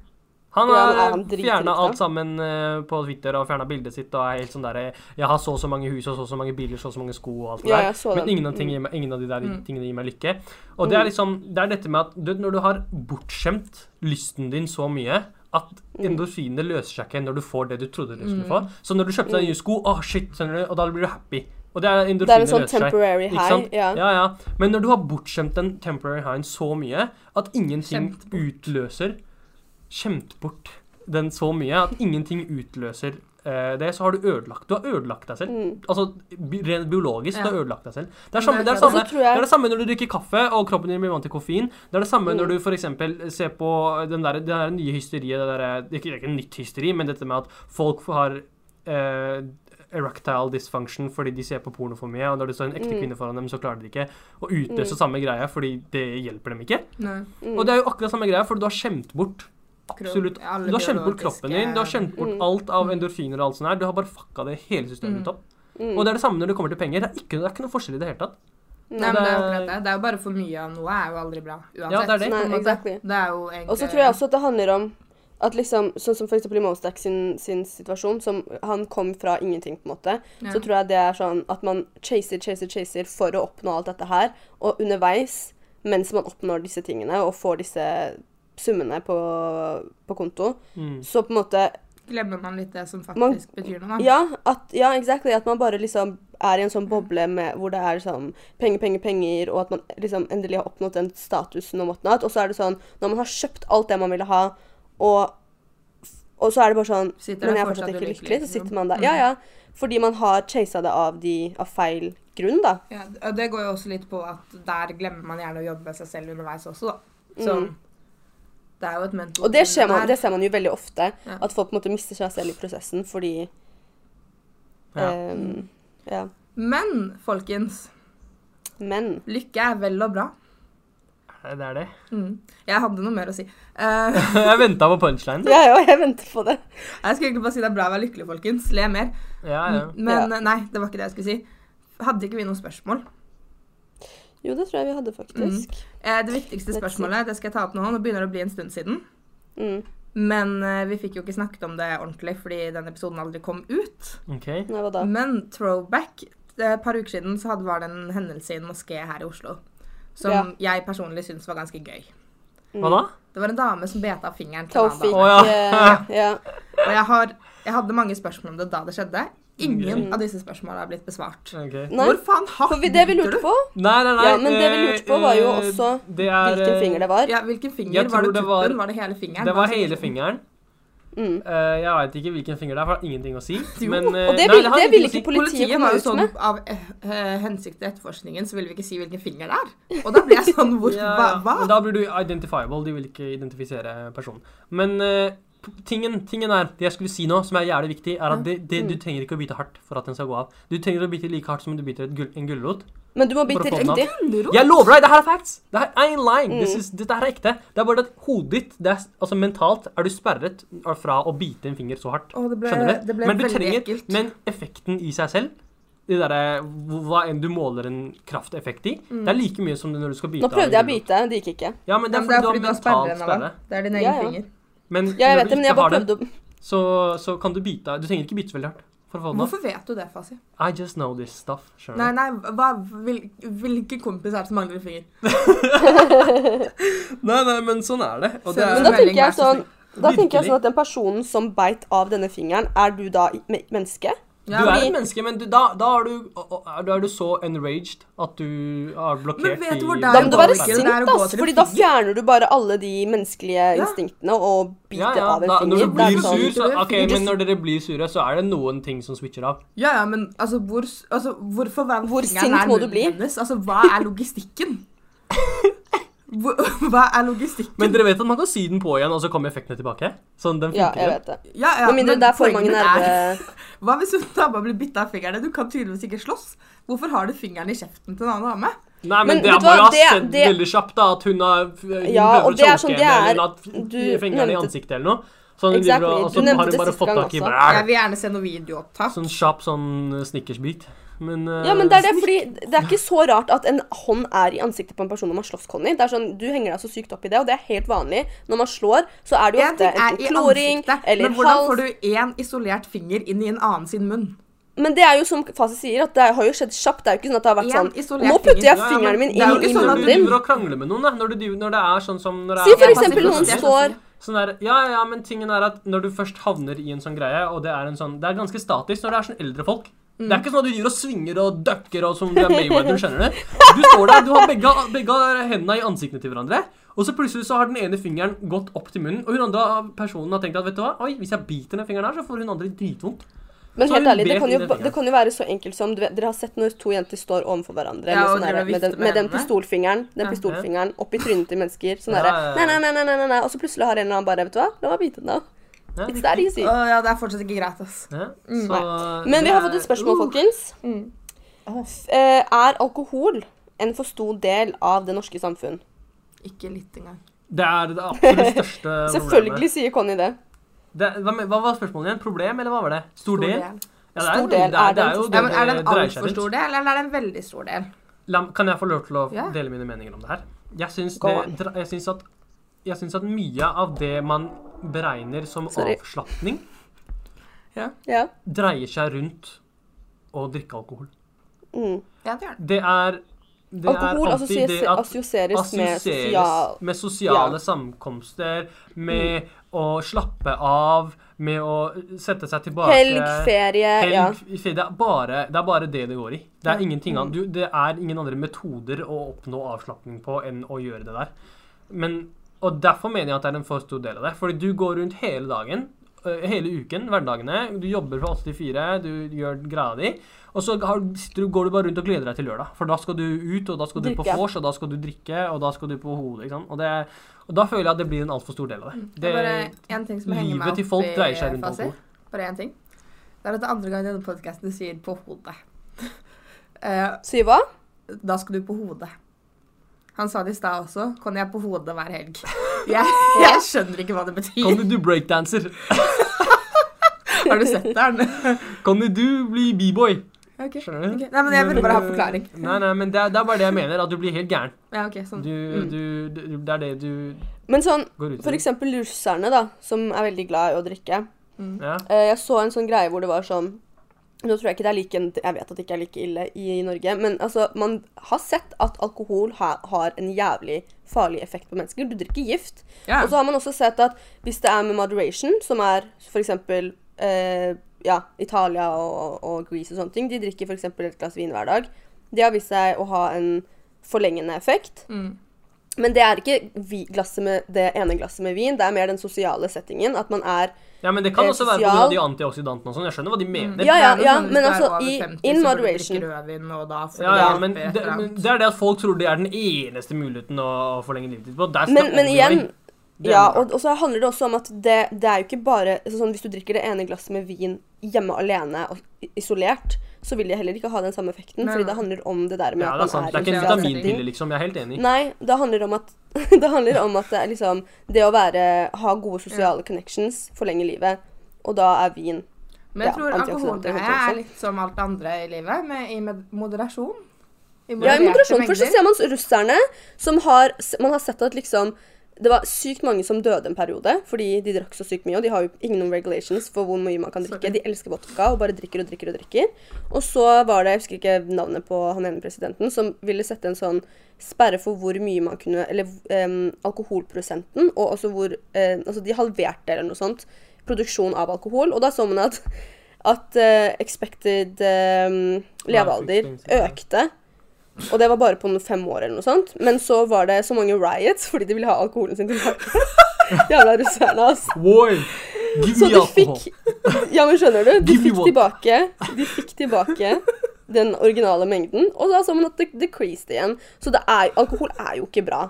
[SPEAKER 2] Han
[SPEAKER 1] Mm. Ja,
[SPEAKER 2] har
[SPEAKER 1] er han dritrik,
[SPEAKER 2] fjerna
[SPEAKER 1] da?
[SPEAKER 2] alt sammen eh, på Twitter og fjerna bildet sitt og er helt sånn derre Jeg har så og så mange hus og så og så mange biler, så og så mange sko og alt det
[SPEAKER 1] Ja, jeg så den.
[SPEAKER 2] der. Men
[SPEAKER 1] Mm.
[SPEAKER 2] ingen av, ting, gir meg- ingen av de der tingene gir meg lykke. Og det er liksom Det er dette med at du, vet, når du har bortskjemt lysten din så mye at
[SPEAKER 1] Mm.
[SPEAKER 2] endorfinene løser seg ikke når du får det du trodde du skulle få. Så når du kjøpte deg nye sko, åh shit, skjønner du, og da blir du happy. Og det er
[SPEAKER 1] Mm. Det er en
[SPEAKER 2] endorfinene
[SPEAKER 1] sånn
[SPEAKER 2] løser seg.
[SPEAKER 1] temporary
[SPEAKER 2] Ikke sant?
[SPEAKER 1] high. Ja.
[SPEAKER 2] ja, ja. Men når du har bortskjemt den temporary highen så mye at ingenting
[SPEAKER 3] Skjemt
[SPEAKER 2] utløser Skjemt bort den så mye at ingenting utløser eh, det, så har du ødelagt. Du har ødelagt deg selv.
[SPEAKER 1] Mm.
[SPEAKER 2] Altså bi- rent biologisk, du har
[SPEAKER 3] Ja.
[SPEAKER 2] ødelagt deg selv. Det er, samme, det, er
[SPEAKER 3] klart.
[SPEAKER 2] samme,
[SPEAKER 1] Og så tror
[SPEAKER 2] det
[SPEAKER 1] jeg-
[SPEAKER 2] er det samme når du drikker kaffe og kroppen din blir vant til koffein. Det er det samme når du f.eks. ser på den der, det der nye hysteriet det der, det er ikke, det er ikke nytt hysteri, men dette med at folk har eh, erectile dysfunction fordi de ser på porno for mye, og når det står en ekte kvinne foran dem, så klarer de det ikke å utløse samme greia fordi det hjelper dem ikke.
[SPEAKER 3] Nei.
[SPEAKER 1] Mm.
[SPEAKER 2] Og det er jo akkurat samme greia, for du har skjemt bort absolutt
[SPEAKER 3] Kropp- alle
[SPEAKER 2] Du har skjemt bort kroppen din, du har
[SPEAKER 3] biologiske-
[SPEAKER 2] skjemt bort alt av endorfiner og alt sånt her. Du har bare fucka det hele systemet ditt opp.
[SPEAKER 1] Mm.
[SPEAKER 2] Og det er det samme når det kommer til penger. Det er ikke, det er ikke noe forskjell i det hele tatt.
[SPEAKER 3] Nei, men det er
[SPEAKER 2] det-
[SPEAKER 3] akkurat det. Det er jo bare for mye av noe er jo aldri bra. Uansett.
[SPEAKER 2] Ja, det er det.
[SPEAKER 3] på en
[SPEAKER 1] Nei,
[SPEAKER 3] måte.
[SPEAKER 1] exactly.
[SPEAKER 3] Det er jo egentlig
[SPEAKER 1] Og så tror jeg også at det handler om at liksom, sånn som for eksempel i Mostak sin, sin situasjon, som han kom fra ingenting, på en måte,
[SPEAKER 3] Ja.
[SPEAKER 1] så tror jeg det er sånn at man chaser, chaser, chaser for å oppnå alt dette her, og underveis, mens man oppnår disse tingene og får disse summene på, på konto,
[SPEAKER 2] Mm.
[SPEAKER 1] så på en måte
[SPEAKER 3] Glemmer man litt det som faktisk
[SPEAKER 1] Man-
[SPEAKER 3] betyr noe, da.
[SPEAKER 1] Ja, at, ja, exactly. At man bare liksom er i en sånn boble med, hvor det er liksom penger, penger, penger, og at man liksom endelig har oppnådd den statusen og whatnot. Og så er det sånn, når man har kjøpt alt det man ville ha, og, og så er det bare sånn
[SPEAKER 3] Sitter der
[SPEAKER 1] Men jeg er fortsatt
[SPEAKER 3] fortsatt
[SPEAKER 1] ikke
[SPEAKER 3] ulykkelig,
[SPEAKER 1] lykkelig. Så
[SPEAKER 3] liksom.
[SPEAKER 1] sitter man der. Ja, ja. Fordi man har chasa det av, de, av feil grunn, da.
[SPEAKER 3] Ja, og det går jo også litt på at der glemmer man gjerne å jobbe med seg selv underveis også, da. Så det er jo et mental
[SPEAKER 1] Mm. Og det, skjer man,
[SPEAKER 3] der.
[SPEAKER 1] det ser man jo veldig ofte.
[SPEAKER 3] Ja.
[SPEAKER 1] At folk på en måte mister seg selv i prosessen fordi
[SPEAKER 2] Ja.
[SPEAKER 3] Mm.
[SPEAKER 1] ehm, ja.
[SPEAKER 3] Men folkens,
[SPEAKER 1] Men
[SPEAKER 3] lykke er vel og bra.
[SPEAKER 1] Eh.
[SPEAKER 2] Det er det.
[SPEAKER 3] Mm. Jeg hadde noe mer å si. Eh,
[SPEAKER 2] Jeg venta på punchlinen.
[SPEAKER 1] Jeg òg, jeg venter på det.
[SPEAKER 3] jeg skulle egentlig bare si det er bra å være lykkelig, folkens. Le mer.
[SPEAKER 2] Ja, ja.
[SPEAKER 3] Men
[SPEAKER 1] Ja.
[SPEAKER 3] eh, nei, det var ikke det jeg skulle si. Hadde ikke vi noen spørsmål?
[SPEAKER 1] Jo, det tror jeg vi hadde, faktisk.
[SPEAKER 3] Eh, Det viktigste
[SPEAKER 1] Let's see.
[SPEAKER 3] spørsmålet, det skal jeg ta opp nå, nå begynner det å bli en stund siden.
[SPEAKER 1] Mm.
[SPEAKER 3] Men eh, vi fikk jo ikke snakket om det ordentlig fordi den episoden aldri kom ut.
[SPEAKER 2] OK.
[SPEAKER 1] Nei, hva da?
[SPEAKER 3] Men throwback eh, Et par uker siden så hadde, var det en hendelse i en moské her i Oslo som jeg personlig syns var ganske gøy.
[SPEAKER 2] Hva da?
[SPEAKER 3] Det var en dame som bet av fingeren til en annen
[SPEAKER 1] Taufik.
[SPEAKER 3] dame.
[SPEAKER 2] Å,
[SPEAKER 1] ja. Eh, ja.
[SPEAKER 3] Og jeg, har, jeg hadde mange spørsmål om det da det skjedde. Ingen
[SPEAKER 2] Mm.
[SPEAKER 3] av disse spørsmålene har blitt besvart.
[SPEAKER 2] Ok.
[SPEAKER 1] Nei,
[SPEAKER 3] Hvor faen har
[SPEAKER 1] for vi, det vi lurte på,
[SPEAKER 2] Nei, nei, nei.
[SPEAKER 1] Ja, men det vi lurte på var jo
[SPEAKER 2] eh,
[SPEAKER 1] også
[SPEAKER 2] det er,
[SPEAKER 1] hvilken
[SPEAKER 2] eh,
[SPEAKER 1] finger det var.
[SPEAKER 3] Ja, hvilken finger?
[SPEAKER 2] Jeg
[SPEAKER 3] Var det
[SPEAKER 2] tror det
[SPEAKER 3] tuppen?
[SPEAKER 2] var-
[SPEAKER 3] Var... det hele fingeren? Altså,
[SPEAKER 2] Det var
[SPEAKER 3] Hva
[SPEAKER 2] hele fingeren.
[SPEAKER 1] Mm.
[SPEAKER 2] Eh, jeg veit ikke hvilken finger det er, for det har ingenting å si.
[SPEAKER 3] Jo,
[SPEAKER 2] Men, eh,
[SPEAKER 1] og det
[SPEAKER 2] nei,
[SPEAKER 1] vil-
[SPEAKER 2] har
[SPEAKER 1] det vil
[SPEAKER 2] ingenting å
[SPEAKER 1] ikke
[SPEAKER 2] si.
[SPEAKER 1] politiet
[SPEAKER 3] Politiet
[SPEAKER 1] komme
[SPEAKER 3] var jo
[SPEAKER 1] ut
[SPEAKER 3] sånn
[SPEAKER 1] med.
[SPEAKER 3] av eh, hensikt til etterforskningen så ville vi ikke si hvilken finger det er. Og da ble jeg sånn hvor,
[SPEAKER 2] Ja, ja.
[SPEAKER 3] Hva?
[SPEAKER 2] Men
[SPEAKER 3] hva?
[SPEAKER 2] Da blir du identifiable. De vil ikke identifisere personen. Men eh, p- tingen, tingen er Det jeg skulle si nå, som er jævlig viktig, er at det, det,
[SPEAKER 1] Mm.
[SPEAKER 2] du trenger ikke å bite hardt for at den skal gå av. Du trenger å bite like hardt som du biter et gull, en gulrot.
[SPEAKER 1] Men du må bite
[SPEAKER 2] For å få den av.
[SPEAKER 1] riktig.
[SPEAKER 3] Gulrot?
[SPEAKER 2] Jeg lover deg, det her er facts! Det her er lying. This is, dette her er ekte. Det er bare det at hodet ditt det er, s- Altså mentalt er du sperret fra å bite en finger så hardt.
[SPEAKER 3] Å, det ble,
[SPEAKER 2] Skjønner du?
[SPEAKER 3] det ble
[SPEAKER 2] men du
[SPEAKER 3] veldig
[SPEAKER 2] trenger,
[SPEAKER 3] ekkelt.
[SPEAKER 2] Men effekten i seg selv det derre- Hva enn du måler en krafteffekt i, det er like mye som det når du skal bite
[SPEAKER 1] Nå prøvde jeg å
[SPEAKER 2] en gulrot.
[SPEAKER 1] bite, det gikk ikke.
[SPEAKER 2] Ja, men det
[SPEAKER 3] Ja,
[SPEAKER 2] er
[SPEAKER 3] men
[SPEAKER 2] fordi, du har mental
[SPEAKER 3] sperren av
[SPEAKER 2] sperre.
[SPEAKER 3] den. Det er din
[SPEAKER 1] Ja,
[SPEAKER 3] egen
[SPEAKER 1] ja.
[SPEAKER 3] finger.
[SPEAKER 2] Men
[SPEAKER 1] Ja, jeg
[SPEAKER 2] når
[SPEAKER 1] vet
[SPEAKER 2] du
[SPEAKER 1] det, men jeg
[SPEAKER 2] ikke har
[SPEAKER 1] bare
[SPEAKER 2] den,
[SPEAKER 1] prøvde å
[SPEAKER 2] så, så kan du bite av- Du trenger ikke bite så veldig hardt for å få den av.
[SPEAKER 3] Hvorfor vet du det, Fasi?
[SPEAKER 2] I just know this stuff.
[SPEAKER 3] Nei,
[SPEAKER 2] Skjønner du?
[SPEAKER 3] nei, hva, hvil, hvilken kompis er det som mangler en finger?
[SPEAKER 2] Nei, nei, men sånn er det.
[SPEAKER 3] og det er-
[SPEAKER 1] Men da
[SPEAKER 3] melding,
[SPEAKER 1] tenker jeg
[SPEAKER 3] vær så
[SPEAKER 1] sånn da tenker jeg
[SPEAKER 2] Virkelig.
[SPEAKER 1] sånn at den personen som beit av denne fingeren, er du da i- me- menneske?
[SPEAKER 2] du
[SPEAKER 3] Ja,
[SPEAKER 2] er
[SPEAKER 1] fordi-
[SPEAKER 2] et menneske, men du, da, da, er du, å- å- er du, er du så enraged at du er blokkert
[SPEAKER 3] Men vet du hvor
[SPEAKER 2] i-
[SPEAKER 3] det er
[SPEAKER 1] Da må du være
[SPEAKER 3] det er å
[SPEAKER 1] sint,
[SPEAKER 3] gå
[SPEAKER 1] ass,
[SPEAKER 3] til en
[SPEAKER 1] Fordi da
[SPEAKER 3] finger.
[SPEAKER 1] fjerner du bare alle de menneskelige instinktene og
[SPEAKER 2] Ja,
[SPEAKER 1] biter
[SPEAKER 2] ja.
[SPEAKER 1] av en
[SPEAKER 2] Da, når
[SPEAKER 1] finger.
[SPEAKER 2] du
[SPEAKER 1] Det er
[SPEAKER 2] blir
[SPEAKER 1] sånn-
[SPEAKER 2] sur, så
[SPEAKER 3] Du
[SPEAKER 2] OK,
[SPEAKER 3] blir
[SPEAKER 2] men når dere blir sure, så er det noen ting som switcher av.
[SPEAKER 3] Ja, ja, men altså, hvor, s- altså hvorfor være
[SPEAKER 1] Hvor
[SPEAKER 3] fingeren
[SPEAKER 1] sint
[SPEAKER 3] er
[SPEAKER 1] må du
[SPEAKER 3] munnen
[SPEAKER 1] bli?
[SPEAKER 3] Hennes? Altså, hva er logistikken? Hvor, hva er logistikken?
[SPEAKER 2] Men dere vet at man kan sy den på igjen, og så kommer effektene tilbake? Sånn, den
[SPEAKER 1] Ja,
[SPEAKER 2] funker
[SPEAKER 1] jeg
[SPEAKER 2] igjen.
[SPEAKER 1] vet det.
[SPEAKER 3] ja, ja,
[SPEAKER 1] Med mindre
[SPEAKER 3] men
[SPEAKER 1] det er for
[SPEAKER 3] poenget
[SPEAKER 1] mange
[SPEAKER 3] mitt
[SPEAKER 1] nerve...
[SPEAKER 3] er- Hva hvis hun dama blir bitt av fingeren? Du kan tydeligvis ikke slåss. Hvorfor har du fingeren i kjeften til en annen dame?
[SPEAKER 2] Nei, men,
[SPEAKER 1] Men
[SPEAKER 2] det
[SPEAKER 1] vet du
[SPEAKER 2] må jo
[SPEAKER 1] hva,
[SPEAKER 2] ha
[SPEAKER 1] det-
[SPEAKER 2] skjedd
[SPEAKER 1] det-
[SPEAKER 2] veldig kjapt, da. At hun har hun
[SPEAKER 1] Ja,
[SPEAKER 2] prøver
[SPEAKER 1] og det
[SPEAKER 2] å
[SPEAKER 1] er
[SPEAKER 2] choke
[SPEAKER 1] sånn, det
[SPEAKER 2] henne,
[SPEAKER 1] er-
[SPEAKER 2] eller at
[SPEAKER 1] du
[SPEAKER 2] fingeren i
[SPEAKER 1] nevnte-
[SPEAKER 2] ansiktet eller noe. Sånn,
[SPEAKER 1] Exactly,
[SPEAKER 2] driver, og
[SPEAKER 1] du
[SPEAKER 2] så
[SPEAKER 1] nevnte
[SPEAKER 2] har hun
[SPEAKER 1] det
[SPEAKER 2] bare
[SPEAKER 1] sist
[SPEAKER 2] fått
[SPEAKER 1] gang
[SPEAKER 2] tak i
[SPEAKER 1] også.
[SPEAKER 2] bræl.
[SPEAKER 3] Jeg vil gjerne se noe videoopptak.
[SPEAKER 2] Sånn kjapp sånn eh, snickersbit. Men eh,
[SPEAKER 1] Ja, men det er det, fordi det er ikke så rart at en hånd er i ansiktet på en person når man slåss, Conny. Det er sånn, Du henger deg så sykt opp i det, og det er helt vanlig. Når man slår, så er det jo
[SPEAKER 3] En ting
[SPEAKER 1] ofte
[SPEAKER 3] er
[SPEAKER 1] enten
[SPEAKER 3] i
[SPEAKER 1] kloring
[SPEAKER 3] ansiktet,
[SPEAKER 1] eller
[SPEAKER 3] men hvordan får
[SPEAKER 1] hals.
[SPEAKER 3] du én isolert finger inn i en annen sin munn?
[SPEAKER 1] Men det er jo som Fasi sier, at det har jo skjedd kjapt. Det er jo ikke sånn at det har vært
[SPEAKER 3] En
[SPEAKER 1] sånn
[SPEAKER 3] isolert
[SPEAKER 1] Nå putter jeg
[SPEAKER 2] Ja, ja, men
[SPEAKER 1] fingeren min
[SPEAKER 2] det er jo
[SPEAKER 1] inn
[SPEAKER 2] ikke
[SPEAKER 1] i
[SPEAKER 2] sånn
[SPEAKER 1] munnen
[SPEAKER 2] at du
[SPEAKER 1] din.
[SPEAKER 2] driver og krangler med noen, da. Når, du, driver- når det er sånn som når det
[SPEAKER 1] Si
[SPEAKER 2] er,
[SPEAKER 1] for
[SPEAKER 3] Jeg passer
[SPEAKER 1] eksempel
[SPEAKER 3] på
[SPEAKER 1] noen
[SPEAKER 3] det.
[SPEAKER 1] står
[SPEAKER 2] sånn der, ja, ja, men tingen er at når du først havner i en sånn greie, og det er en sånn Det er ganske statisk når det er sånn eldre folk. Det
[SPEAKER 1] Mm.
[SPEAKER 2] er ikke sånn at du driver og svinger og ducker og som du er Mayweather, skjønner du? Du står der, du har begge, begge hendene i ansiktene til hverandre, og så plutselig så har den ene fingeren gått opp til munnen, og hun andre personen har tenkt at vet du hva, oi, hvis jeg biter den fingeren her, så får hun andre dritvondt.
[SPEAKER 1] Men
[SPEAKER 2] Så
[SPEAKER 1] helt
[SPEAKER 2] hun
[SPEAKER 1] ærlig, det
[SPEAKER 2] bet
[SPEAKER 1] kan,
[SPEAKER 2] i
[SPEAKER 1] jo,
[SPEAKER 2] den
[SPEAKER 1] det
[SPEAKER 2] fingeren.
[SPEAKER 1] kan jo være så enkelt som du vet, Dere har sett når to jenter står overfor hverandre
[SPEAKER 3] Ja,
[SPEAKER 1] eller sånn
[SPEAKER 3] og driver
[SPEAKER 1] der,
[SPEAKER 3] og
[SPEAKER 1] med, den,
[SPEAKER 3] vifter med
[SPEAKER 1] med den
[SPEAKER 3] hendene.
[SPEAKER 1] pistolfingeren Den
[SPEAKER 3] Ja.
[SPEAKER 1] pistolfingeren opp i trynet til mennesker. Sånn
[SPEAKER 2] Ja,
[SPEAKER 1] derre
[SPEAKER 2] ja,
[SPEAKER 1] nei,
[SPEAKER 2] ja.
[SPEAKER 1] nei, nei, nei, nei, nei, nei. Og så plutselig har en eller annen bare Vet du hva, la meg bite den av.
[SPEAKER 2] Ja,
[SPEAKER 1] It's that
[SPEAKER 2] riktig.
[SPEAKER 1] easy.
[SPEAKER 3] Å, ja, det er fortsatt ikke greit, ass.
[SPEAKER 2] Ja, så
[SPEAKER 1] Mm. Men vi
[SPEAKER 2] det
[SPEAKER 1] har fått
[SPEAKER 2] er-
[SPEAKER 1] et spørsmål,
[SPEAKER 2] Uh.
[SPEAKER 1] folkens.
[SPEAKER 3] Mm.
[SPEAKER 1] F- eh, Er alkohol en for stor del av det norske samfunn?
[SPEAKER 3] Ikke litt engang.
[SPEAKER 2] Det er det absolutt største
[SPEAKER 1] Selvfølgelig sier Conny det.
[SPEAKER 2] problemet. Det, hva, men- hva var spørsmålet igjen? Problem, eller hva var det? Stor del? Ja, det
[SPEAKER 1] Stor del
[SPEAKER 2] det
[SPEAKER 1] er
[SPEAKER 2] det
[SPEAKER 1] den
[SPEAKER 2] er jo
[SPEAKER 1] som-
[SPEAKER 2] det
[SPEAKER 3] Ja, men Er det
[SPEAKER 2] det
[SPEAKER 3] en
[SPEAKER 2] dreier seg
[SPEAKER 3] altfor stor
[SPEAKER 2] rundt.
[SPEAKER 3] del, eller er det en veldig stor del?
[SPEAKER 2] La, kan jeg få lov til å
[SPEAKER 3] Ja.
[SPEAKER 2] dele mine meninger om det her? Jeg syns,
[SPEAKER 1] Go
[SPEAKER 2] det,
[SPEAKER 1] on.
[SPEAKER 2] dra- jeg syns, at, jeg syns at mye av det man beregner som
[SPEAKER 1] Sorry.
[SPEAKER 2] avslapning,
[SPEAKER 1] Ja.
[SPEAKER 2] dreier seg rundt å drikke alkohol.
[SPEAKER 1] Mm.
[SPEAKER 3] Ja, det gjør det.
[SPEAKER 2] Det er det
[SPEAKER 1] Alkohol
[SPEAKER 2] er alltid det
[SPEAKER 1] assosieres
[SPEAKER 2] at
[SPEAKER 1] assosieres med sosial
[SPEAKER 2] assosieres med sosiale
[SPEAKER 1] ja.
[SPEAKER 2] samkomster, med å slappe av, med å sette seg tilbake
[SPEAKER 1] Helg, ferie,
[SPEAKER 3] Eh,
[SPEAKER 1] ja.
[SPEAKER 2] eh, Helg, fe- det, er bare, det er bare det det går i. Det er, ingenting
[SPEAKER 3] Mm.
[SPEAKER 2] annet. Du, det er ingen andre metoder å oppnå avslapning på enn å gjøre det der. Men, og Derfor mener jeg at det er en for stor del av det. Fordi du går rundt hele dagen, øh, hele uken, hverdagene. Du jobber fra 8 til 4, du gjør greia di. Og så har, sitter du, går du bare rundt og gleder deg til lørdag. For da skal du ut, og da skal du på
[SPEAKER 1] Drikke.
[SPEAKER 2] vors, og da skal du drikke, og da skal du på hodet. Ikke sant? Og, det, og da føler jeg at det blir en altfor stor del av det.
[SPEAKER 3] Mm. Det er bare
[SPEAKER 2] det
[SPEAKER 3] én ting som henger meg
[SPEAKER 2] livet
[SPEAKER 3] opp
[SPEAKER 2] til folk
[SPEAKER 3] i
[SPEAKER 2] dreier seg rundt
[SPEAKER 3] Fasi.
[SPEAKER 2] alkohol.
[SPEAKER 3] Bare én ting. Det er at det andre gang i denne podkasten du sier 'på hodet'. Eh,
[SPEAKER 1] Sier hva?
[SPEAKER 3] da skal du på hodet. Han sa det i stad også. Kan jeg på hodet hver helg? Jeg, jeg skjønner ikke hva det
[SPEAKER 2] Kan
[SPEAKER 3] betyr.
[SPEAKER 2] du du breakdanser?
[SPEAKER 3] Har du sett den?
[SPEAKER 2] Kan du du bli b-boy?
[SPEAKER 3] Ok.
[SPEAKER 2] Skjønner du?
[SPEAKER 3] Ok, Nei, men jeg ville bare ha forklaring.
[SPEAKER 2] Nei, nei, men det er, det er bare det jeg mener, at du blir helt gæren.
[SPEAKER 3] Ja, ok, sånn.
[SPEAKER 2] Du, du, du, det er det du
[SPEAKER 1] Men sånn,
[SPEAKER 2] går ut
[SPEAKER 1] Mm. for eksempel russerne, da, som er veldig glad i å drikke.
[SPEAKER 2] Ja.
[SPEAKER 1] Eh, Jeg så en sånn greie hvor det var sånn Nå tror jeg ikke det er like Jeg vet at det ikke er like ille i, i Norge, men altså, man har sett at alkohol ha, har en jævlig farlig effekt på mennesker. Du drikker gift.
[SPEAKER 3] Ja.
[SPEAKER 1] Og så har man også sett at hvis det er med moderation, som er f.eks. Eh, ja, Italia og, og Greece og sånne ting, de drikker f.eks. et glass vin hver dag. Det har vist seg å ha en forlengende effekt.
[SPEAKER 3] Mm.
[SPEAKER 1] Men det er ikke vi, glasset med, det ene glasset med vin, det er mer den sosiale settingen. At man er
[SPEAKER 2] ja, men det kan
[SPEAKER 1] eh,
[SPEAKER 2] også være pga.
[SPEAKER 1] sosial- Mm.
[SPEAKER 2] de antioxidantene og sånn. Jeg skjønner hva de mener.
[SPEAKER 1] Ja, ja,
[SPEAKER 3] Det er
[SPEAKER 1] ja,
[SPEAKER 3] noe sånn, hvis
[SPEAKER 1] men
[SPEAKER 3] du er
[SPEAKER 1] altså,
[SPEAKER 3] over
[SPEAKER 1] i- in
[SPEAKER 3] 50, så burde du drikke
[SPEAKER 1] moderation.
[SPEAKER 3] rødvin, og da får
[SPEAKER 2] Ja,
[SPEAKER 3] du
[SPEAKER 2] ja,
[SPEAKER 3] hjelp
[SPEAKER 2] men
[SPEAKER 3] i et
[SPEAKER 2] det,
[SPEAKER 3] eller
[SPEAKER 2] men
[SPEAKER 3] annet.
[SPEAKER 2] det er det at folk tror det er den eneste muligheten å å forlenge livet ditt på. That's the
[SPEAKER 1] Men, men
[SPEAKER 2] only
[SPEAKER 1] igjen
[SPEAKER 2] way. Det er
[SPEAKER 1] ja,
[SPEAKER 2] noe.
[SPEAKER 1] og, og så handler det også om at det, det er jo ikke bare altså sånn, Hvis du drikker det ene glasset med vin hjemme alene og i- isolert, så vil det heller ikke ha den samme effekten,
[SPEAKER 3] Nei,
[SPEAKER 1] fordi
[SPEAKER 3] nei.
[SPEAKER 1] det handler om det der med
[SPEAKER 2] Ja, det er
[SPEAKER 1] at man
[SPEAKER 2] sant.
[SPEAKER 1] er,
[SPEAKER 2] Det er ikke
[SPEAKER 1] i
[SPEAKER 2] en
[SPEAKER 1] sosial setting.
[SPEAKER 2] vitaminpille, liksom. Jeg er helt enig.
[SPEAKER 1] Nei, det handler om at det handler om at det er liksom det å være ha gode sosiale connections forlenger livet, og da er vin
[SPEAKER 3] Men
[SPEAKER 1] Ja,
[SPEAKER 3] jeg tror
[SPEAKER 1] antioksidanter
[SPEAKER 3] alkoholgreia
[SPEAKER 1] holdt jeg på å
[SPEAKER 3] er
[SPEAKER 1] si.
[SPEAKER 3] litt som alt det andre i livet, med, i med moderasjon.
[SPEAKER 1] Ja, i
[SPEAKER 3] I modererte
[SPEAKER 1] moderasjon. Først så
[SPEAKER 3] mengder.
[SPEAKER 1] ser man russerne, som har Man har sett at liksom det var sykt mange som døde en periode fordi de drakk så sykt mye. Og de har jo ingen regulations for hvor mye man kan drikke.
[SPEAKER 3] Sorry.
[SPEAKER 1] De elsker vodka og bare drikker og drikker og drikker. Og så var det, jeg husker ikke navnet på han ene presidenten, som ville sette en sånn sperre for hvor mye man kunne Eller em, alkoholprosenten, og også hvor eh, Altså de halverte eller noe sånt produksjon av alkohol. Og da så man at, at eh, expected em, levealder
[SPEAKER 2] expectancy.
[SPEAKER 1] økte. Og det var bare på noen fem år eller noe sånt. Men så var det så mange riots fordi de ville ha alkoholen sin tilbake. Jævla russerne, altså.
[SPEAKER 2] Woi! Give
[SPEAKER 1] Så
[SPEAKER 2] me
[SPEAKER 1] de
[SPEAKER 2] alcohol.
[SPEAKER 1] fikk Ja, men skjønner du? De
[SPEAKER 2] Give me
[SPEAKER 1] fikk
[SPEAKER 2] one.
[SPEAKER 1] tilbake De fikk tilbake den originale mengden, og da så man at det decreased igjen. Så det er, alkohol er jo ikke bra.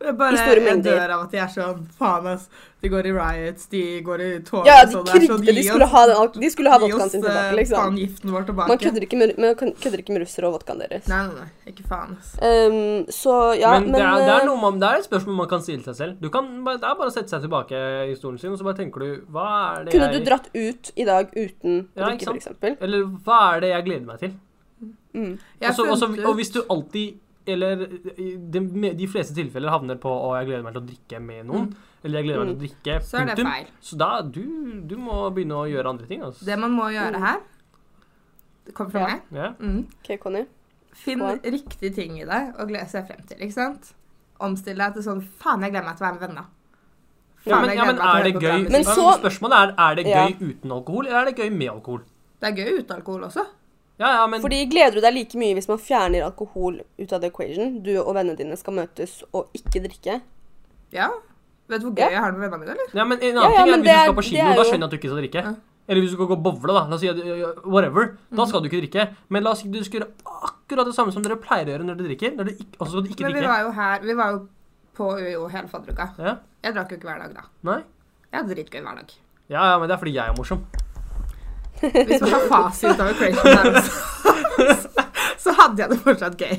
[SPEAKER 3] Jeg bare
[SPEAKER 1] I store
[SPEAKER 3] jeg
[SPEAKER 1] mengder.
[SPEAKER 3] dør av at de er sånn Faen, ass. De går i riots, de går i tog sånn,
[SPEAKER 1] Ja,
[SPEAKER 2] altså,
[SPEAKER 1] de krigte. De skulle ha, den, al- de skulle ha vodkaen
[SPEAKER 2] eh,
[SPEAKER 1] sin tilbake,
[SPEAKER 3] eh, Faen,
[SPEAKER 1] liksom.
[SPEAKER 3] giften vår tilbake.
[SPEAKER 1] Man kødder ikke med, man kødder ikke med russere og vodkaen deres.
[SPEAKER 3] Nei, nei, nei. Ikke faen, ass.
[SPEAKER 1] Um, så ja,
[SPEAKER 2] men det er, det, er
[SPEAKER 1] eh,
[SPEAKER 2] noe man, det er et spørsmål man kan stille seg selv. Du kan, bare- det er bare å sette seg tilbake i stolen sin, og så bare tenker du Hva er det
[SPEAKER 1] Kunne
[SPEAKER 2] jeg
[SPEAKER 1] du dratt ut i dag uten
[SPEAKER 2] Ja, ikke
[SPEAKER 1] drikke,
[SPEAKER 2] sant?
[SPEAKER 1] f.eks.?
[SPEAKER 2] Eller hva er det jeg gleder meg til?
[SPEAKER 1] Mm.
[SPEAKER 3] Jeg
[SPEAKER 2] Også, også,
[SPEAKER 3] fant ut-
[SPEAKER 2] og hvis du alltid, eller i de, med de fleste tilfeller, havner på å jeg gleder meg til å drikke med noen, eller jeg gleder meg til å drikke,
[SPEAKER 3] Mm. Så er det feil.
[SPEAKER 2] Så da du, du må begynne å gjøre andre ting. Altså.
[SPEAKER 3] Det man må gjøre her Det kommer fra
[SPEAKER 1] Mm. Ja.
[SPEAKER 3] meg.
[SPEAKER 2] Ja.
[SPEAKER 3] Mm.
[SPEAKER 1] OK, Conny.
[SPEAKER 3] Finn
[SPEAKER 1] Skål.
[SPEAKER 3] riktig ting i deg og glede seg frem til, ikke sant? Omstill deg til sånn Faen, jeg gleder meg til å være med venner.
[SPEAKER 2] Ja,
[SPEAKER 3] Faen,
[SPEAKER 2] men,
[SPEAKER 3] jeg
[SPEAKER 2] ja,
[SPEAKER 3] gleder
[SPEAKER 2] men
[SPEAKER 3] meg til å
[SPEAKER 2] er
[SPEAKER 3] høre
[SPEAKER 2] det
[SPEAKER 3] på
[SPEAKER 2] gøy?
[SPEAKER 3] bra
[SPEAKER 1] Men
[SPEAKER 3] musikk.
[SPEAKER 1] så-
[SPEAKER 2] spørsmålet er er det
[SPEAKER 1] Ja.
[SPEAKER 2] gøy uten alkohol, eller er det gøy med alkohol?
[SPEAKER 3] Det er gøy uten alkohol også.
[SPEAKER 2] Ja, ja, men
[SPEAKER 1] Fordi gleder du deg like mye hvis man fjerner alkohol ut av the equation? Du og vennene dine skal møtes og ikke drikke?
[SPEAKER 3] Ja. Vet du hvor gøy
[SPEAKER 1] Ja.
[SPEAKER 3] jeg har det med vennene mine, eller?
[SPEAKER 2] Ja, men en
[SPEAKER 1] Ja,
[SPEAKER 2] annen
[SPEAKER 1] ja,
[SPEAKER 2] ting er
[SPEAKER 1] men det
[SPEAKER 2] at hvis du
[SPEAKER 1] er-
[SPEAKER 2] skal på
[SPEAKER 1] det
[SPEAKER 2] kino,
[SPEAKER 1] er
[SPEAKER 2] da
[SPEAKER 1] jo-
[SPEAKER 2] skjønner jeg at du ikke skal drikke.
[SPEAKER 3] Ja. Mm.
[SPEAKER 2] Eller hvis du skal gå og bowle, da. La oss si at, uh, whatever. Da skal du ikke drikke. Men la oss si du skal gjøre akkurat det samme som dere pleier å gjøre når dere drikker. Når du ikke, også skal du ikke
[SPEAKER 3] Men vi
[SPEAKER 2] drikke.
[SPEAKER 3] var jo her Vi var jo på UiO hele fadderuka.
[SPEAKER 2] Ja?
[SPEAKER 3] Jeg drakk jo ikke hver dag, da.
[SPEAKER 2] Nei?
[SPEAKER 3] Jeg hadde dritgøy hver dag.
[SPEAKER 2] Ja, ja, men det er fordi jeg er morsom.
[SPEAKER 3] Hvis man tar fasit over Creation Dance, så hadde jeg det fortsatt gøy.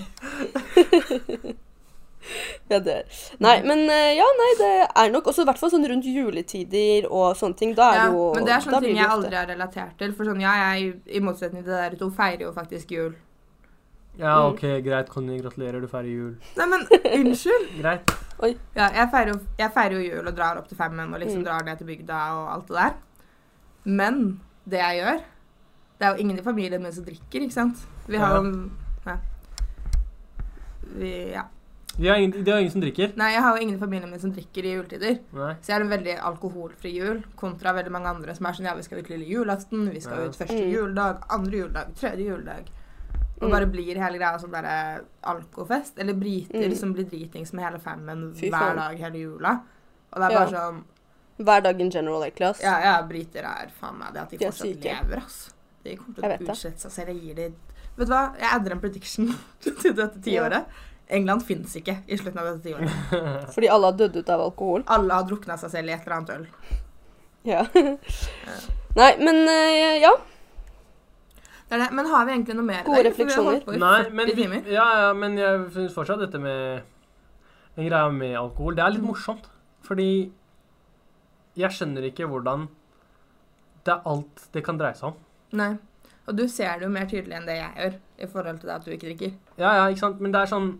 [SPEAKER 1] Jeg dør. Nei,
[SPEAKER 3] Mm.
[SPEAKER 1] men eh, ja, nei, det er nok også i hvert fall sånn rundt juletider og sånne ting. Da er
[SPEAKER 3] Ja,
[SPEAKER 1] det jo
[SPEAKER 3] men det er
[SPEAKER 1] da
[SPEAKER 3] sånne
[SPEAKER 1] blir
[SPEAKER 3] ting
[SPEAKER 1] det
[SPEAKER 3] jeg
[SPEAKER 1] jo
[SPEAKER 3] aldri har relatert til. For sånn, ja, jeg, i motsetning til dere to, feirer jo faktisk jul.
[SPEAKER 2] Ja, OK, greit, Conny. Gratulerer, du feirer jul.
[SPEAKER 3] Nei, men unnskyld!
[SPEAKER 2] Greit.
[SPEAKER 3] Ja, jeg feirer, jo- jeg feirer jo jul og drar opp til femmen og liksom
[SPEAKER 1] Mm.
[SPEAKER 3] drar ned til bygda og alt det der. Men det jeg gjør Det er jo ingen i familien min som drikker, ikke sant? Vi har jo ja. Vi, ja.
[SPEAKER 2] Vi har ingen, det er ingen som drikker.
[SPEAKER 3] Nei, jeg har jo ingen i familien min som drikker i juletider.
[SPEAKER 2] Nei.
[SPEAKER 3] Så jeg har en veldig alkoholfri jul kontra veldig mange andre som er sånn ja, vi skal ut lille julaften, vi skal
[SPEAKER 2] Ja.
[SPEAKER 3] ut første
[SPEAKER 1] Mm.
[SPEAKER 3] juledag, andre juledag, tredje juledag. Og
[SPEAKER 1] Mm.
[SPEAKER 3] bare blir hele greia sånn derre alkofest. Eller briter
[SPEAKER 1] Mm.
[SPEAKER 3] som blir dritings med hele femmen
[SPEAKER 1] Fy
[SPEAKER 3] hver
[SPEAKER 1] faen.
[SPEAKER 3] dag hele jula. Og det er
[SPEAKER 1] Ja.
[SPEAKER 3] bare sånn
[SPEAKER 1] Hver dag in general, egentlig. ass.
[SPEAKER 3] Ja, ja, briter er faen meg det at de
[SPEAKER 1] De er
[SPEAKER 3] fortsatt
[SPEAKER 1] syke.
[SPEAKER 3] lever, ass. De kommer til
[SPEAKER 1] Jeg
[SPEAKER 3] å
[SPEAKER 1] vet det.
[SPEAKER 3] utslette seg selv. Jeg gir de Vet du hva, jeg adder en prediction til dette tiåret. England fins ikke i slutten av dette tiåret.
[SPEAKER 1] Fordi alle har dødd ut av alkohol.
[SPEAKER 3] Alle har drukna seg selv i et eller annet øl.
[SPEAKER 1] Ja. nei, men eh, ja.
[SPEAKER 3] Det er det. Men har vi egentlig noe mer?
[SPEAKER 1] Gode
[SPEAKER 3] i dag? For vi har holdt på i
[SPEAKER 2] Nei,
[SPEAKER 3] 40
[SPEAKER 2] men, vi-
[SPEAKER 3] timer.
[SPEAKER 2] ja, ja, men jeg syns fortsatt dette med den greia med alkohol. Det er litt morsomt, fordi jeg skjønner ikke hvordan det er alt det kan dreie seg om.
[SPEAKER 3] Nei. Og du ser det jo mer tydelig enn det jeg gjør, i forhold til det at du ikke drikker.
[SPEAKER 2] Ja, ja, ikke sant? Men det er sånn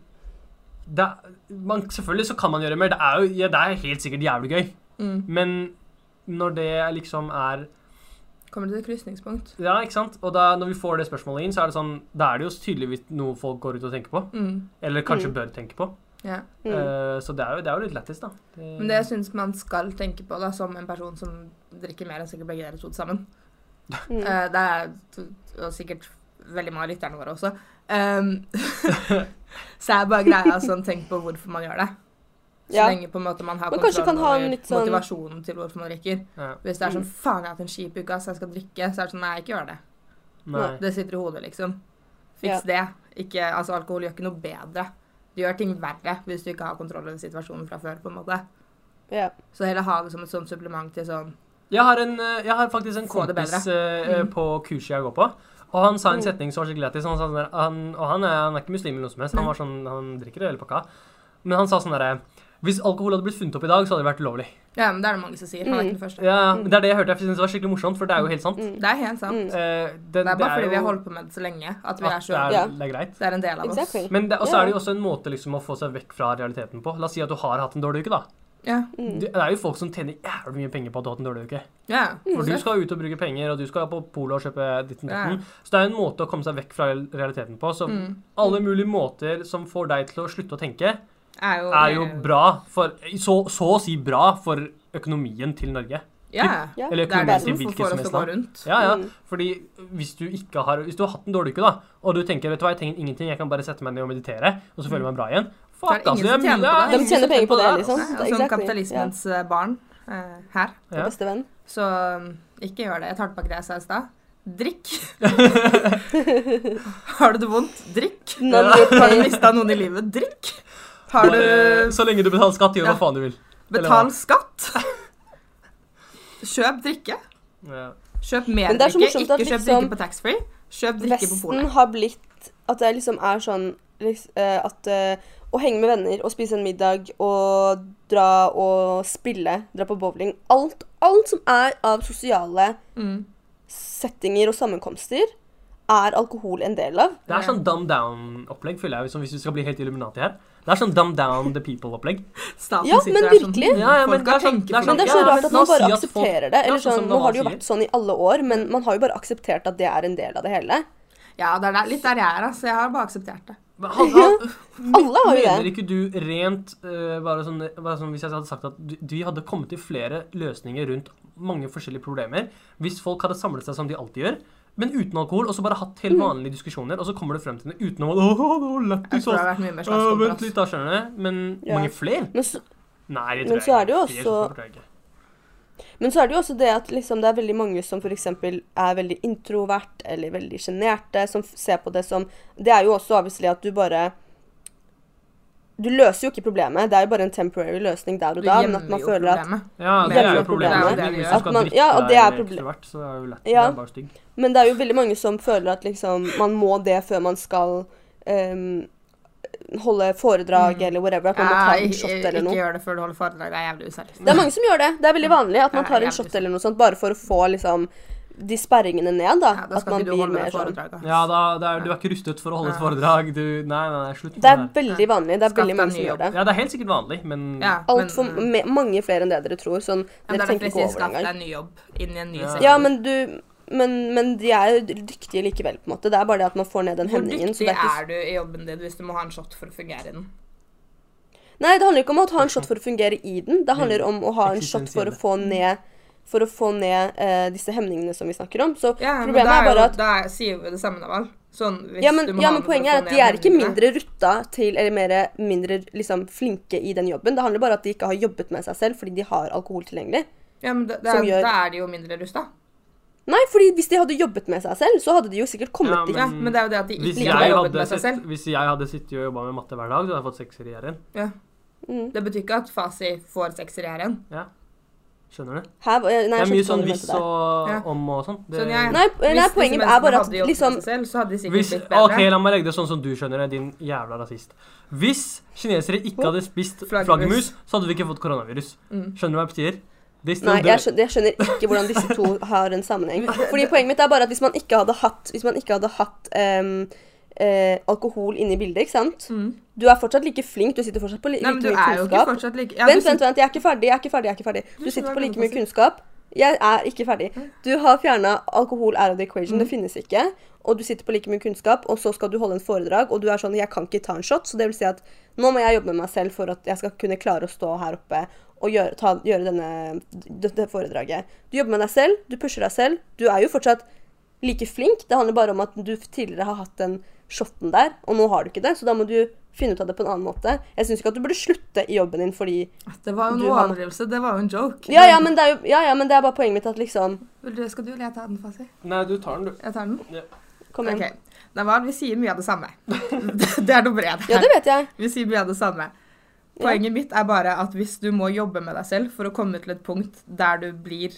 [SPEAKER 2] det er, man, Selvfølgelig så kan man gjøre mer. Det er jo ja, det er helt sikkert jævlig gøy.
[SPEAKER 3] Mm.
[SPEAKER 2] Men når det liksom er
[SPEAKER 3] Kommer til et krysningspunkt.
[SPEAKER 2] Ja, ikke sant? Og da, når vi får det spørsmålet inn, så er det sånn Da er det jo tydeligvis noe folk går ut og tenker på.
[SPEAKER 3] Mm.
[SPEAKER 2] Eller kanskje
[SPEAKER 1] Mm.
[SPEAKER 2] bør tenke på.
[SPEAKER 3] Ja.
[SPEAKER 1] Mm.
[SPEAKER 2] Eh, så det er, jo, det er jo litt lættis, da. Det-
[SPEAKER 3] Men det jeg syns man skal tenke på, da, som en person som drikker mer enn sikkert begge dere to til sammen
[SPEAKER 1] Mm.
[SPEAKER 3] eh, Det er t- og sikkert veldig mange av lytterne våre også. ehm, så er bare greia sånn tenk på hvorfor man gjør det. Så
[SPEAKER 1] Ja.
[SPEAKER 3] lenge på en måte man har
[SPEAKER 1] Men kanskje
[SPEAKER 3] kontroll
[SPEAKER 1] kan ha en
[SPEAKER 3] over
[SPEAKER 1] litt sånn-
[SPEAKER 3] motivasjonen til hvorfor man drikker.
[SPEAKER 2] ja,
[SPEAKER 3] Hvis det er
[SPEAKER 1] Mm.
[SPEAKER 3] sånn 'faen, jeg har hatt en kjip uke, så jeg skal drikke', så er det sånn 'nei, ikke gjør det'.
[SPEAKER 2] nei.
[SPEAKER 3] Det sitter i hodet, liksom. Fiks det. Ikke, altså, alkohol gjør ikke noe bedre. Det gjør ting verre hvis du ikke har kontroll over situasjonen fra før. på en måte.
[SPEAKER 1] Ja.
[SPEAKER 3] Så heller ha det som et sånt supplement til sånn
[SPEAKER 2] Jeg har, en, eh, jeg har faktisk en
[SPEAKER 3] Få det
[SPEAKER 2] kompis
[SPEAKER 3] bedre.
[SPEAKER 2] eh,
[SPEAKER 3] Mm.
[SPEAKER 2] på kurset jeg går på. Og han sa en
[SPEAKER 1] Mm.
[SPEAKER 2] setning som var skikkelig lættis. Han sa sånn der, han, og han er, han er ikke muslim eller noe som helst. Han, var sånn, han drikker hele pakka. Men han sa sånn derre Hvis alkohol hadde blitt funnet opp i dag, så hadde det vært ulovlig.
[SPEAKER 3] Ja, men det er det mange som sier. Han er ikke den første.
[SPEAKER 2] Ja, ja, Det er det jeg hørte. Jeg synes det var skikkelig morsomt, for det er jo helt sant.
[SPEAKER 1] Mm.
[SPEAKER 3] Det er helt sant.
[SPEAKER 1] Mm.
[SPEAKER 2] Eh,
[SPEAKER 3] Det er bare fordi
[SPEAKER 2] jo
[SPEAKER 3] vi har holdt på med det så lenge at vi
[SPEAKER 2] at
[SPEAKER 3] er så
[SPEAKER 2] det,
[SPEAKER 1] Ja.
[SPEAKER 2] er, det er greit.
[SPEAKER 3] Det er en del av oss.
[SPEAKER 1] Exactly.
[SPEAKER 2] Eh, Men det, og så
[SPEAKER 1] Ja.
[SPEAKER 2] er det jo også en måte liksom å få seg vekk fra realiteten på. La oss si at du har hatt en dårlig uke, da.
[SPEAKER 3] Ja.
[SPEAKER 1] Mm.
[SPEAKER 2] Det det er jo folk som tjener jævlig mye penger på at du har hatt en dårlig uke.
[SPEAKER 3] ja.
[SPEAKER 1] Mm.
[SPEAKER 3] Mm.
[SPEAKER 2] For du skal ut og bruke penger, og du skal på polet og kjøpe ditten
[SPEAKER 3] Ja.
[SPEAKER 2] datten. Så det er en måte å komme seg vekk fra realiteten på. Så
[SPEAKER 3] Mm.
[SPEAKER 2] alle mulige måter som får deg til å slutte å tenke,
[SPEAKER 3] Er jo,
[SPEAKER 2] er jo bra for Så, så å si bra for økonomien til Norge.
[SPEAKER 3] Ja.
[SPEAKER 1] Ja.
[SPEAKER 2] Eller
[SPEAKER 3] Det er det
[SPEAKER 2] økonomien til
[SPEAKER 3] som
[SPEAKER 2] hvilket
[SPEAKER 3] får
[SPEAKER 2] som
[SPEAKER 3] oss
[SPEAKER 2] helst
[SPEAKER 3] til å gå
[SPEAKER 2] land.
[SPEAKER 3] rundt.
[SPEAKER 2] Ja, ja.
[SPEAKER 1] Mm.
[SPEAKER 2] Fordi hvis du ikke har Hvis du har hatt en dårlig uke, da, og du tenker vet du hva, jeg trenger ingenting, jeg kan bare sette meg ned og meditere, og så føler jeg meg bra igjen
[SPEAKER 3] Så er
[SPEAKER 2] Fuck,
[SPEAKER 3] det
[SPEAKER 2] altså.
[SPEAKER 3] ingen som
[SPEAKER 2] det er
[SPEAKER 3] tjener
[SPEAKER 2] mye-
[SPEAKER 3] på det.
[SPEAKER 2] ja,
[SPEAKER 1] De
[SPEAKER 2] ingen som
[SPEAKER 1] tjener penger på det, liksom.
[SPEAKER 3] Nei, og som
[SPEAKER 1] Exactly.
[SPEAKER 3] kapitalismens eh, barn eh, her.
[SPEAKER 1] Ja. Beste venn.
[SPEAKER 3] Så um, ikke gjør det. Jeg tar tilbake det jeg sa i stad. Drikk. Har du det vondt? Drikk.
[SPEAKER 1] None will
[SPEAKER 3] Har du
[SPEAKER 1] pay.
[SPEAKER 3] mista noen i livet? Drikk. Har
[SPEAKER 2] Bare-
[SPEAKER 3] du
[SPEAKER 2] Så lenge du betaler skatt, gjør
[SPEAKER 3] Ja.
[SPEAKER 2] hva faen du vil.
[SPEAKER 3] Betal skatt. Kjøp drikke.
[SPEAKER 2] Ja.
[SPEAKER 3] Kjøp mer
[SPEAKER 1] Men det er så
[SPEAKER 3] drikke.
[SPEAKER 1] morsomt
[SPEAKER 3] Ikke
[SPEAKER 1] at
[SPEAKER 3] kjøp
[SPEAKER 1] liksom-
[SPEAKER 3] drikke på taxfree. Kjøp drikke på
[SPEAKER 1] Vesten
[SPEAKER 3] polet.
[SPEAKER 1] har blitt At det liksom er sånn liks- eh, at eh, å henge med venner og spise en middag og dra og spille, dra på bowling Alt, alt som er av sosiale
[SPEAKER 3] Mm.
[SPEAKER 1] settinger og sammenkomster, er alkohol en del av.
[SPEAKER 2] Det er sånn dumb down-opplegg, føler jeg, liksom, hvis vi skal bli helt Illuminati her. Det er sånn dumb down the people-opplegg.
[SPEAKER 3] Staten
[SPEAKER 1] Ja,
[SPEAKER 3] sitter
[SPEAKER 1] men
[SPEAKER 3] her sånn,
[SPEAKER 1] virkelig.
[SPEAKER 2] Ja, ja, men
[SPEAKER 3] folk
[SPEAKER 2] det er
[SPEAKER 3] har
[SPEAKER 2] sånn- det er
[SPEAKER 1] Men det er så
[SPEAKER 2] Ja,
[SPEAKER 1] rart
[SPEAKER 2] men
[SPEAKER 1] at
[SPEAKER 2] la
[SPEAKER 1] man
[SPEAKER 2] oss
[SPEAKER 1] bare
[SPEAKER 2] si at folk-
[SPEAKER 1] aksepterer det.
[SPEAKER 2] Ja,
[SPEAKER 1] Eller
[SPEAKER 2] sånn som
[SPEAKER 1] sånn, nå har det jo
[SPEAKER 2] Naval
[SPEAKER 1] vært sånn i alle år, men man har jo bare akseptert at det er en del av det hele.
[SPEAKER 2] sånn-
[SPEAKER 3] Ja, det er der- litt der jeg er. Altså. Jeg har bare akseptert det.
[SPEAKER 2] Men han- han-
[SPEAKER 1] Alle har jo
[SPEAKER 2] Mener
[SPEAKER 1] det.
[SPEAKER 2] ikke du rent eh, bare, sånn, bare sånn Hvis jeg hadde sagt at du- vi hadde kommet til flere løsninger rundt mange forskjellige problemer hvis folk hadde samlet seg som de alltid gjør, men uten alkohol, og så bare hatt
[SPEAKER 1] Mm.
[SPEAKER 2] helt vanlige diskusjoner, og så kommer du frem til det utenom at Åh, det var lættis,
[SPEAKER 3] Jeg tror det
[SPEAKER 2] ass.
[SPEAKER 3] har vært mye mer
[SPEAKER 2] Øh,
[SPEAKER 3] slagskopper.
[SPEAKER 2] Vent litt, da, skjønner du. Men
[SPEAKER 1] Ja.
[SPEAKER 2] mange flere?
[SPEAKER 1] Men så,
[SPEAKER 2] Nei, det
[SPEAKER 1] Men
[SPEAKER 2] tror
[SPEAKER 1] så er
[SPEAKER 2] jeg
[SPEAKER 1] det jo
[SPEAKER 2] ikke. Flere
[SPEAKER 1] også-
[SPEAKER 2] slagskopper tror jeg ikke.
[SPEAKER 1] men så er det jo også det at liksom, det er veldig mange som f.eks. er veldig introvert eller veldig sjenerte, som f- ser på det som Det er jo også avviselig at du bare Du løser jo ikke problemet, det er jo bare en temporary løsning der og
[SPEAKER 3] Du
[SPEAKER 1] da, men at
[SPEAKER 3] gjemmer
[SPEAKER 1] man
[SPEAKER 3] jo
[SPEAKER 1] føler at
[SPEAKER 3] problemet.
[SPEAKER 2] Ja,
[SPEAKER 1] Men det er
[SPEAKER 2] det er jo problemet.
[SPEAKER 3] problemet.
[SPEAKER 2] Hvis
[SPEAKER 3] At
[SPEAKER 2] du skal
[SPEAKER 1] man-
[SPEAKER 2] drikke
[SPEAKER 1] ja, og det er
[SPEAKER 2] deg
[SPEAKER 1] proble-
[SPEAKER 2] ekstrovert, så er det jo lett.
[SPEAKER 1] Ja.
[SPEAKER 2] Det er bare stygg.
[SPEAKER 1] Men det er jo veldig mange som føler at liksom, man må det før man skal ehm, holde foredrag
[SPEAKER 3] Mm.
[SPEAKER 1] eller whatever. At man må
[SPEAKER 3] Ja,
[SPEAKER 1] ta en
[SPEAKER 3] ikke-
[SPEAKER 1] shot eller
[SPEAKER 3] Ikke
[SPEAKER 1] noe.
[SPEAKER 3] gjør det før du holder foredrag. Det er jævlig useriøst.
[SPEAKER 1] Det er mange som gjør det. Det er veldig vanlig at man
[SPEAKER 3] Ja,
[SPEAKER 1] tar en
[SPEAKER 3] jævlig
[SPEAKER 1] shot
[SPEAKER 3] sant.
[SPEAKER 1] eller noe sånt bare for å få liksom, de sperringene ned. Da,
[SPEAKER 3] Ja, da
[SPEAKER 1] at
[SPEAKER 3] skal
[SPEAKER 1] man
[SPEAKER 3] ikke du
[SPEAKER 1] blir
[SPEAKER 3] holde
[SPEAKER 1] mer
[SPEAKER 3] det
[SPEAKER 1] sånn.
[SPEAKER 3] foredraget.
[SPEAKER 2] Ja, da, det er, du er ikke rustet for å holde et
[SPEAKER 3] Nei.
[SPEAKER 2] foredrag. Du, nei, nei, nei, slutt med
[SPEAKER 1] Det er
[SPEAKER 2] det.
[SPEAKER 1] veldig vanlig. Det er
[SPEAKER 3] Skaff
[SPEAKER 1] veldig
[SPEAKER 3] deg
[SPEAKER 1] mange som
[SPEAKER 3] ny
[SPEAKER 1] gjør det.
[SPEAKER 2] Ja, det er helt sikkert vanlig, men
[SPEAKER 3] Ja, men- mm.
[SPEAKER 1] Altfor me- mange flere enn det dere tror. Sånn,
[SPEAKER 3] Men det
[SPEAKER 1] dere
[SPEAKER 3] er derfor
[SPEAKER 1] tenker
[SPEAKER 3] jeg
[SPEAKER 1] ikke
[SPEAKER 3] sier
[SPEAKER 1] over det
[SPEAKER 3] skaff
[SPEAKER 1] engang.
[SPEAKER 3] deg en ny jobb innen en ny
[SPEAKER 2] Ja.
[SPEAKER 3] sektor.
[SPEAKER 1] Ja, men du men, men de er jo dyktige likevel, på en måte. Det er bare det at man får ned den
[SPEAKER 3] Hvor
[SPEAKER 1] hemningen. så
[SPEAKER 3] dyktig
[SPEAKER 1] det er ikke
[SPEAKER 3] er du i jobben din hvis du må ha en shot for å fungere i den?
[SPEAKER 1] Nei, det handler ikke om å ta en shot for å fungere i den. Det
[SPEAKER 3] Mm.
[SPEAKER 1] handler om å ha en shot for å få ned, for å få ned eh, disse hemningene som vi snakker om. Så
[SPEAKER 3] Ja, men
[SPEAKER 1] problemet
[SPEAKER 3] da
[SPEAKER 1] er bare
[SPEAKER 3] jo-
[SPEAKER 1] at
[SPEAKER 3] Da er- sier vi det samme, Naval. Sånn, hvis
[SPEAKER 1] ja men,
[SPEAKER 3] du må
[SPEAKER 1] ja,
[SPEAKER 3] ha
[SPEAKER 1] men
[SPEAKER 3] med for å
[SPEAKER 1] poenget
[SPEAKER 3] få
[SPEAKER 1] er at
[SPEAKER 3] ned
[SPEAKER 1] de er ikke
[SPEAKER 3] hemmingene.
[SPEAKER 1] mindre rutta til, eller mer, mindre liksom, flinke i den jobben. Det handler bare om at de ikke har jobbet med seg selv fordi de har alkohol tilgjengelig.
[SPEAKER 3] Ja, men da, da,
[SPEAKER 1] som gjør-
[SPEAKER 3] da er de jo mindre rusta.
[SPEAKER 1] Nei, fordi hvis de hadde jobbet med seg selv, så hadde de jo sikkert kommet
[SPEAKER 2] Ja,
[SPEAKER 1] dit.
[SPEAKER 3] Ja, men det er jo det at de
[SPEAKER 2] Mm. Hvis
[SPEAKER 3] ikke
[SPEAKER 2] jeg,
[SPEAKER 3] har jobbet
[SPEAKER 2] hadde
[SPEAKER 3] med seg
[SPEAKER 2] sitt,
[SPEAKER 3] selv.
[SPEAKER 2] hvis jeg hadde sittet og jobba med matte hver dag, så hadde jeg fått sekser i r
[SPEAKER 3] Ja.
[SPEAKER 1] Mm.
[SPEAKER 3] Det betyr ikke at Fasi får sekser i r
[SPEAKER 2] Ja. Skjønner du?
[SPEAKER 1] Her, var- nei, jeg
[SPEAKER 2] Det er
[SPEAKER 1] skjønte ikke
[SPEAKER 2] mye
[SPEAKER 1] hva
[SPEAKER 2] sånn
[SPEAKER 1] du mente
[SPEAKER 2] hvis
[SPEAKER 1] der.
[SPEAKER 2] og
[SPEAKER 3] Ja.
[SPEAKER 2] om og sånn. Det,
[SPEAKER 3] Sånn, jeg-
[SPEAKER 1] Nei,
[SPEAKER 3] Hvis
[SPEAKER 1] nei,
[SPEAKER 3] disse
[SPEAKER 1] poenget
[SPEAKER 3] menneskene
[SPEAKER 1] er bare at
[SPEAKER 3] hadde jobbet
[SPEAKER 1] liksom
[SPEAKER 3] med seg selv, så hadde de sikkert
[SPEAKER 2] Hvis,
[SPEAKER 3] blitt bedre.
[SPEAKER 2] ok, la meg legge det sånn som du skjønner det, din jævla rasist. Hvis kinesere ikke hadde spist
[SPEAKER 3] Flaggermus.
[SPEAKER 2] flaggermus, så hadde vi ikke fått koronavirus.
[SPEAKER 3] Mm.
[SPEAKER 2] Skjønner du hva jeg sier? They still
[SPEAKER 1] Nei,
[SPEAKER 2] do
[SPEAKER 1] jeg
[SPEAKER 2] it.
[SPEAKER 1] skjønner, jeg skjønner ikke hvordan disse to har en sammenheng. Fordi Poenget mitt er bare at hvis man ikke hadde hatt, hvis man ikke hadde hatt em, eh, alkohol inne i bildet, ikke sant
[SPEAKER 3] Mm.
[SPEAKER 1] Du er fortsatt like flink, du sitter fortsatt på li
[SPEAKER 3] Nei,
[SPEAKER 1] like
[SPEAKER 3] men du
[SPEAKER 1] mye
[SPEAKER 3] er jo ikke
[SPEAKER 1] kunnskap.
[SPEAKER 3] fortsatt like ja,
[SPEAKER 1] vent,
[SPEAKER 3] du
[SPEAKER 1] vent, vent, jeg er ikke ferdig. jeg er ikke ferdig, jeg er ikke ferdig. Du,
[SPEAKER 3] skal
[SPEAKER 1] sitter
[SPEAKER 3] være
[SPEAKER 1] på like
[SPEAKER 3] glad
[SPEAKER 1] mye
[SPEAKER 3] for å si.
[SPEAKER 1] kunnskap. Jeg er ikke ferdig. Du har fjerna alkohol out of the equation. Det finnes ikke. Og du sitter på like mye kunnskap, og så skal du holde en foredrag, og du er sånn 'Jeg kan ikke ta en shot', så det vil si at nå må jeg jobbe med meg selv for at jeg skal kunne klare å stå her oppe og gjøre, ta, gjøre denne, dette foredraget. Du jobber med deg selv, du pusher deg selv. Du er jo fortsatt like flink. Det handler bare om at du tidligere har hatt den shotten der, og nå har du ikke det, så da må du finne ut av det på en annen måte. Jeg syns ikke at du burde slutte i jobben din fordi
[SPEAKER 3] sitter- Det var jo
[SPEAKER 1] Du
[SPEAKER 3] en
[SPEAKER 1] har-
[SPEAKER 3] overdrivelse. Det var jo en joke.
[SPEAKER 1] ja ja, men det er jo, ja, ja, men det er bare poenget mitt at liksom
[SPEAKER 3] Vil du, skal du eller jeg ta den, Fasi?
[SPEAKER 2] Nei, du tar den, du.
[SPEAKER 3] Jeg tar den.
[SPEAKER 1] Kom igjen.
[SPEAKER 3] Ok. Nei, hva, vi sier mye av det samme. Det er nummer én.
[SPEAKER 1] Ja, det vet jeg.
[SPEAKER 3] Vi sier mye av det samme. Poenget mitt er bare at hvis du må jobbe med deg selv for å komme til et punkt der du blir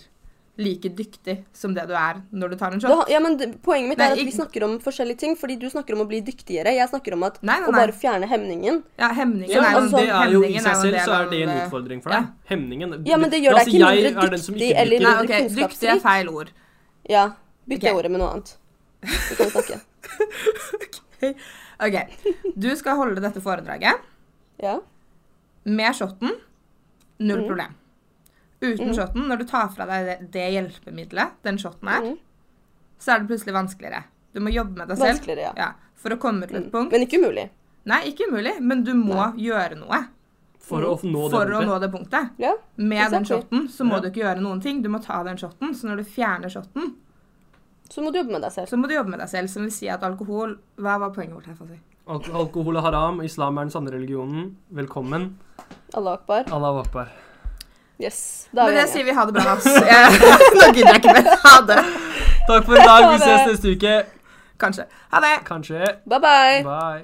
[SPEAKER 3] like dyktig som det du er når du tar en
[SPEAKER 1] Det,
[SPEAKER 3] shot
[SPEAKER 1] ha- ja, men det- poenget mitt
[SPEAKER 3] Nei,
[SPEAKER 1] er at vi
[SPEAKER 3] ikke-
[SPEAKER 1] snakker om forskjellige ting, fordi du snakker om å bli dyktigere. Jeg snakker om at
[SPEAKER 3] Nei, nei,
[SPEAKER 1] å
[SPEAKER 3] nei.
[SPEAKER 1] bare fjerne hemningen.
[SPEAKER 3] Ja, hemningen
[SPEAKER 2] Ja, altså,
[SPEAKER 3] er jo
[SPEAKER 2] men det er jo i
[SPEAKER 3] hemningen
[SPEAKER 2] seg
[SPEAKER 3] en
[SPEAKER 2] selv
[SPEAKER 3] del
[SPEAKER 2] så er det en
[SPEAKER 3] av, eh,
[SPEAKER 2] utfordring for deg.
[SPEAKER 3] ja.
[SPEAKER 2] Hemningen
[SPEAKER 1] Ja, men det gjør
[SPEAKER 2] La
[SPEAKER 1] deg
[SPEAKER 2] oss si
[SPEAKER 1] ikke
[SPEAKER 2] jeg
[SPEAKER 1] mindre
[SPEAKER 2] er den som
[SPEAKER 1] dyktig
[SPEAKER 2] ikke
[SPEAKER 1] eller-
[SPEAKER 2] drikker.
[SPEAKER 3] Nei, ok, dyktig er feil ord.
[SPEAKER 1] Ja. Bytte
[SPEAKER 3] Ok.
[SPEAKER 1] ordet med noe annet. Vi kan snakke.
[SPEAKER 3] Ok, Du skal holde dette foredraget
[SPEAKER 1] Ja.
[SPEAKER 3] med shoten. Null
[SPEAKER 1] Mhm.
[SPEAKER 3] problem. Uten
[SPEAKER 1] Mm.
[SPEAKER 3] shoten, når du tar fra deg det, det hjelpemiddelet den shoten er,
[SPEAKER 1] Mhm.
[SPEAKER 3] så er det plutselig vanskeligere. Du må jobbe med deg selv
[SPEAKER 1] Vanskeligere, ja. Mm.
[SPEAKER 3] ja, for å komme til et punkt.
[SPEAKER 1] Men ikke umulig.
[SPEAKER 3] Nei, ikke umulig, men du må gjøre noe
[SPEAKER 2] For å nå det
[SPEAKER 3] for å nå det punktet.
[SPEAKER 1] Ja.
[SPEAKER 3] Med den
[SPEAKER 1] Exactly.
[SPEAKER 3] shoten så må
[SPEAKER 2] Ja.
[SPEAKER 3] du ikke gjøre noen ting. Du må ta den shoten. Så når du fjerner shoten,
[SPEAKER 1] Så må du jobbe med deg selv.
[SPEAKER 3] så må du jobbe med deg selv. Som vil si at alkohol Hva var poenget vårt her? Fasi?
[SPEAKER 2] Al alkohol er haram, islam er den sanne religionen. Velkommen.
[SPEAKER 1] Allah akbar.
[SPEAKER 2] Allah akbar.
[SPEAKER 1] Yes. Da er
[SPEAKER 3] Men
[SPEAKER 1] vi
[SPEAKER 3] det
[SPEAKER 1] enige.
[SPEAKER 3] sier vi ha det bra, ass. Nå gidder jeg ikke mer. Ha det.
[SPEAKER 2] Takk for i dag.
[SPEAKER 1] Ha
[SPEAKER 2] Vi
[SPEAKER 1] det.
[SPEAKER 2] ses neste uke.
[SPEAKER 3] Kanskje. Ha det.
[SPEAKER 2] Kanskje.
[SPEAKER 1] Bye bye.
[SPEAKER 2] Bye.